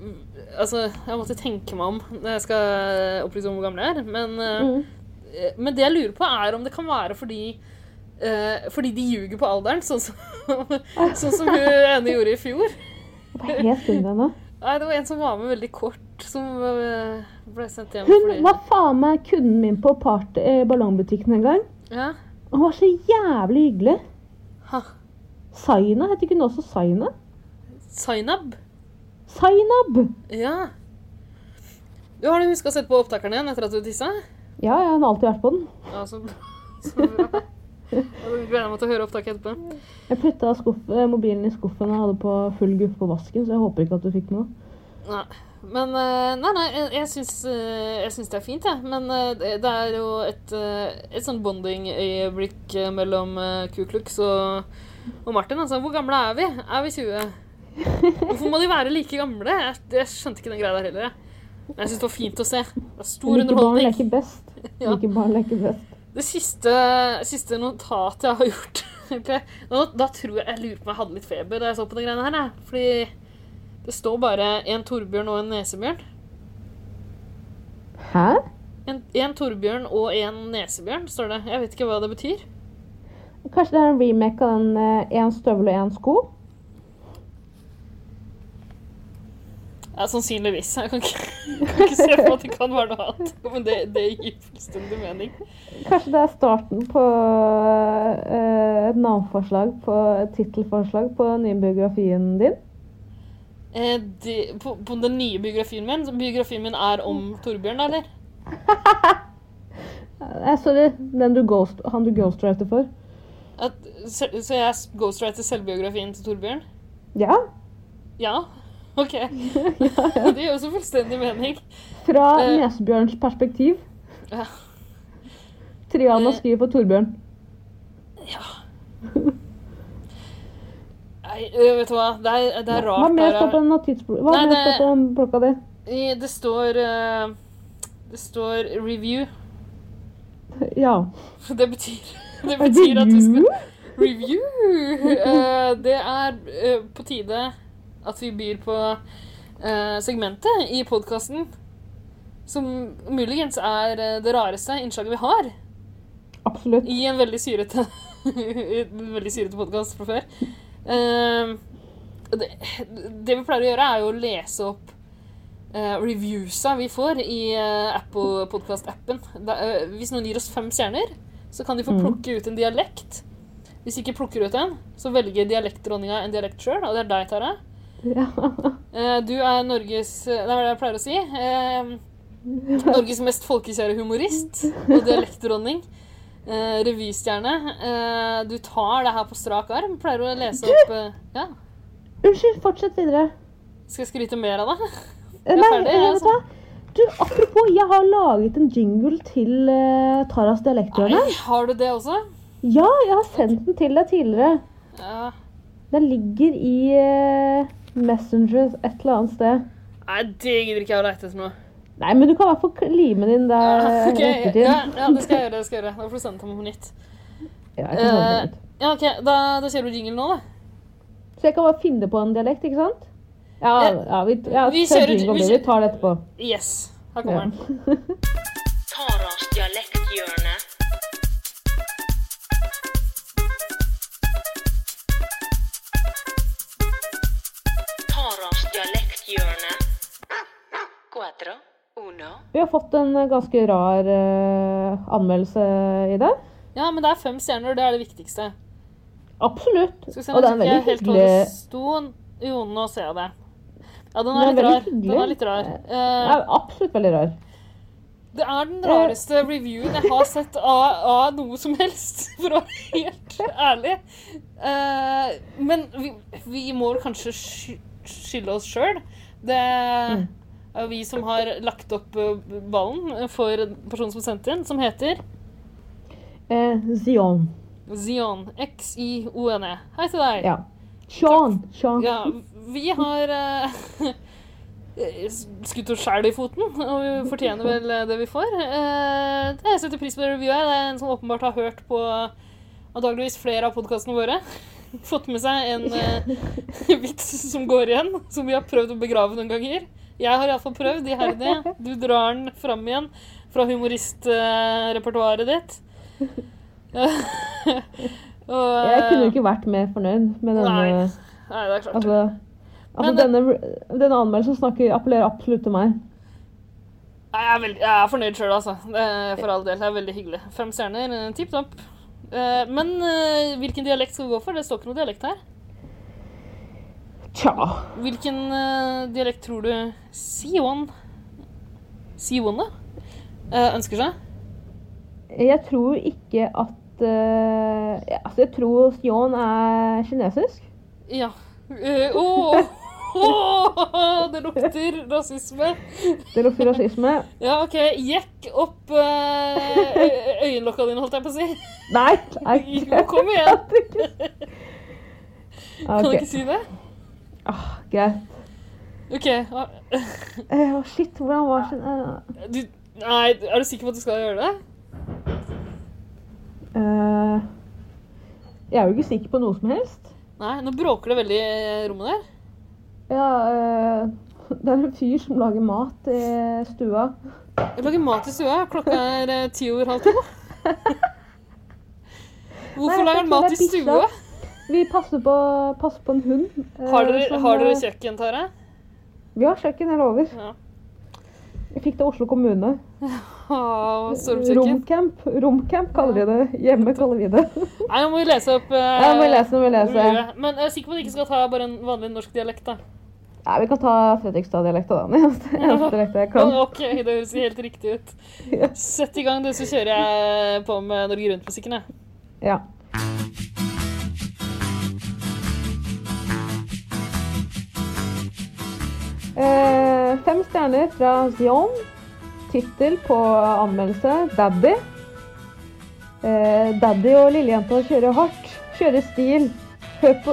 Speaker 3: Altså, jeg må alltid tenke meg om når jeg skal eh, opplyse om hvor gammel jeg er. Men,
Speaker 2: Mm.
Speaker 3: eh, men det jeg lurer på, er om det kan være fordi eh, fordi de ljuger på alderen, sånn som, sånn som hun ene gjorde i fjor.
Speaker 2: Jeg var helt under henne.
Speaker 3: Nei, det var en som var med veldig kort, som eh, ble sendt hjem
Speaker 2: Hun
Speaker 3: fordi
Speaker 2: var faen meg kunden min på part, eh, ballongbutikken en gang.
Speaker 3: ja.
Speaker 2: Og Hun var så jævlig hyggelig.
Speaker 3: Ha.
Speaker 2: Saina, heter ikke hun også Saina?
Speaker 3: Zainab?
Speaker 2: Zainab!
Speaker 3: Ja. Du har du huska å sette på opptakeren igjen etter at du tissa?
Speaker 2: Ja, jeg har alltid vært på den.
Speaker 3: Ja, så, så bra. Jeg gleder meg til å høre opptaket etterpå.
Speaker 2: Jeg putta skuff, eh, mobilen i skuffen og hadde på full guffe på vasken, så jeg håper ikke at du fikk med noe.
Speaker 3: Nei. Men eh, Nei, nei, jeg- jeg syns, eh, jeg syns det er fint, jeg. Men eh, det det er jo et, eh, et sånn bonding-øyeblikk eh, mellom eh, Ku Klux og, og Martin. Altså, hvor gamle er vi? Er vi 20? Hvorfor må de være like gamle? Jeg, jeg skjønte ikke den greia der heller. jeg. Men jeg syns det var fint å se. Det er stor
Speaker 2: Like barn
Speaker 3: underholdning.
Speaker 2: leker best.
Speaker 3: Ja.
Speaker 2: Like barn leker best.
Speaker 3: Det siste, siste notatet jeg har gjort egentlig, nå, Da tror jeg jeg lurer på om jeg hadde litt feber da jeg så på de greiene her. jeg. Fordi det står bare en torbjørn og en nesebjørn.
Speaker 2: Hæ?
Speaker 3: En, en torbjørn og en nesebjørn, står det. Jeg vet ikke hva det betyr.
Speaker 2: Kanskje det er en remake av den eh, en støvel og en sko?
Speaker 3: Ja, Sannsynligvis. Jeg kan ikke, kan ikke se for meg at det kan være noe annet. Men det, det gir fullstendig mening.
Speaker 2: Kanskje det er starten på eh, et navnforslag, på et tittelforslag på den nye biografien din?
Speaker 3: Eh, de, på, på den nye biografien min så Biografien min er om Torbjørn, da, eller?
Speaker 2: Nei, Eh, sorry. Den du ghost, han du ghostwriter for.
Speaker 3: At, så, så jeg ghostwriter selvbiografien til Torbjørn?
Speaker 2: Ja.
Speaker 3: Ja, ok. Det gjør jo så fullstendig mening.
Speaker 2: Fra
Speaker 3: Eh.
Speaker 2: Nesbjørns perspektiv.
Speaker 3: Ja.
Speaker 2: Triana
Speaker 3: Eh.
Speaker 2: skriver for Torbjørn.
Speaker 3: Nei, øh, vet du hva, det er, det er
Speaker 2: Hva
Speaker 3: rart.
Speaker 2: mer
Speaker 3: der
Speaker 2: står på
Speaker 3: er-
Speaker 2: den notisblokken? Hva
Speaker 3: Nei,
Speaker 2: mer
Speaker 3: det-
Speaker 2: står på den blokka di?
Speaker 3: I- Det står øh, Det står review.
Speaker 2: Ja.
Speaker 3: Det betyr, det betyr at vi skal
Speaker 2: Review?
Speaker 3: Review! Eh, det er øh, på tide at vi byr på eh, segmentet i podkasten som muligens er eh, det rareste innslaget vi har.
Speaker 2: Absolutt.
Speaker 3: I en veldig syrete En veldig syrete podkast fra før. Ehm, det, det vi pleier å gjøre, er jo å lese opp eh, reviewsa vi får i eh, Apple podkast-appen. Da, eh, hvis noen gir oss fem stjerner, så kan de få plukke ut en dialekt. Hvis de ikke plukker ut en, så velger dialektdronninga en dialekt sjøl, og det er deg, Tara. Eh, Du er Norges eh, Det er hva jeg pleier å si. eh, Norges mest folkekjære humorist og dialektdronning. eh, Revystjerne. Eh, Du tar det her på strak arm. Pleier å lese opp eh, Ja.
Speaker 2: Unnskyld, fortsett videre.
Speaker 3: Skal jeg skryte mer av deg?
Speaker 2: Eh,
Speaker 3: Jeg er
Speaker 2: Nei,
Speaker 3: ferdig, jeg,
Speaker 2: eh, vet du
Speaker 3: altså.
Speaker 2: hva? Du, apropos, jeg har laget en jingle til eh, Taras dialekthjørne.
Speaker 3: Nei, Har du det også?
Speaker 2: Ja, jeg har sendt den til deg tidligere.
Speaker 3: Ja.
Speaker 2: Den ligger i eh, Messenger et eller annet sted.
Speaker 3: Nei, det gidder ikke jeg å leite etter nå.
Speaker 2: Nei, men du kan i hvert fall lime den inn der eh,
Speaker 3: Ah, Ok,
Speaker 2: ettertid.
Speaker 3: ja, ja, det skal jeg gjøre. det skal jeg gjøre. Da får du sende til meg på nytt.
Speaker 2: Ja, jeg kan sende
Speaker 3: Eh,
Speaker 2: den ut.
Speaker 3: Ja, ok, Da, da kjører vi jingle nå, da.
Speaker 2: Så jeg kan bare finne på en dialekt, ikke sant? Ja,
Speaker 3: Eh,
Speaker 2: ja vi, ja,
Speaker 3: vi
Speaker 2: send
Speaker 3: kjører-
Speaker 2: jingle,
Speaker 3: vi
Speaker 2: du.
Speaker 3: kjører-
Speaker 2: vi tar det etterpå.
Speaker 3: Yes. Her
Speaker 2: Ja.
Speaker 3: kommer den.
Speaker 8: Taras dialekthjørne. Taras dialekthjørne. Cuatro, uno.
Speaker 2: Vi har fått en eh, ganske rar eh, anmeldelse i det.
Speaker 3: Ja, men det er fem stjerner. Det er det viktigste.
Speaker 2: Absolutt.
Speaker 3: Skal vi se,
Speaker 2: Og
Speaker 3: nå
Speaker 2: det er en
Speaker 3: husker jeg
Speaker 2: veldig
Speaker 3: helt hva det
Speaker 2: hyggelig
Speaker 3: sto. Jo, nå ser jeg det. Ja, den
Speaker 2: Den er
Speaker 3: er,
Speaker 2: veldig
Speaker 3: litt rar. Den
Speaker 2: hyggelig.
Speaker 3: er litt rar.
Speaker 2: Nei,
Speaker 3: Eh,
Speaker 2: absolutt veldig rar.
Speaker 3: det er den rareste reviewen jeg har sett av, av noe som helst, for å være helt ærlig. Eh, men vi, vi må vel kanskje sky- skylde oss sjøl. Det
Speaker 2: Mm.
Speaker 3: er vi som har lagt opp eh, ballen for personen som sendte inn, som heter
Speaker 2: Eh, Zion.
Speaker 3: Zion. X-I-O-N-E. E. Hei til deg.
Speaker 2: Ja. Sean. Sean.
Speaker 3: Ja, vi har eh, skutt oss sjæl i foten, og vi fortjener vel eh, det vi får. Eh, jeg setter pris på det reviewet. her. Det er en som åpenbart har hørt på antageligvis flere av podkastene våre. Fått med seg en eh, vits som går igjen, som vi har prøvd å begrave noen ganger. Jeg har iallfall prøvd, iherdig. Du drar den fram igjen fra humoristrepertoaret ditt. Og,
Speaker 2: Jeg kunne jo ikke vært mer fornøyd med denne
Speaker 3: eh, Nei. Nei, det er klart.
Speaker 2: Altså, altså
Speaker 3: Men- eh,
Speaker 2: denne, denne anmeldelsen snakker, appellerer absolutt til meg.
Speaker 3: Nei, Jeg er, veldig, jeg er fornøyd sjøl, altså. Det er for all del. Det er veldig hyggelig. Fem stjerner, eh, tipp topp. Eh, Men eh, hvilken dialekt skal vi gå for? Det står ikke noe dialekt her.
Speaker 2: Tja.
Speaker 3: Hvilken eh, dialekt tror du Sion Sione eh, ønsker seg?
Speaker 2: Jeg tror ikke at eh, ja, Altså, jeg tror Zion er kinesisk.
Speaker 3: Ja. Eh, Åh! Åh, det lukter rasisme.
Speaker 2: Det lukter rasisme.
Speaker 3: Ja, OK. Jekk opp eh, ø- øyenlokka dine, holdt jeg på å si.
Speaker 2: Nei! nei.
Speaker 3: Jo, kom igjen.
Speaker 2: Ok,
Speaker 3: Kan du
Speaker 2: Ah,
Speaker 3: ikke si det?
Speaker 2: Greit.
Speaker 3: OK. ah,
Speaker 2: Eh, shit, hvordan var sin eh,
Speaker 3: Du, nei, er du sikker på at du skal gjøre det?
Speaker 2: eh, Jeg er jo ikke sikker på noe som helst.
Speaker 3: Nei, nå bråker det veldig i eh, rommet der.
Speaker 2: Ja, eh, det er en fyr som lager mat i stua.
Speaker 3: Jeg lager mat i stua. Klokka er eh, ti over halv to. Hvorfor
Speaker 2: Nei,
Speaker 3: lager
Speaker 2: jeg
Speaker 3: han mat i
Speaker 2: tror det er
Speaker 3: stua?
Speaker 2: Vi passer på, passer på en hund. eh,
Speaker 3: Har dere,
Speaker 2: som,
Speaker 3: har dere
Speaker 2: eh,
Speaker 3: kjøkken, Tara?
Speaker 2: Vi har kjøkken, jeg lover.
Speaker 3: Ja.
Speaker 2: Jeg fikk det av Oslo kommune.
Speaker 3: Å, Ah, Stormkjøkken.
Speaker 2: Romcamp. Romcamp kaller de det. Hjemme kaller vi det.
Speaker 3: Nei, nå må vi lese opp eh,
Speaker 2: Ja, må vi lese, må vi lese.
Speaker 3: ordet. Men jeg er sikker på at vi ikke skal ta bare en vanlig norsk dialekt, da.
Speaker 2: Nei, vi kan ta Fredrikstad-dialekta, da. Den eneste, eneste dialekta jeg kan.
Speaker 3: Å, OK, det høres helt riktig ut. Sett i gang, du, så kjører jeg på med Norge Rundt-musikken, jeg.
Speaker 2: Ja. Eh, fem stjerner fra Zion. Tittel på anmeldelse 'Daddy'. Eh, daddy og lillejenta kjører hardt. Kjører stil. Hør på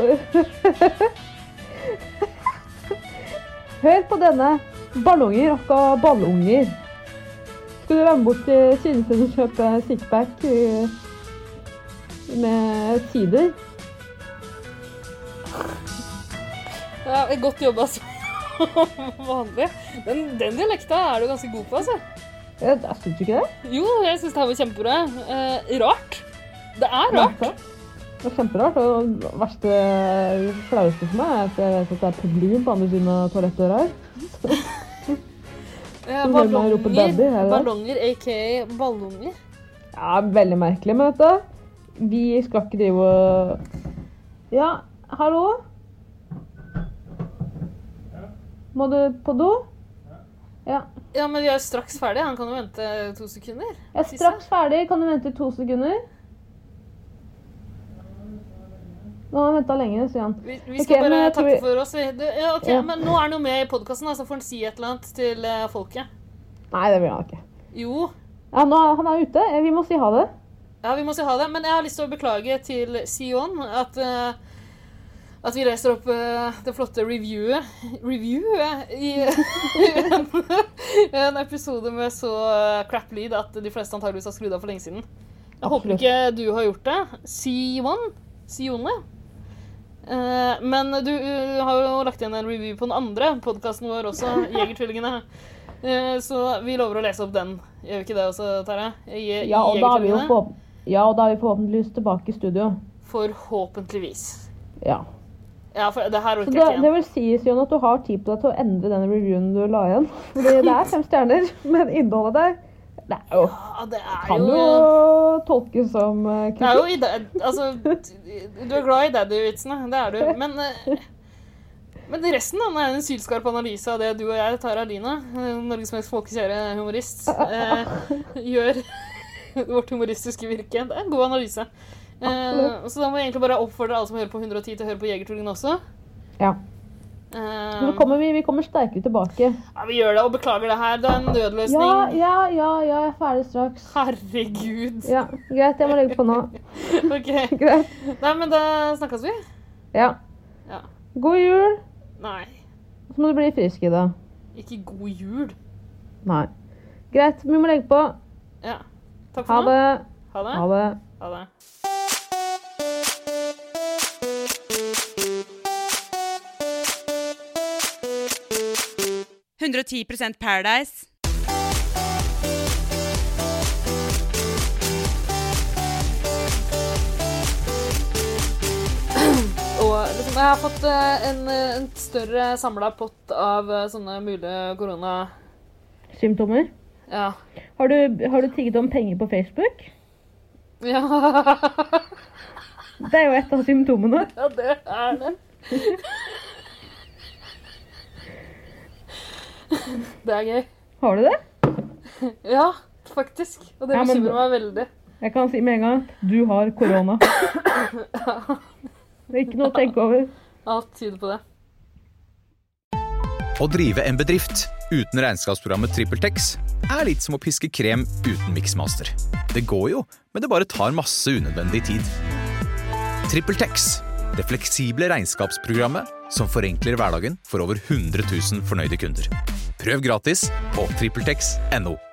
Speaker 2: Hør på denne. Ballonger akka ballunger. Skal du være med bort til Sinnsund og kjøpe sixpack? eh, med sider.
Speaker 3: Ja, godt jobba som vanlig. Den, den dialekta er du ganske god på, altså.
Speaker 2: Ja, Jeg syns du ikke det?
Speaker 3: Jo, jeg syns det her var kjempebra. Eh, rart. Det er rart.
Speaker 2: Det var kjemperart. Og det verste flaueste for meg er at jeg vet at det er publikum på andre siden av toalettdøra her.
Speaker 3: Eh,
Speaker 2: Du hører meg rope
Speaker 3: ballonger,
Speaker 2: daddy, er det det?
Speaker 3: ballonger aka ballunger.
Speaker 2: Ja, veldig merkelig, men vet du. Vi skal ikke drive og Ja, hallo? Må du på do? Ja.
Speaker 3: Ja, men vi er straks ferdig. Han kan jo vente eh, to sekunder.
Speaker 2: Jeg er straks ferdig. Kan du vente i to sekunder? Nå har han venta lenge, sier han.
Speaker 3: Vi, vi skal
Speaker 2: Ok, men
Speaker 3: bare
Speaker 2: jeg tror
Speaker 3: takke
Speaker 2: vi-
Speaker 3: for oss. vi. Du, ja, ok,
Speaker 2: Ja.
Speaker 3: Men nå er han jo med i podkasten, så får han si et eller annet til eh, folket.
Speaker 2: Nei, det vil han ikke.
Speaker 3: Jo.
Speaker 2: Ja, nå, er- han er ute. Eh, Vi må si ha det.
Speaker 3: Ja, vi må si ha det. Men jeg har lyst til å beklage til Sion at eh, at vi leser opp eh, det flotte reviewet Reviewet i en, en episode med så eh, crap lyd at de fleste antageligvis har skrudd av for lenge siden. Jeg håper
Speaker 2: Absolutt.
Speaker 3: ikke du har gjort det. Sion. Sione. Eh, men du eh, har jo lagt igjen en review på den andre podkasten vår også, Jegertvillingene. Eh, så vi lover å lese opp den. Gjør vi ikke det også, Terje? Je-
Speaker 2: Ja, og da er vi jo
Speaker 3: Jegertvillingene?
Speaker 2: forhåp- ja, og da er vi forhåpentligvis tilbake i studio.
Speaker 3: Forhåpentligvis.
Speaker 2: Ja.
Speaker 3: Ja, for det her
Speaker 2: Så
Speaker 3: orker
Speaker 2: det,
Speaker 3: jeg ikke
Speaker 2: det
Speaker 3: igjen.
Speaker 2: vil si, Sion, at du har tid på deg til å endre den reviewen du la igjen. Fordi det er fem stjerner, men innholdet der det er jo,
Speaker 3: Ja, Ah, det er
Speaker 2: kan jo
Speaker 3: jo
Speaker 2: tolkes som eh,
Speaker 3: Det er jo
Speaker 2: kritikk.
Speaker 3: i dad- Altså, du er glad i daddy-vitsene. Det er du. Men eh, men resten da, er en sylskarp analyse av det du og jeg, Tara Lina, eh, Norges mest folkekjære humorist, eh, gjør vårt humoristiske virke. Det er en god analyse. Eh,
Speaker 2: Absolutt.
Speaker 3: så da må jeg egentlig bare oppfordre alle som hører på 110 til å høre på Jegertvillingene også.
Speaker 2: Ja.
Speaker 3: Eh,
Speaker 2: Så kommer vi, vi kommer sterkere tilbake.
Speaker 3: ja, vi gjør det, og beklager det her. Det er en
Speaker 2: Ja,
Speaker 3: nødløsning.
Speaker 2: ja, ja, ja, jeg er ferdig straks.
Speaker 3: Herregud.
Speaker 2: Ja, Greit, jeg må legge på nå.
Speaker 3: Ok.
Speaker 2: Greit.
Speaker 3: Nei, men da snakkes vi.
Speaker 2: Ja.
Speaker 3: Ja.
Speaker 2: God jul,
Speaker 3: Nei,
Speaker 2: så må du bli frisk i dag.
Speaker 3: ikke god jul.
Speaker 2: Nei. Greit, vi må legge på.
Speaker 3: Ja. Takk
Speaker 2: Ha
Speaker 3: for nå.
Speaker 2: det.
Speaker 3: Ha det.
Speaker 2: Ha det.
Speaker 3: Ha det. Og liksom, jeg har fått eh, en, eh, en større samla pott av eh, sånne mulige korona...
Speaker 2: Symptomer?
Speaker 3: Ja.
Speaker 2: Har du, har du tigget om penger på Facebook?
Speaker 3: Ja,
Speaker 2: Det er jo et av symptomene.
Speaker 3: ja det er det. Det er gøy.
Speaker 2: Har du det?
Speaker 3: Ja, faktisk. Og det
Speaker 2: Ja, men-
Speaker 3: bekymrer meg veldig.
Speaker 2: Jeg kan si med en gang at du har korona. Det er ikke noe å tenke over.
Speaker 3: Alt tyder på det.
Speaker 1: Å drive en bedrift uten regnskapsprogrammet TrippelTex er litt som å piske krem uten miksmaster. Det går jo, men det bare tar masse unødvendig tid. TrippelTex, det fleksible regnskapsprogrammet som forenkler hverdagen for over 100 000 fornøyde kunder. Prøv gratis på TrippelTex.no.